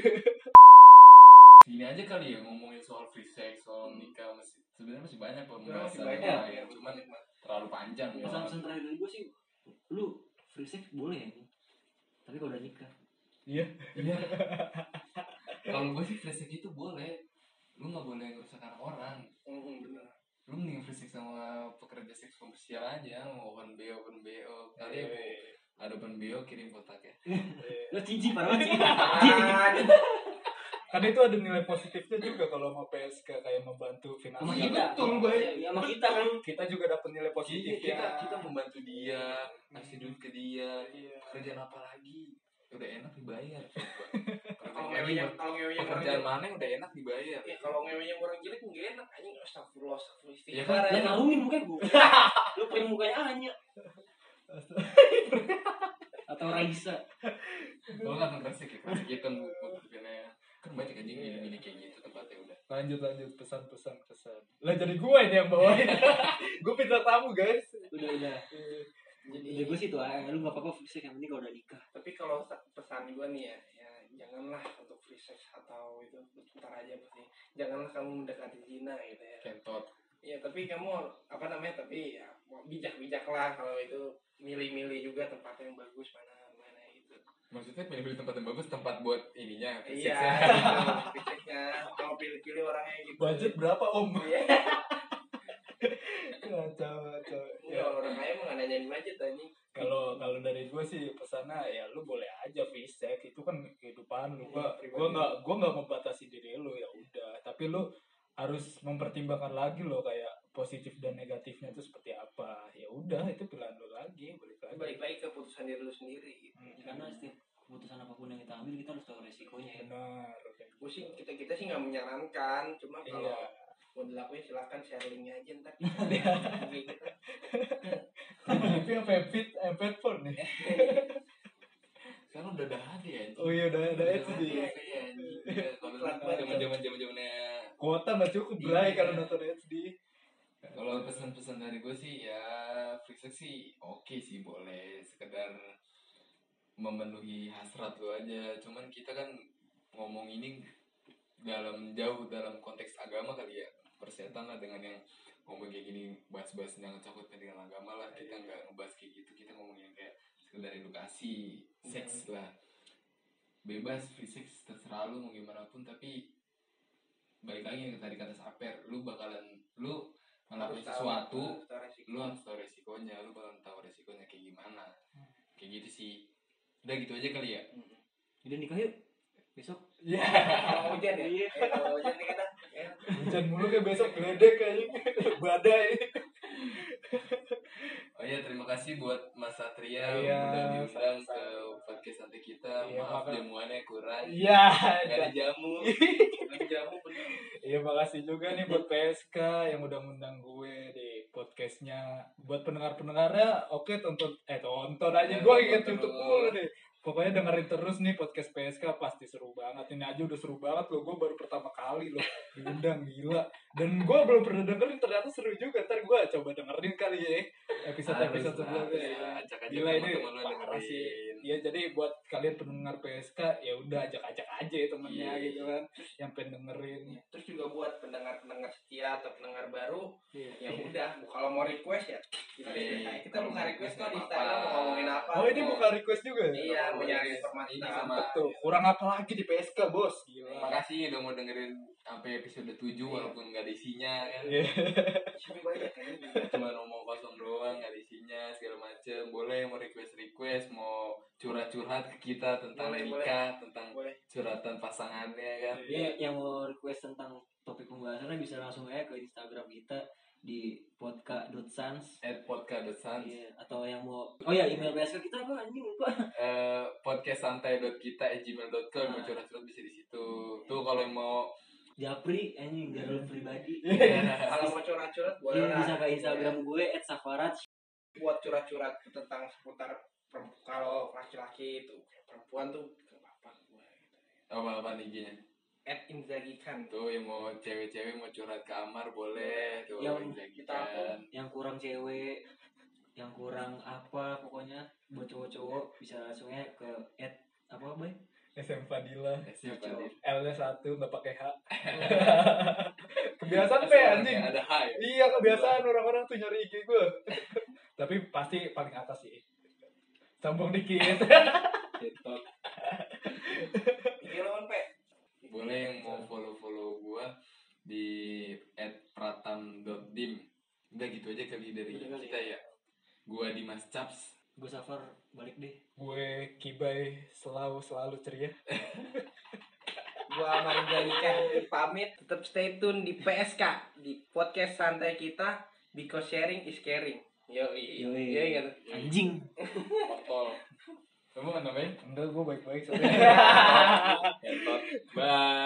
S2: sini aja kali ya ngomongin soal free sex soal nikah masih sebenarnya masih banyak
S1: masih
S2: pembahasan
S1: banyak
S2: yang
S1: ya
S2: lain, cuman terlalu panjang ya
S3: pesan-pesan terakhir dari gue sih lu free sex boleh ya tapi kalau udah nikah
S4: Iya.
S2: Iya. *laughs* kalau gua sih free sex itu boleh lu nggak boleh ngerusak anak orang
S1: Mm, bener.
S2: lu mending free sex sama pekerja seks komersial aja mau open bo open bo kali
S4: Iya,
S2: ya Bu. ada open bo kirim kotak ya
S3: lu cincin parah banget sih Iya.
S4: Karena itu ada nilai positifnya juga kalau sama PSK kayak membantu
S2: Iya,
S3: sama kita
S4: finansial.
S2: betul, Bay.
S3: Iya, sama kita kan
S4: Kita juga dapat nilai
S2: Iya,
S4: positif
S2: kita
S4: ya. Hmm.
S2: kita membantu dia ngasih duit ke dia
S4: Iya. *laughs*
S2: pekerjaan apa lagi udah enak dibayar
S1: Kalau
S2: kalau
S4: Oh, iya,
S1: memang ngewenya kalau ngewenya orang
S2: pekerjaan mana yang udah enak dibayar
S1: jelek kalau ngewenya orang jelek nggak enak anjing astagfirullah astagfirullah
S2: Iya
S1: istighfar
S2: kan?
S6: Lah
S1: ya.
S6: ngarungin mukanya *laughs* gue. Lu pengen mukanya Anya. Atau Raisa.
S2: Gue nggak ngeresik ya,
S4: gitu.
S2: ngeresik itu buku filmnya Kan banyak aja
S4: Iya.
S2: gini-gini kayak gitu tempatnya udah
S4: lanjut lanjut pesan pesan pesan lah jadi gue ini yang bawain gue pindah tamu guys
S6: Udah udah.
S1: jadi
S6: Jadi gue sih tuh, ah, lu gak apa-apa free sex yang penting kalau udah nikah.
S1: tapi kalau sa- pesan gue nih ya, ya janganlah untuk free sex atau itu ntar aja pasti janganlah kamu mendekati zina gitu ya
S2: Kentot
S1: ya tapi kamu apa namanya tapi ya bijak bijak lah kalau itu milih-milih juga tempat yang bagus mana mana gitu
S2: Maksudnya pilih-pilih tempat yang bagus, tempat buat ininya
S1: iya
S2: fisiknya.
S1: gitu, free sexnya kalau pilih-pilih orangnya gitu
S4: budget berapa om
S1: Iya.
S4: kacau kacau
S1: Enggak,
S4: ya
S1: orang kaya mah nggak nanyain budget anjing
S4: kalau kalau dari gue sih pesannya ya lu boleh aja fisik itu kan kehidupan lu gua
S1: Iya, pribadi.
S4: gua nggak gua nggak membatasi diri lu ya udah tapi lu harus mempertimbangkan lagi loh kayak positif dan negatifnya itu seperti apa ya udah itu pilihan lu lagi balik lagi
S1: balik lagi ke putusan diri lu sendiri gitu.
S4: Hmm.
S6: Ya, Karena setiap keputusan apapun yang kita ambil kita harus tahu resikonya ya.
S4: benar kayak
S1: Gua sih kita kita sih nggak menyarankan cuma
S4: gitu.
S1: kalau
S4: iya
S1: mau dilakuin silakan share linknya aja
S4: *laughs*
S1: ntar Gitu.
S4: *laughs* tapi apa empit empit phone eh, nih
S2: Sekarang udah ada hati ya
S4: oh iya udah ada itu di
S2: Iya, iya, iya. Kalau dulu zaman-zaman zamannya
S4: kuota nggak cukup bray kalau nonton HD
S2: kalau pesan-pesan dari gue sih ya free sex sih oke sih boleh sekedar memenuhi hasrat lo aja cuman kita kan ngomong ini dalam jauh dalam konteks agama kali ya persetan lah dengan yang ngomong kayak gini bahas-bahas yang cakut dengan agama lah kita nggak ngebahas kayak gitu kita ngomong yang kayak sekedar edukasi seks lah bebas free sex terserah lu mau gimana pun tapi balik lagi yang tadi kata saper lu bakalan lu
S1: Harus
S2: ngelakuin
S1: tahu,
S2: sesuatu
S1: harus tahu resiko.
S2: lu harus tahu resikonya lu bakalan tahu resikonya kayak gimana
S4: Hmm.
S2: kayak gitu sih udah gitu aja kali ya
S6: Hmm. Udah nikah yuk. Besok.
S4: Iya,
S1: kalau hujan ya
S6: Iya.
S1: Eh, kalau hujan nih kan ya.
S4: hujan mulu kayak besok geledek kayaknya badai.
S2: oh ya terima kasih buat Mas Satria
S4: Iya,
S2: udah diundang ke
S4: sama-sama.
S2: podcast nanti kita
S4: Iya,
S2: maaf
S4: maka-
S2: jamuannya kurang
S4: Iya,
S2: Gak ada jamu Gak ada jamu bener
S4: *laughs* Iya makasih juga nih buat PSK yang udah ngundang gue di podcastnya. Buat pendengar-pendengarnya, oke tonton eh tonton aja
S2: Ya,
S4: gue kayak
S2: tonton
S4: tutup
S2: dulu.
S4: mulu nih. Pokoknya dengerin terus nih podcast PSK pasti seru banget. Ini aja udah seru banget loh. Gue baru pertama kali loh diundang gila. Dan gue belum pernah dengerin ternyata seru juga. Ntar gue coba dengerin kali ya episode
S2: Harus
S4: episode
S2: lah,
S4: sebelumnya.
S2: ya.
S4: ya.
S2: Ajak aja
S4: Gila ini
S2: teman-teman lu
S4: parah sih.
S2: dengerin
S4: Iya jadi buat kalian pendengar PSK ya udah ajak-ajak aja ya temennya
S2: Iya.
S4: gitu kan yang pengen dengerin.
S1: terus juga buat pendengar-pendengar setia atau pendengar baru
S6: Iya.
S1: ya udah kalau mau request ya kita
S2: Iya.
S1: kita buka request kok di
S2: Nggak
S1: Instagram
S2: apa-apa.
S1: mau ngomongin apa
S4: Oh ini
S1: mau-
S4: buka request juga ya?
S1: iya mau nyari informasi
S2: Ini
S1: apa.
S2: sama-
S4: Betul. Iya Kurang apa lagi di PSK bos?
S2: Terima
S4: Gila.
S2: kasih udah mau dengerin sampai episode 7 walaupun gak ada isinya kan.
S4: Iya.
S1: Sini banyak kan
S2: Cuma ngomong kosong doang, gak ada isinya, segala macem. Boleh mau request-request, mau curhat-curhat ke kita tentang
S1: Boleh,
S2: nikah, tentang
S1: boleh
S2: curhatan pasangannya kan.
S6: Iya, yang mau request tentang topik pembahasannya bisa langsung aja ke Instagram kita di podka.sans
S2: At podcast.sans
S6: Iya, atau yang mau Oh ya, email PSK kita apa anjing lupa.
S2: eh podcast mau curhat-curhat bisa di situ. Tuh kalau yang mau
S6: Japri anjing Jarul pribadi.
S1: kalau mau curhat-curhat
S6: Iya,
S1: boleh lah. Iya.
S6: bisa ke Instagram gue @safarat.
S1: buat curhat-curhat tentang seputar perempu- kalau laki-laki itu kayak perempuan tuh gak apa-apa gue
S2: apa-apa IG-nya.
S1: at Inzaghi Khan tuh
S2: Tuh yang mau cewek-cewek mau curhat ke Amar boleh. Tuh
S6: Yang
S2: Zaki
S1: kita
S2: kan.
S1: apa?
S6: yang kurang cewek yang kurang apa pokoknya buat cowok-cowok bisa langsungnya ke at apa boy
S4: SM Fadila.
S2: Eh, Siapa
S6: Cowok.
S2: nih?
S4: L-nya satu nggak *laughs* pakai H. kebiasaan pe
S2: Sekarang
S4: anjing.
S2: Ada high.
S4: Iya kebiasaan orang-orang tuh nyari IG gue. *laughs* Tapi pasti paling atas sih. Sambung dikit. *laughs*
S2: TikTok.
S1: iya lo kan pe
S2: Boleh yang mau follow-follow gua di @pratam.dim. Udah gitu aja kali dari
S6: Udah kali
S2: kita ya. Gua Dimas Caps.
S6: gue safar balik deh
S4: gue kibai selalu selalu ceria.
S1: gua Amar Inzaghi Khan pamit tetap stay tune di PSK di podcast santai kita because sharing is caring yo iya
S6: Yoi.
S1: iya
S6: anjing
S2: Portol. Kamu kan namanya?
S4: Enggak. *laughs* Padahal gue baik-baik sebenarnya.
S2: Entot. Bye.